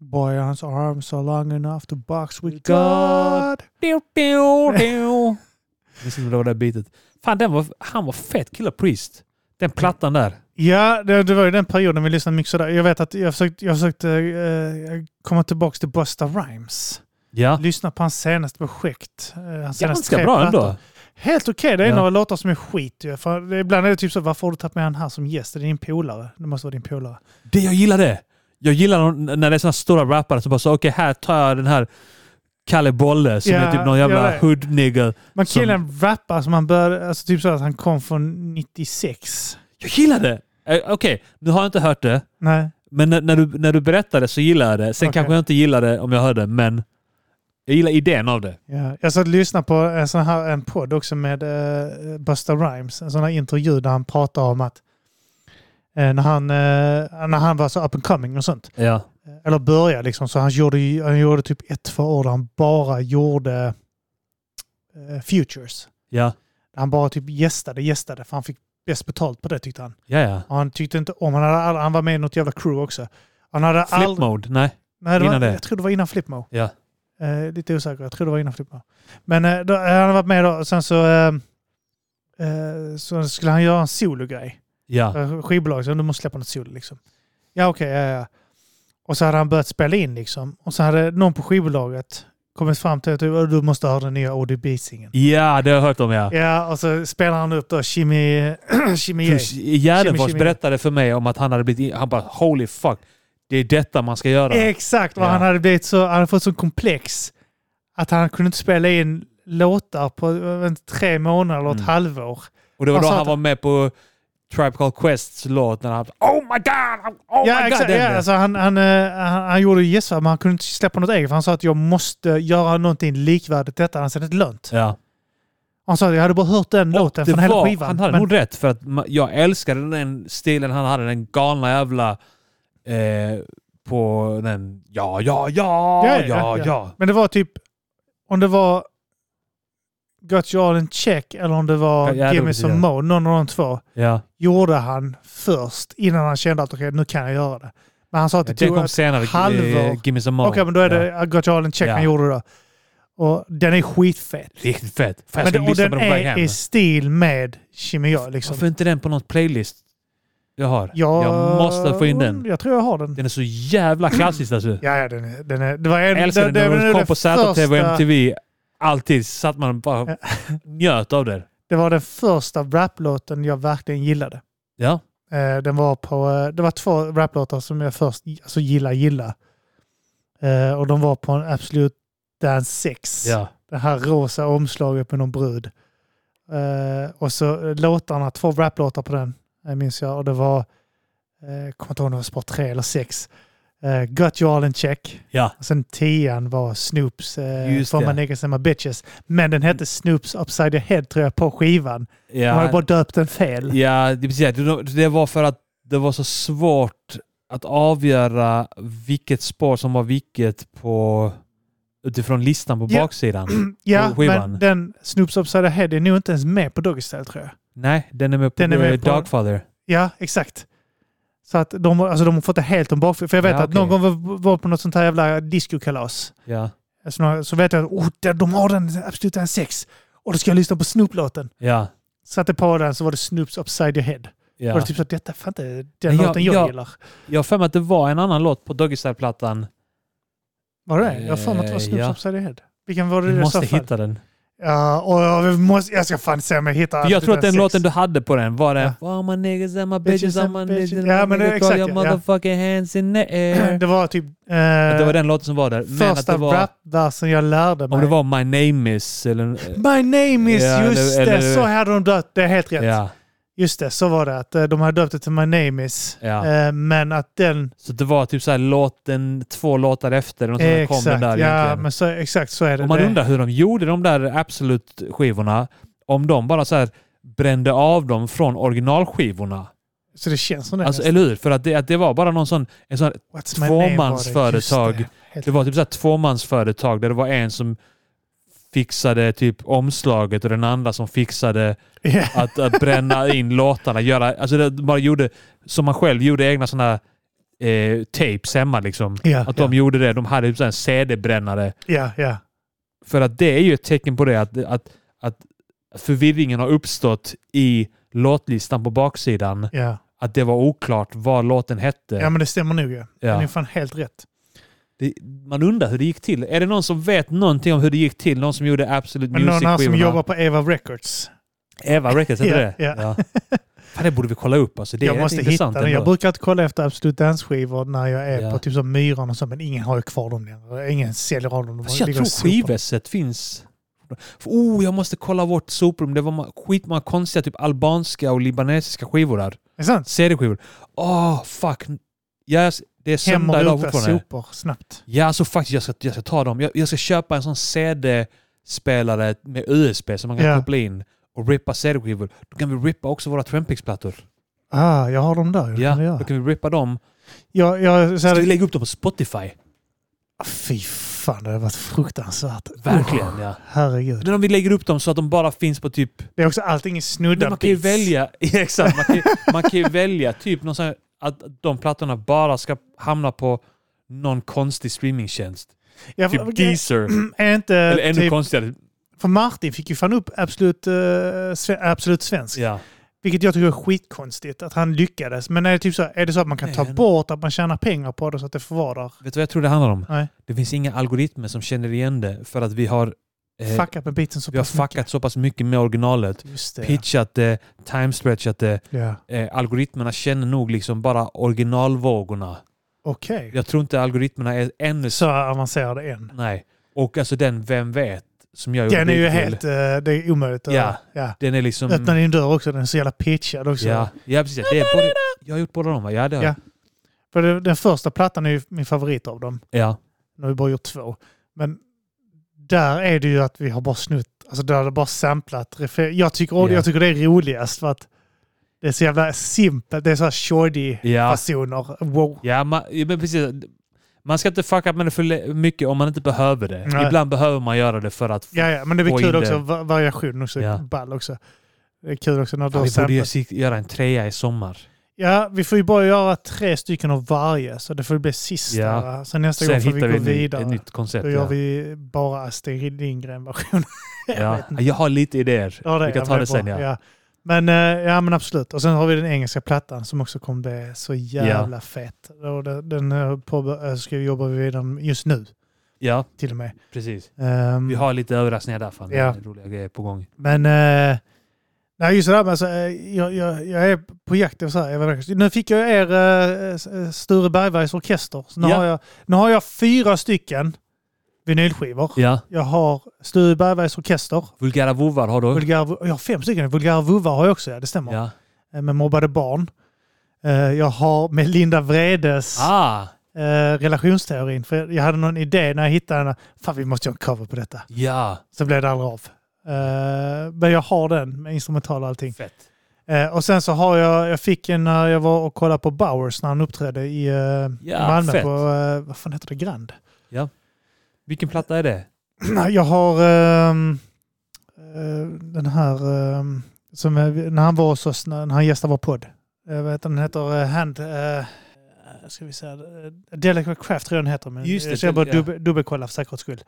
Speaker 2: Bojans arms are long enough to box with
Speaker 1: God.
Speaker 2: God.
Speaker 1: Pew, pew, pew. Jag visste inte vad det var det bitet. Fan, den var, han var fett Killer Priest. Den plattan där.
Speaker 2: Ja, det, det var ju den perioden vi lyssnade mycket sådär. Jag vet att jag försökte, jag försökte eh, komma tillbaka till Busta Rhymes.
Speaker 1: Ja.
Speaker 2: Lyssna på hans senaste projekt. eh, Hans senaste
Speaker 1: Ah. Ganska
Speaker 2: tre
Speaker 1: bra
Speaker 2: plattor.
Speaker 1: ändå.
Speaker 2: Helt okej, det är
Speaker 1: Ja.
Speaker 2: några låtar som är skit ju. För det- ibland är det typ så, varför har du tagit med han här som gäst? Är det din polare? Det måste vara din polare.
Speaker 1: Det jag gillar det. Jag gillar när- när det är sådana stora rappare som bara säger okej här tar jag den här Kalle Bolle som
Speaker 2: Ja,
Speaker 1: är typ någon
Speaker 2: jag
Speaker 1: jävla
Speaker 2: vet.
Speaker 1: hood nigger.
Speaker 2: Men
Speaker 1: Som-
Speaker 2: killen rappar som han började, alltså typ så att han kom från 96.
Speaker 1: Jag gillar det! Eh, Okej, nu har jag inte hört det.
Speaker 2: Nej.
Speaker 1: Men när, när, du, när du berättar det så gillar jag det. Sen
Speaker 2: Okej.
Speaker 1: kanske jag inte gillar det om jag hör det, men jag gillar idén av det.
Speaker 2: Ja. Jag satt och lyssnade på en sån här en podd också med eh, Busta Rhymes. En sån här intervju där han pratar om att eh, när, han, eh, när han var så up and coming och sånt.
Speaker 1: Ja.
Speaker 2: Eh, Eller började liksom. Så han gjorde, ju- han gjorde typ ett, två år där han bara gjorde eh, futures.
Speaker 1: Ja.
Speaker 2: Han bara typ gästade, gästade. För han fick bäst betalt på det tyckte han.
Speaker 1: Ja, ja.
Speaker 2: Och han tyckte inte om... Han, hade all, han var med i något jävla crew också. Han hade
Speaker 1: Flip
Speaker 2: aldrig...
Speaker 1: mode? Nej.
Speaker 2: Nej, det var,
Speaker 1: Innan det?
Speaker 2: Jag tror det var innan Flipmo.
Speaker 1: Ja.
Speaker 2: Eh, lite osäker. Jag tror det var innan Flipmo. Men eh, då, han hade varit med då och sen så, eh, eh, så skulle han göra en sologrej.
Speaker 1: Ja.
Speaker 2: Eh, Skivbolaget sa du måste släppa något solo liksom. Ja okej, ja ja. Och så hade han börjat spela in liksom. Och så hade någon på skivbolaget kommit fram till att du du måste höra den nya ODB-singeln.
Speaker 1: Ja, det har jag hört om ja.
Speaker 2: Ja, och så spelar han upp då Jimmy... Jimmy Yeh.
Speaker 1: Plus, Gärdenfors
Speaker 2: Kimi, Kimi.
Speaker 1: berättade för mig om att han hade blivit... in- Han bara holy fuck. Det är detta man ska göra.
Speaker 2: Exakt, vad
Speaker 1: Ja.
Speaker 2: han hade blivit så, han hade fått så komplex att han kunde inte spela in låtar på eh, en, tre månader eller ett
Speaker 1: Mm.
Speaker 2: halvår.
Speaker 1: Och det var
Speaker 2: Han
Speaker 1: då
Speaker 2: sa
Speaker 1: han
Speaker 2: Alltså
Speaker 1: var
Speaker 2: att-
Speaker 1: med på Tribe Called Quests låt när han... Oh my god! Oh
Speaker 2: ja,
Speaker 1: my god!
Speaker 2: exakt,
Speaker 1: den
Speaker 2: ja,
Speaker 1: där.
Speaker 2: alltså han, han, eh, han, han gjorde ju gästvärd, men han kunde inte släppa något eget för han sa att jag måste göra någonting likvärdigt detta, annars är det inte lönt.
Speaker 1: ja.
Speaker 2: Han sa att jag hade bara hört den låten
Speaker 1: Det
Speaker 2: från hela
Speaker 1: var-
Speaker 2: skivan.
Speaker 1: Han hade
Speaker 2: men,
Speaker 1: nog rätt för att ma- jag älskade den stilen han hade. Den galna jävla... Eh, på den... Ja, ja, ja, ja, ja.
Speaker 2: men det var typ, om det var Got You All In Check eller om det var
Speaker 1: Ja, ja, det
Speaker 2: Give
Speaker 1: var
Speaker 2: Me
Speaker 1: precis
Speaker 2: Some
Speaker 1: det.
Speaker 2: More, någon av de två,
Speaker 1: Ja.
Speaker 2: gjorde han först innan han kände att okej, nu kan jag göra det. Men han sa att det
Speaker 1: Den
Speaker 2: tog
Speaker 1: kom
Speaker 2: ett
Speaker 1: senare.
Speaker 2: halvår.
Speaker 1: eh, Give me some more.
Speaker 2: Okej, men då är
Speaker 1: Ja.
Speaker 2: det I Got You All In Check
Speaker 1: Ja.
Speaker 2: han gjorde då. Och den är skitfett.
Speaker 1: Riktigt fett. Fan, jag
Speaker 2: Men
Speaker 1: ska
Speaker 2: den, och
Speaker 1: lyssna på
Speaker 2: den
Speaker 1: den på väg
Speaker 2: är
Speaker 1: hem.
Speaker 2: i stil med Chimia. Liksom.
Speaker 1: Varför inte den på någon playlist jag har?
Speaker 2: Jag,
Speaker 1: Jag måste få in den.
Speaker 2: Jag tror jag har den.
Speaker 1: Den är så jävla klassisk alltså.
Speaker 2: Ja, ja den, är, den är... Det var en,
Speaker 1: Jag älskar den.
Speaker 2: det,
Speaker 1: När
Speaker 2: det,
Speaker 1: den kom på ZTV och
Speaker 2: första-
Speaker 1: MTV. Alltid satt man och bara njöt av den.
Speaker 2: Det var den första raplåten jag verkligen gillade.
Speaker 1: Ja.
Speaker 2: Eh, den var på, eh, det var två raplåtar som jag först alltså, gilla gilla. Eh, och de var på en Absolut Dance 6.
Speaker 1: ja.
Speaker 2: Det här rosa omslaget med någon brud. Eh, och så eh, låtarna, två raplåtar på den eh, minns jag. Och det var, eh, jag kommer inte ihåg om det var sport 3 eller 6. Eh, Got you all in check.
Speaker 1: Ja.
Speaker 2: Och sen tian var Snoops eh,
Speaker 1: Just
Speaker 2: For
Speaker 1: det.
Speaker 2: my niggas and my bitches. Men den hette Snoops upside your head tror jag på skivan.
Speaker 1: Ja.
Speaker 2: De hade bara döpt den fel.
Speaker 1: Ja, det, precis. Det- det var för att det var så svårt att avgöra vilket spår som var vilket på, utifrån listan på
Speaker 2: Ja.
Speaker 1: baksidan.
Speaker 2: Ja,
Speaker 1: på skivan.
Speaker 2: men den Snoops Upside Your Head är nog inte ens med på Doggy Style tror jag.
Speaker 1: Nej, den är med på,
Speaker 2: Den är med
Speaker 1: eh,
Speaker 2: på-
Speaker 1: Dogfather.
Speaker 2: Ja, exakt. Så att de, har- alltså, de har fått det helt om bakfoten. För jag vet
Speaker 1: Ja,
Speaker 2: att
Speaker 1: okej.
Speaker 2: någon gång var, var på något sånt här jävla discokalas.
Speaker 1: Ja.
Speaker 2: Alltså, några- så vet jag att oh, där- de har den Absolut en sex. Och då ska jag lyssna på Snoop-låten.
Speaker 1: Ja.
Speaker 2: Satte på den så var det Snoops Upside Your Head.
Speaker 1: ja.
Speaker 2: Och det typ så att detta är fan inte den
Speaker 1: Men jag-
Speaker 2: låten jag,
Speaker 1: jag-
Speaker 2: gillar.
Speaker 1: Jag har för mig att det var en annan låt på Doggy Style-plattan.
Speaker 2: Var det det? Jag har för mig att det var Snoops
Speaker 1: Eh, Ja.
Speaker 2: Upside Your Head. Vilken var det
Speaker 1: Vi
Speaker 2: i så
Speaker 1: måste
Speaker 2: fall?
Speaker 1: hitta den.
Speaker 2: Ja, och jag, vi måste, jag ska fan se om jag hittar
Speaker 1: För jag tror att den
Speaker 2: Absolut en
Speaker 1: låten
Speaker 2: sex.
Speaker 1: du hade på den var den...
Speaker 2: Ja.
Speaker 1: Ja. my niggas and my bitches, I'm my niggas
Speaker 2: bitches."
Speaker 1: and
Speaker 2: Ja, men det är
Speaker 1: niggas, call
Speaker 2: exakt,
Speaker 1: your
Speaker 2: ja.
Speaker 1: motherfucking hands in the air.
Speaker 2: Det var typ... Eh,
Speaker 1: Att det var den låten som var där. Men att
Speaker 2: första
Speaker 1: det var...
Speaker 2: rapversen jag lärde mig.
Speaker 1: Om det var My name is eller...
Speaker 2: My name is,
Speaker 1: Ja,
Speaker 2: just
Speaker 1: eller-
Speaker 2: det,
Speaker 1: eller-
Speaker 2: så hade de döpt det, är helt rätt.
Speaker 1: Ja,
Speaker 2: Just det, så var det att eh, de hade döpt det till My name is.
Speaker 1: ja.
Speaker 2: Eh, Men att den,
Speaker 1: Så det var typ så här låten, två låtar efter och sen kom
Speaker 2: exakt,
Speaker 1: den där
Speaker 2: ja,
Speaker 1: egentligen.
Speaker 2: men så, exakt så är det.
Speaker 1: Och man
Speaker 2: Det-
Speaker 1: undrar hur de gjorde de där Absolut-skivorna. Om de bara så här brände av dem från originalskivorna.
Speaker 2: Så det känns som det.
Speaker 1: Alltså,
Speaker 2: nästan.
Speaker 1: eller hur? För att det, att det var bara någon sån... En sån
Speaker 2: What's my name var det,
Speaker 1: tvåmansföretag.
Speaker 2: just det, helt
Speaker 1: det var typ så här tvåmansföretag där det var en som fixade typ omslaget och den andra som fixade
Speaker 2: rätt. Ja.
Speaker 1: att, att bränna in låtarna. Göra, alltså det bara gjorde, som man själv gjorde egna sådana eh, tapes hemma liksom.
Speaker 2: Ja,
Speaker 1: Att
Speaker 2: ja,
Speaker 1: de gjorde det. De hade typ så här en CD-brännare.
Speaker 2: ja, ja.
Speaker 1: För att det är ju ett tecken på det att, att, att förvirringen har uppstått i låtlistan på baksidan.
Speaker 2: ja.
Speaker 1: Att det var oklart vad låten hette.
Speaker 2: Ja, men det stämmer nog ju.
Speaker 1: Ja.
Speaker 2: Den är fan helt rätt.
Speaker 1: Det, man undrar hur det gick till. Är det någon som vet någonting om hur det gick till? Någon som gjorde Absolute
Speaker 2: Men någon här som
Speaker 1: Music-skivorna?
Speaker 2: jobbar på Eva Records.
Speaker 1: Eva Records, heter
Speaker 2: Ja,
Speaker 1: det
Speaker 2: ja.
Speaker 1: Ja. Fan, det borde vi kolla upp. Alltså. Det är
Speaker 2: jag
Speaker 1: rätt
Speaker 2: måste hitta
Speaker 1: intressant
Speaker 2: den. Jag
Speaker 1: ändå.
Speaker 2: brukar inte kolla efter Absolut Dance-skivor när jag är
Speaker 1: Ja.
Speaker 2: på typ som Myran och så, men ingen har ju kvar dem längre. Ingen säljer av dem. De
Speaker 1: Fast jag
Speaker 2: ligger och
Speaker 1: tror
Speaker 2: sopar.
Speaker 1: skivesset finns. Oh, jag måste kolla vårt soprum. Det var ma- skitmånga konstiga typ albanska och libanesiska skivor där.
Speaker 2: Är det sant?
Speaker 1: CD-skivor. Åh, fuck. Ja, jag- det är
Speaker 2: Hem och
Speaker 1: söndag idag
Speaker 2: rota
Speaker 1: fortfarande.
Speaker 2: sopor snabbt.
Speaker 1: Ja, så faktiskt jag ska, jag ska ta dem. Jag, jag ska köpa en sån CD-spelare med USB som man kan
Speaker 2: Ja.
Speaker 1: koppla in och rippa CD-skivor. Då kan vi rippa också våra Trampix-plattor.
Speaker 2: Ah, jag har dem där. Det kan jag
Speaker 1: Ja,
Speaker 2: göra.
Speaker 1: då kan vi rippa dem.
Speaker 2: Jag, jag, så
Speaker 1: Ska
Speaker 2: här,
Speaker 1: vi lägga upp dem på Spotify?
Speaker 2: Ah, Fy fan, det har varit fruktansvärt.
Speaker 1: Verkligen, ja.
Speaker 2: Herregud.
Speaker 1: Men om vi lägger upp dem så att de bara finns på typ
Speaker 2: Det är också allting i snudda
Speaker 1: Men man kan ju
Speaker 2: beats.
Speaker 1: välja, Ja, exakt, man kan, ju- man kan ju välja typ någon sån här, att de plattorna bara ska hamna på någon konstig streamingtjänst.
Speaker 2: Ja, för-
Speaker 1: Typ Deezer.
Speaker 2: är inte,
Speaker 1: Eller ännu
Speaker 2: typ,
Speaker 1: konstigare.
Speaker 2: för Martin fick ju fan upp Absolut, eh, sve, absolut Svensk.
Speaker 1: Ja.
Speaker 2: Vilket jag tycker är skitkonstigt att han lyckades. Men är det, typ så, är det så att man kan ta
Speaker 1: Nej, nej.
Speaker 2: bort att man tjänar pengar på det så att det får vara där?
Speaker 1: Vet du vad jag tror det handlar om?
Speaker 2: Nej.
Speaker 1: Det finns inga algoritmer som känner igen det för att vi har, eh,
Speaker 2: Fuckat med beatsen så
Speaker 1: vi har
Speaker 2: pass mycket.
Speaker 1: fuckat så pass mycket med originalet.
Speaker 2: Just det.
Speaker 1: Pitchat det, timestretchat det.
Speaker 2: Ja.
Speaker 1: Eh, algoritmerna känner nog liksom bara originalvågorna.
Speaker 2: Okej.
Speaker 1: Jag tror inte algoritmerna är ännu...
Speaker 2: Så avancerade än.
Speaker 1: Nej. Och alltså den Vem vet? som jag gjorde
Speaker 2: Den är ju
Speaker 1: beat till,
Speaker 2: helt... eh, det är omöjligt att...
Speaker 1: Ja.
Speaker 2: ja.
Speaker 1: Den är liksom...
Speaker 2: Öppna din dörr också, den är så jävla pitchad också.
Speaker 1: Ja, ja precis. Det är både, jag har gjort båda de va? Ja, det har
Speaker 2: Ja.
Speaker 1: jag.
Speaker 2: För det- den första plattan är ju min favorit av dem.
Speaker 1: Ja.
Speaker 2: Nu har vi bara gjort två. Men där är det ju att vi har bara snutt, alltså där har det bara samplat. refer- Jag tycker,
Speaker 1: Ja.
Speaker 2: jag tycker det är roligast för att det är så jävla simpelt. Det är så här shoddy
Speaker 1: Ja.
Speaker 2: fasoner. Wow.
Speaker 1: Ja, ma- ja, men precis. Man ska inte fucka med det för le- mycket om man inte behöver det.
Speaker 2: Nej.
Speaker 1: Ibland behöver man göra det för att...
Speaker 2: Ja, ja, men det blir
Speaker 1: Få
Speaker 2: kul
Speaker 1: in
Speaker 2: också.
Speaker 1: det.
Speaker 2: va- Variation också.
Speaker 1: Ja.
Speaker 2: Ball också. Det är kul också när du
Speaker 1: Fan,
Speaker 2: har
Speaker 1: vi borde ju
Speaker 2: samplat.
Speaker 1: si- göra en trea i sommar.
Speaker 2: Ja, vi får ju bara göra tre stycken av varje. Så det får bli sista.
Speaker 1: Ja.
Speaker 2: va? Så nästa
Speaker 1: Sen
Speaker 2: gång får vi
Speaker 1: hittar
Speaker 2: gå
Speaker 1: vi ett, nytt-
Speaker 2: vidare.
Speaker 1: ett nytt koncept.
Speaker 2: Då gör
Speaker 1: ja.
Speaker 2: vi bara Astrid Lindgren-version. jag
Speaker 1: ja.
Speaker 2: vet inte.
Speaker 1: jag har lite idéer.
Speaker 2: Ja, det-
Speaker 1: vi kan
Speaker 2: ja,
Speaker 1: ta
Speaker 2: men
Speaker 1: det,
Speaker 2: är
Speaker 1: sen.
Speaker 2: bra.
Speaker 1: Ja.
Speaker 2: Men, eh, ja men absolut. Och sen har vi den engelska plattan som också kom bli så jävla fett. Och det- den eh, på, eh, ska vi jobba vidare med just nu
Speaker 1: ja,
Speaker 2: till och med.
Speaker 1: precis.
Speaker 2: Ehm,
Speaker 1: Vi har lite överraskningar där. Fan.
Speaker 2: Ja.
Speaker 1: Roliga grejer på gång.
Speaker 2: Men eh, nej, just det där med, alltså, eh, jag, jag, jag är på jakt efter så här. Jag vet, inte. nu fick jag er eh, s- eh, Sture Bergbergs orkester. Så nu,
Speaker 1: Ja.
Speaker 2: har jag, nu har jag fyra stycken vinylskivor.
Speaker 1: Ja.
Speaker 2: Jag har Sture Bergbergs orkester.
Speaker 1: Vulgära vovvar har du.
Speaker 2: Vulgär, Vo- jag har fem stycken. Vulgära vovvar har jag också, ja, det stämmer.
Speaker 1: Ja.
Speaker 2: Eh, Med mobbade barn. Eh, Jag har med Linda Vredes
Speaker 1: Ah,
Speaker 2: eh, relationsteorin. För jag hade någon idé när jag hittade den. Fan, vi måste göra en cover på detta.
Speaker 1: ja.
Speaker 2: Så blev det aldrig av. Eh, Men jag har den med instrumental och allting.
Speaker 1: Fett.
Speaker 2: Eh, och sen så har jag, jag fick en när jag var och kollade på Bowers när han uppträdde i eh,
Speaker 1: Ja,
Speaker 2: Malmö
Speaker 1: fett.
Speaker 2: på, eh, vad fan heter det, Grand?
Speaker 1: Vilken platta är det?
Speaker 2: Nej, jag har ehm, eh, den här, ehm, som är, när han var hos oss, när när han gästade vår podd. Jag vet den heter eh, Hand, eh, ska vi säga, eh, Delicate Craft tror jag den heter. Men
Speaker 1: Just det,
Speaker 2: så jag bara
Speaker 1: ja.
Speaker 2: dubbe- dubbelkolla för säkerhets skull.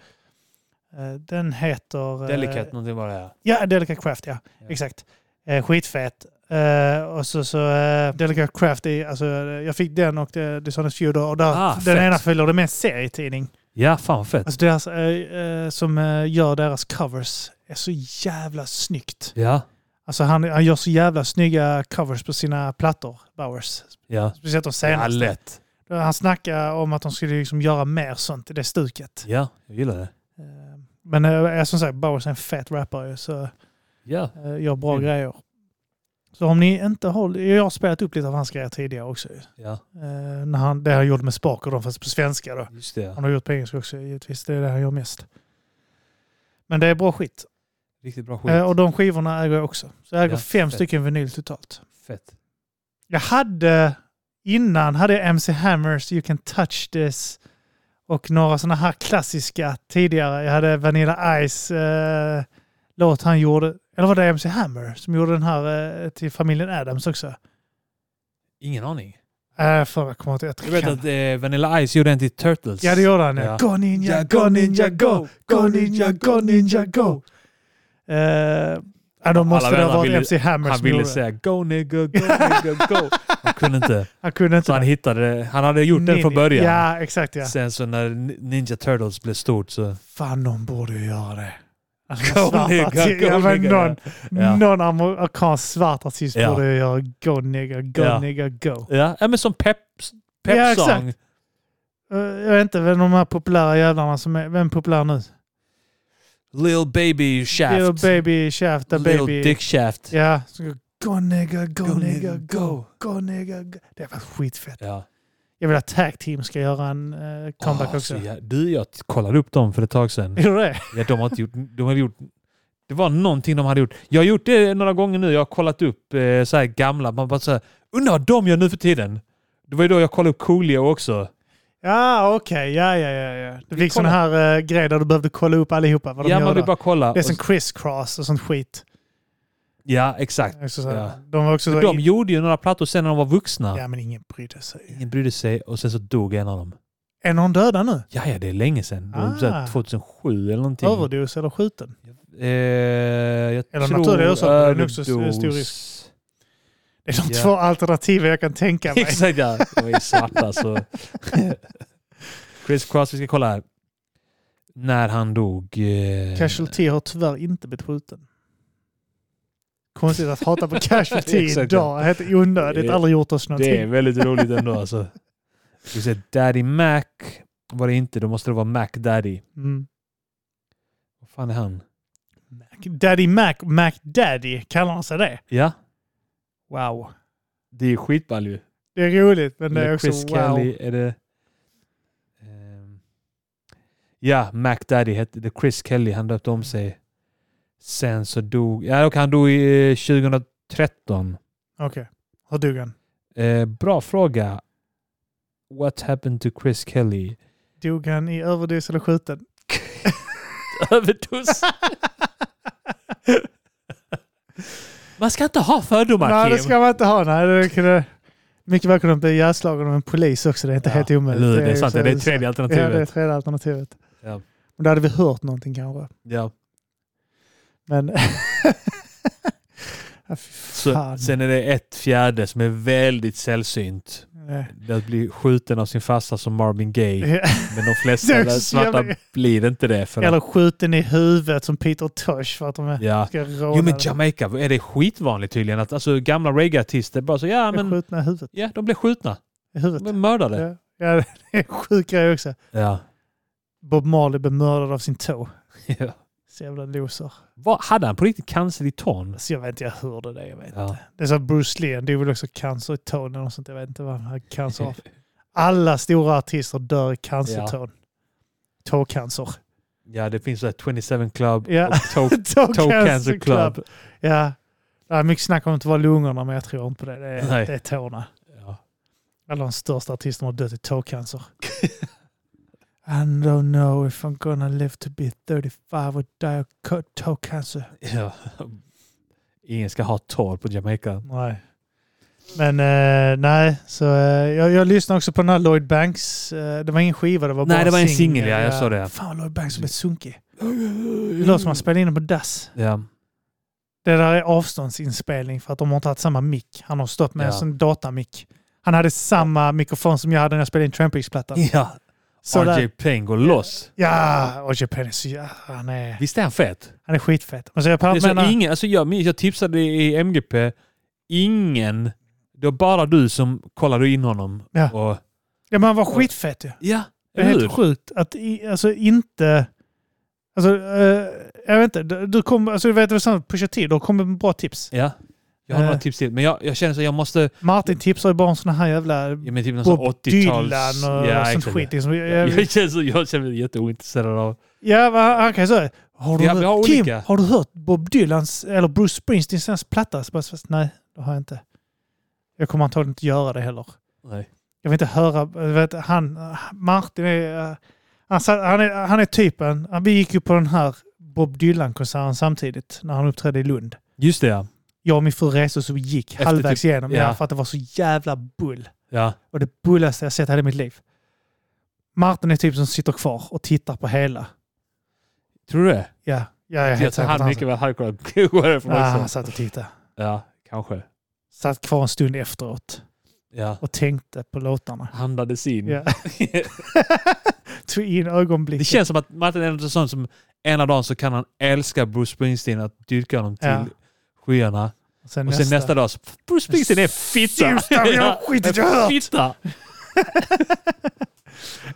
Speaker 2: Eh, den heter... eh,
Speaker 1: Delicate någonting var det. ja.
Speaker 2: Ja, Delicate Craft, ja.
Speaker 1: Ja.
Speaker 2: Exakt. Eh, skitfett. Eh, och så, så eh, Delicate Craft, är, alltså, eh, jag fick den och eh, det, Dishonest Feudor. Och där,
Speaker 1: Ah,
Speaker 2: den
Speaker 1: fett.
Speaker 2: ena följer det med en serietidning.
Speaker 1: Ja, fan vad fett.
Speaker 2: Alltså deras, eh, eh, som eh, gör deras covers är så jävla snyggt.
Speaker 1: Ja,
Speaker 2: Alltså han, han gör så jävla snygga covers på sina plattor, Bowers.
Speaker 1: ja.
Speaker 2: Speciellt de
Speaker 1: Ja,
Speaker 2: senaste.
Speaker 1: lätt.
Speaker 2: Han snackar om att de skulle liksom göra mer sånt i det stuket.
Speaker 1: Ja, jag gillar det.
Speaker 2: Eh, men eh, som sagt, Bowers är en fet rappare så
Speaker 1: Ja,
Speaker 2: eh, gör bra
Speaker 1: Mm.
Speaker 2: grejer. Så om ni inte har... Jag har spelat upp lite av hans grejer tidigare också. ju.
Speaker 1: ja.
Speaker 2: Eh, när han, det han gjorde med Spak och de fast på svenska då.
Speaker 1: Just det. ja.
Speaker 2: Han har gjort på engelska också givetvis. Det är det han gör mest. Men det är bra skit.
Speaker 1: Riktigt bra skit.
Speaker 2: Eh, och de skivorna äger jag också. Så jag äger
Speaker 1: Ja,
Speaker 2: fem
Speaker 1: fett.
Speaker 2: stycken vinyl totalt.
Speaker 1: Fett.
Speaker 2: Jag hade... Innan hade jag MC Hammers, You Can Touch This och några sådana här klassiska tidigare. Jag hade Vanilla Ice eh, låt han gjorde. Eller var det MC Hammer som gjorde den här eh, till familjen Adams också?
Speaker 1: Ingen aning.
Speaker 2: Äh, förra kommer jag inte
Speaker 1: Jag
Speaker 2: ihåg.
Speaker 1: vet
Speaker 2: Jag
Speaker 1: att eh, Vanilla Ice gjorde en till Turtles.
Speaker 2: Ja, det gjorde han. Ja.
Speaker 1: Ja.
Speaker 2: Go ninja, go ninja, go! Go ninja, go ninja, go! Eh, ja, då måste
Speaker 1: Alla
Speaker 2: det ha
Speaker 1: vänner
Speaker 2: varit
Speaker 1: ville-
Speaker 2: MC Hammer
Speaker 1: Han
Speaker 2: som
Speaker 1: ville
Speaker 2: gjorde det.
Speaker 1: säga go nigga, go nigga, go. Han kunde inte.
Speaker 2: Han kunde inte.
Speaker 1: Så han
Speaker 2: det.
Speaker 1: hittade det. Han hade gjort den
Speaker 2: Ninja.
Speaker 1: från början.
Speaker 2: Ja, exakt ja.
Speaker 1: Sen så när Ninja Turtles blev stort så...
Speaker 2: Fan, någon borde ju göra det.
Speaker 1: Go
Speaker 2: Svart
Speaker 1: nigga,
Speaker 2: artist.
Speaker 1: go
Speaker 2: Ja, men
Speaker 1: nigga,
Speaker 2: någon,
Speaker 1: ja.
Speaker 2: någon amerikansk svart artist
Speaker 1: Ja.
Speaker 2: borde ju göra Go nigga, go
Speaker 1: Ja.
Speaker 2: nigga, go.
Speaker 1: Ja, ja men som pep, pep
Speaker 2: Ja,
Speaker 1: song.
Speaker 2: exakt. Eh, jag vet inte vem de här populära jävlarna som är. Vem är populär nu?
Speaker 1: Lil Baby Shaft.
Speaker 2: Little baby shaft, the
Speaker 1: Lil
Speaker 2: baby.
Speaker 1: Dick Shaft.
Speaker 2: Ja. Så går, Go nigga, go,
Speaker 1: Go,
Speaker 2: nigga,
Speaker 1: nigga,
Speaker 2: go. Go nigga, go. Det var skitfett.
Speaker 1: Ja.
Speaker 2: Jag vill att Tag Team ska göra en eh, comeback
Speaker 1: Åh,
Speaker 2: också.
Speaker 1: så jä- du, jag t- kollade upp dem för ett tag sedan.
Speaker 2: Gjorde du det?
Speaker 1: Ja, de har inte gjort... De har gjort det var någonting de hade gjort. Jag har gjort det några gånger nu. Jag har kollat upp eh, så här gamla. Man bara så här, undrar vad de gör nu för tiden. Det var ju då jag kollade upp Coolio också.
Speaker 2: Ja, okej. Ja, ja, ja, ja. Du
Speaker 1: Vi
Speaker 2: fick sån här eh, grej där du behövde kolla upp allihopa vad de
Speaker 1: ja,
Speaker 2: gör
Speaker 1: man
Speaker 2: då.
Speaker 1: vill bara kolla.
Speaker 2: Det är
Speaker 1: Och
Speaker 2: som Criss Cross och sånt skit.
Speaker 1: s- Ja, exakt.
Speaker 2: Också så här,
Speaker 1: Ja.
Speaker 2: De var också så
Speaker 1: De
Speaker 2: in-
Speaker 1: gjorde ju några plattor sen när de var vuxna.
Speaker 2: Ja, men ingen brydde sig.
Speaker 1: Ingen brydde sig och sen så dog en av dem.
Speaker 2: Är någon döda nu?
Speaker 1: Ja, ja, det är länge sedan. Det var
Speaker 2: Ah.
Speaker 1: så här 2007 eller någonting.
Speaker 2: Överdos eller skjuten?
Speaker 1: Eh, jag
Speaker 2: Eller
Speaker 1: tror
Speaker 2: naturliga orsaker, men det är också
Speaker 1: överdos.
Speaker 2: stor risk. Det är de
Speaker 1: Ja.
Speaker 2: två alternativen jag kan tänka mig.
Speaker 1: Exakt ja, de är ju svarta så. Chris Cross, vi ska kolla här. När han dog. eh,
Speaker 2: Casualty har tyvärr inte blivit skjuten. Konstigt att hata på casualty
Speaker 1: Exakt, ja.
Speaker 2: idag. Helt onödigt.
Speaker 1: Det-
Speaker 2: Aldrig gjort oss
Speaker 1: Det är
Speaker 2: någonting.
Speaker 1: väldigt roligt ändå alltså. Vi ser Daddy Mac var det inte, då måste det vara Mac Daddy.
Speaker 2: Mm.
Speaker 1: Vad fan är han?
Speaker 2: Mac- Daddy Mac, Mac Daddy, kallar han sig det?
Speaker 1: Ja,
Speaker 2: Wow.
Speaker 1: det är skitball ju.
Speaker 2: Det är roligt, men det är
Speaker 1: Eller
Speaker 2: också
Speaker 1: Chris
Speaker 2: wow.
Speaker 1: Kelly är det... Ehm, ja, Mac Daddy hette det. Chris Kelly, han döpte om sig. Sen så dog... Ja, och han dog i eh, 2013.
Speaker 2: Okej. Hur dog han?
Speaker 1: Eh, bra fråga. What happened to Chris Kelly?
Speaker 2: Dog han i överdos eller skjuten?
Speaker 1: Överdos. Man ska inte ha fördomar,
Speaker 2: Nej,
Speaker 1: Kim.
Speaker 2: det ska man inte ha. Nej, det kunde, mycket väl kunde de bli ihjälslagen av en polis också. Det är inte
Speaker 1: Ja,
Speaker 2: helt omöjligt.
Speaker 1: eller hur? Det är
Speaker 2: ju
Speaker 1: sant.
Speaker 2: så-
Speaker 1: Det är det tredje
Speaker 2: Ja, det är
Speaker 1: alternativet.
Speaker 2: tredje alternativet.
Speaker 1: Ja.
Speaker 2: Men då hade vi hört någonting kanske.
Speaker 1: Ja.
Speaker 2: Men... ja, fy
Speaker 1: Så,
Speaker 2: fan.
Speaker 1: sen är det ett fjärde som är väldigt sällsynt.
Speaker 2: Ja.
Speaker 1: Det är att bli skjuten av sin farsa som Marvin Gaye. Men de
Speaker 2: Det är
Speaker 1: flesta
Speaker 2: också
Speaker 1: svarta
Speaker 2: jävla-
Speaker 1: blir inte det. För
Speaker 2: Eh, Eller
Speaker 1: att,
Speaker 2: skjuten i huvudet som Peter Tosh för att de är-
Speaker 1: ja.
Speaker 2: ska råna.
Speaker 1: Jo men
Speaker 2: dem.
Speaker 1: Jamaica är det skitvanligt tydligen. Att, alltså, gamla reggae-artister bara så ja
Speaker 2: De är
Speaker 1: men
Speaker 2: Skjutna i huvudet.
Speaker 1: ja, de blev skjutna.
Speaker 2: I
Speaker 1: De
Speaker 2: huvudet.
Speaker 1: blev mördade.
Speaker 2: Ja, ja, det är en sjuk grej också.
Speaker 1: Ja.
Speaker 2: Bob Marley blev mördad av sin tå.
Speaker 1: Ja.
Speaker 2: Så jävla loser.
Speaker 1: Vad, hade han på riktigt cancer i tån?
Speaker 2: Så jag vet inte, jag hörde det. Jag vet.
Speaker 1: Ja.
Speaker 2: Det är så här Bruce Lee, det är väl också cancer i tån eller något sånt. Jag vet inte vad han hade cancer av. Alla stora artister dör i cancertån. Tåcancer.
Speaker 1: ja det finns så här 27 Club
Speaker 2: Ja.
Speaker 1: och Toe Toe Cancer Club.
Speaker 2: Ja. Det är mycket snack om att det var lungorna, men jag tror inte på det. Det är,
Speaker 1: Nej.
Speaker 2: det är tårna.
Speaker 1: Ja.
Speaker 2: Alla de största artisterna har dött i tåcancer. I don't know if I'm gonna live to be 35 or die of co- toe cancer.
Speaker 1: Ja. Ingen ska ha tår på Jamaica.
Speaker 2: Nej. Men eh, nej, så eh, jag, jag lyssnade också på den här Lloyd Banks. Eh, det var ingen skiva, det var
Speaker 1: Nej,
Speaker 2: bara
Speaker 1: det var en singel, ja, jag sa det. Mm.
Speaker 2: Fan, Lloyd Banks har blivit sunkig. Det låter som att han spelade in den på dass.
Speaker 1: Ja.
Speaker 2: Det där är avståndsinspelning för att de har inte haft samma mick. Han har stått med
Speaker 1: Ja.
Speaker 2: en sån datamick. Han hade samma mikrofon som jag hade när jag spelade in Trampix-plattan.
Speaker 1: ja.
Speaker 2: Så där-
Speaker 1: RJ Payne går loss.
Speaker 2: Ja, och Japan är så jävla... Han är,
Speaker 1: Visst är han fet?
Speaker 2: han är skitfett. Men eh, så jag
Speaker 1: Det är
Speaker 2: menar,
Speaker 1: så ingen, alltså jag, minns- jag tipsade i MGP, ingen, det var bara du som kollade in honom.
Speaker 2: Ja.
Speaker 1: Och,
Speaker 2: ja, men han var skitfett ju.
Speaker 1: ja
Speaker 2: Det är helt
Speaker 1: hur?
Speaker 2: sjukt att i, alltså inte... Alltså, eh, jag vet inte. Du, du kom, alltså, du vet, det var sånt, pusha till. Du har kommit med bra tips.
Speaker 1: Ja. Jag har
Speaker 2: Eh.
Speaker 1: några tips till. Men jag, jag känner så jag måste...
Speaker 2: Martin tipsar ju bara om såna här jävla...
Speaker 1: Ja, men typ någon sån
Speaker 2: Bob
Speaker 1: 80-tals...
Speaker 2: Dylan och sånt
Speaker 1: exakt.
Speaker 2: skit. Liksom. Jag, jag,
Speaker 1: Jag känner, så, jag känner mig jätteointresserad av...
Speaker 2: ja, vad han kan ju säga. Har du,
Speaker 1: Ja, vi har
Speaker 2: hört, Kim,
Speaker 1: olika.
Speaker 2: har du hört Bob Dylans eller Bruce Springsteens senaste platta? Så bara, fast, nej, det har jag inte. Jag kommer antagligen inte göra det heller.
Speaker 1: Nej.
Speaker 2: Jag vill inte höra. jag Vet, han, Martin är, eh, han, sa- han är... Han är typen... han- Vi gick ju på den här Bob Dylan-konserten samtidigt när han uppträdde i Lund.
Speaker 1: Just det ja.
Speaker 2: Jag och min fru reste så vi gick
Speaker 1: Efter typ-
Speaker 2: halvvägs igenom
Speaker 1: ja.
Speaker 2: ja. för att det var så jävla bull.
Speaker 1: ja.
Speaker 2: Och det bullaste jag sett i hela mitt liv. Martin är typ som sitter kvar och tittar på hela.
Speaker 1: Tror du det?
Speaker 2: Ja, ja jag är
Speaker 1: Jag
Speaker 2: helt
Speaker 1: tror
Speaker 2: säker på att
Speaker 1: han
Speaker 2: han
Speaker 1: mycket väl hade kunnat gå
Speaker 2: satt-
Speaker 1: härifrån
Speaker 2: Ja, han
Speaker 1: också.
Speaker 2: satt och tittade.
Speaker 1: Ja, kanske.
Speaker 2: Satt kvar en stund efteråt
Speaker 1: Ja.
Speaker 2: och tänkte på låtarna.
Speaker 1: Handlades in.
Speaker 2: Ja. Tog in ögonblicken.
Speaker 1: Det känns som att Martin är en sån som ena dagen så kan han älska Bruce Springsteen, att dyrka honom till
Speaker 2: Ja.
Speaker 1: skyarna. Och sen nästa dag så, Bruce Springsteen är fitta!
Speaker 2: Sista, men jag har skitit, jag har hört.
Speaker 1: Fitta!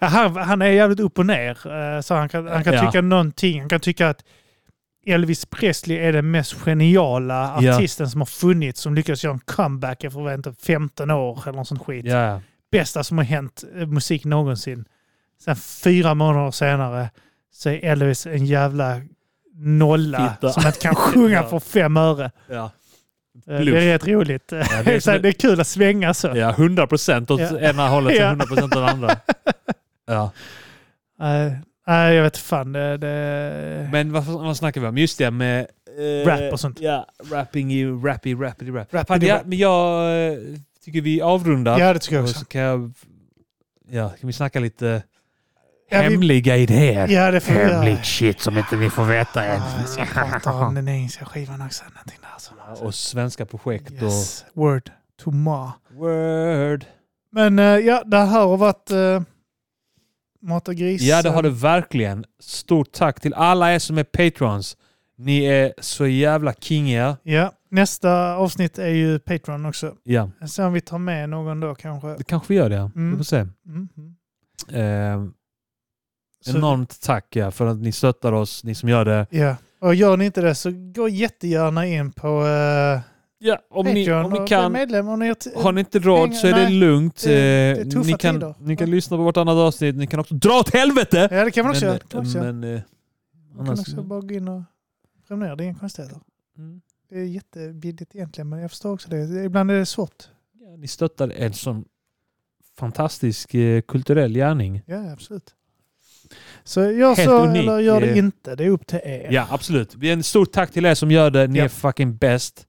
Speaker 2: Ja, han, han är jävligt upp och ner. eh, Så han kan, han kan
Speaker 1: Ja.
Speaker 2: tycka någonting. Han kan tycka att Elvis Presley är den mest geniala
Speaker 1: Ja.
Speaker 2: artisten som har funnits som lyckas göra en comeback efter vad, inte, 15 år eller någon sån skit.
Speaker 1: Ja, ja.
Speaker 2: Bästa som har hänt eh, musik någonsin. Sen fyra månader senare så är Elvis en jävla nolla
Speaker 1: Fitta.
Speaker 2: som inte kan sjunga
Speaker 1: Ja.
Speaker 2: för fem öre.
Speaker 1: ja.
Speaker 2: Eh,
Speaker 1: Bluff.
Speaker 2: Det är rätt roligt.
Speaker 1: Ja,
Speaker 2: det,
Speaker 1: det
Speaker 2: är
Speaker 1: är som-
Speaker 2: det är kul att svänga så.
Speaker 1: Ja, 100 procent åt
Speaker 2: Ja.
Speaker 1: ena hållet
Speaker 2: Ja.
Speaker 1: och 100 procent åt det andra. Ja.
Speaker 2: Nej, nej, jag vet fan. Det, det...
Speaker 1: Men vad, vad snackar vi om? Just det, med... eh,
Speaker 2: Rap och sånt.
Speaker 1: Ja, rapping i rappy, rappity rap.
Speaker 2: Rap,
Speaker 1: Fan, ja, men jag eh, tycker vi avrundar.
Speaker 2: Ja, det tycker jag
Speaker 1: Och
Speaker 2: också.
Speaker 1: så kan jag... Ja, kan vi snacka lite
Speaker 2: Ja, vi-
Speaker 1: hemliga idéer?
Speaker 2: Ja, det får vi göra.
Speaker 3: Hemligt shit som inte vi får veta än.
Speaker 2: Ja, jag ska prata om den engelska skivan också. Någonting där som
Speaker 1: Och svenska projekt
Speaker 2: yes. Word to ma.
Speaker 1: och... Word.
Speaker 2: Men eh, ja, det här har varit uh, Mat och gris.
Speaker 1: Ja, det har det verkligen. Stort tack till alla er som är patrons. Ni är så jävla kingiga.
Speaker 2: Ja, nästa avsnitt är ju Patreon också.
Speaker 1: Ja,
Speaker 2: Sen om vi tar med någon då kanske.
Speaker 1: det kanske vi gör det.
Speaker 2: Mm.
Speaker 1: Vi får se.
Speaker 2: Mhm.
Speaker 1: Eh,
Speaker 2: Så-
Speaker 1: enormt tack ja, för att ni stöttar oss, ni som gör det.
Speaker 2: Ja, och gör ni inte det så gå jättegärna in på eh,
Speaker 1: Ja, om, ni,
Speaker 2: Patreon
Speaker 1: om ni
Speaker 2: och bli
Speaker 1: kan.
Speaker 2: medlem. Om ni har t-
Speaker 1: Har ni inte råd
Speaker 2: Pengar-
Speaker 1: så är det
Speaker 2: nej,
Speaker 1: lugnt.
Speaker 2: det- det är
Speaker 1: Eh,
Speaker 2: tuffa
Speaker 1: ni kan,
Speaker 2: tider.
Speaker 1: ni kan
Speaker 2: Ja.
Speaker 1: lyssna på vartannat avsnitt. Ni kan också dra åt helvete!
Speaker 2: Ja, det kan man också göra.
Speaker 1: men
Speaker 2: Det kan man också göra.
Speaker 1: men eh,
Speaker 2: Man kan
Speaker 1: annars...
Speaker 2: också bara gå in och prenumerera. Det är inga konstigheter.
Speaker 1: Mm.
Speaker 2: Det är jättebilligt egentligen, men jag förstår också det. Ibland är det svårt.
Speaker 1: Ja, ni stöttar en sån fantastisk eh, kulturell gärning.
Speaker 2: Ja, absolut. Så gör
Speaker 1: Helt
Speaker 2: så
Speaker 1: unik.
Speaker 2: eller gör det
Speaker 1: Eh,
Speaker 2: inte. Det är upp till er.
Speaker 1: Ja, absolut. Vi- En stort tack till er som gör det. Ni
Speaker 2: Ja.
Speaker 1: är fucking bäst.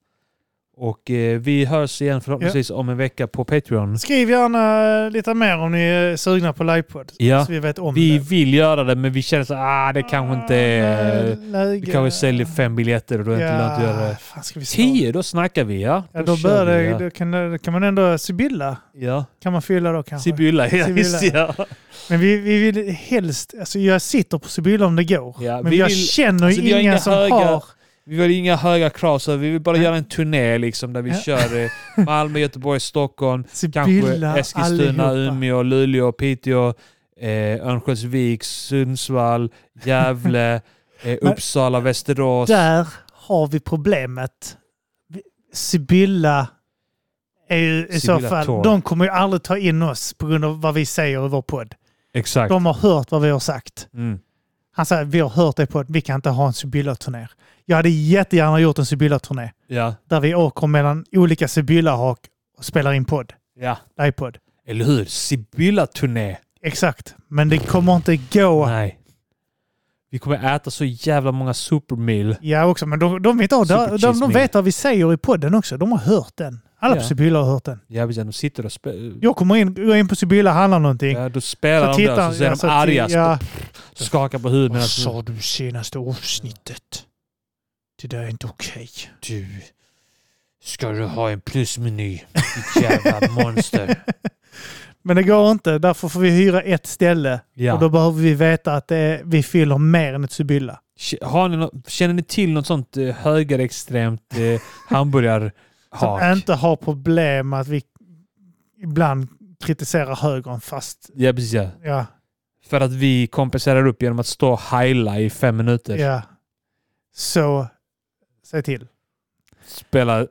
Speaker 1: Och eh, vi hörs igen förhoppningsvis om en vecka på Patreon.
Speaker 2: Skriv gärna lite mer om ni är sugna på livepodd.
Speaker 1: Ja.
Speaker 2: Så vi vet om
Speaker 1: Vi
Speaker 2: det.
Speaker 1: vill göra det, men vi känner så ah det kanske inte
Speaker 2: Ah,
Speaker 1: är... Vi kanske säljer fem biljetter och då är det inte lönt att göra det.
Speaker 2: Fan, ska vi stå?
Speaker 1: Tio, då snackar vi ja.
Speaker 2: Ja, då,
Speaker 1: kör
Speaker 2: bör
Speaker 1: vi,
Speaker 2: det, då, kan, det- då kan man ändå... Sibylla
Speaker 1: Ja.
Speaker 2: kan man fylla då
Speaker 1: ja.
Speaker 2: kanske.
Speaker 1: Sibylla, ja visst ja.
Speaker 2: Men vi, vi vill helst... Alltså jag sitter på Sibylla om det går.
Speaker 1: Ja,
Speaker 2: men
Speaker 1: vi
Speaker 2: jag
Speaker 1: vill-
Speaker 2: känner ju
Speaker 1: alltså, vi har
Speaker 2: ingen
Speaker 1: inga
Speaker 2: som
Speaker 1: höga-
Speaker 2: har...
Speaker 1: Vi vill inga höga krav, så vi vill bara
Speaker 2: Nej.
Speaker 1: göra en turné liksom, där vi
Speaker 2: Ja.
Speaker 1: kör eh, Malmö, Göteborg, Stockholm, kanske
Speaker 2: Sibylla
Speaker 1: Eskilstuna,
Speaker 2: allihopa.
Speaker 1: Umeå, Luleå, Piteå, eh, Örnsköldsvik, Sundsvall, Gävle, eh,
Speaker 2: Men-
Speaker 1: Uppsala, Västerås.
Speaker 2: Där har vi problemet. Vi- Sibylla är ju i så
Speaker 1: Sibylla
Speaker 2: fall...
Speaker 1: Thor.
Speaker 2: De kommer ju aldrig ta in oss på grund av vad vi säger i vår podd.
Speaker 1: Exakt.
Speaker 2: De har hört vad vi har sagt.
Speaker 1: Mm.
Speaker 2: Han säger vi har hört det på att vi kan inte ha en Sibylla-turné. Jag hade jättegärna gjort en Sibylla-turné
Speaker 1: Ja.
Speaker 2: där vi åker mellan olika Sibylla-hak och spelar in podd.
Speaker 1: ja.
Speaker 2: Livepodd.
Speaker 1: Eller hur? Sibylla-turné.
Speaker 2: Exakt. Men det kommer inte gå.
Speaker 1: Nej. Vi kommer äta så jävla många supermeal.
Speaker 2: Ja, också. Men de, de, vet, av- de,
Speaker 1: Super
Speaker 2: de,
Speaker 1: cheese
Speaker 2: de
Speaker 1: meal.
Speaker 2: vet vad vi säger i podden också. De har hört den. Alla på
Speaker 1: Ja.
Speaker 2: Sibylla har hört den.
Speaker 1: Jävligt, de sitter och spelar.
Speaker 2: Jag kommer in, går in på Sibylla och handlar någonting.
Speaker 1: Ja, då spelar de där och så är
Speaker 2: ja,
Speaker 1: de alltså- arga.
Speaker 2: till- ja.
Speaker 1: Skakar på huvudet.
Speaker 2: Vad
Speaker 1: medan-
Speaker 2: sa du senaste avsnittet? Det där är inte okej.
Speaker 1: Du, ska du ha en plusmeny? Ditt jävla monster.
Speaker 2: Men det går inte. Därför får vi hyra ett ställe.
Speaker 1: Ja.
Speaker 2: Och då behöver vi veta att det är, vi fyller mer än ett Sibylla.
Speaker 1: K- Har ni nå- känner ni till något sånt eh, högerextremt eh,
Speaker 2: Som
Speaker 1: hamburgarhak?
Speaker 2: inte har problem med att vi ibland kritiserar högern fast...
Speaker 1: Ja, precis. Ja.
Speaker 2: Ja,
Speaker 1: För att vi kompenserar upp genom att stå och heila i fem minuter.
Speaker 2: ja. Så, säg till.
Speaker 1: Spela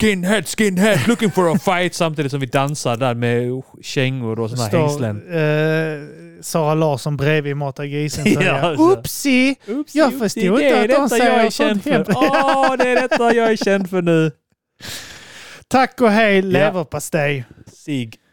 Speaker 1: skinhead, skinhead, looking for a fight samtidigt som vi dansar där med kängor och såna här hängslen.
Speaker 2: eh, Sara Larsson bredvid Mata grisen. så
Speaker 1: Ja,
Speaker 2: jag,
Speaker 1: alltså.
Speaker 2: Oopsie!
Speaker 1: Oops,
Speaker 2: Jag förstod inte att de säger
Speaker 1: jag är
Speaker 2: sånt
Speaker 1: känd för.
Speaker 2: hemskt.
Speaker 1: Åh, det är detta jag är känd för nu.
Speaker 2: Tack och hej leverpastej!
Speaker 1: Sig.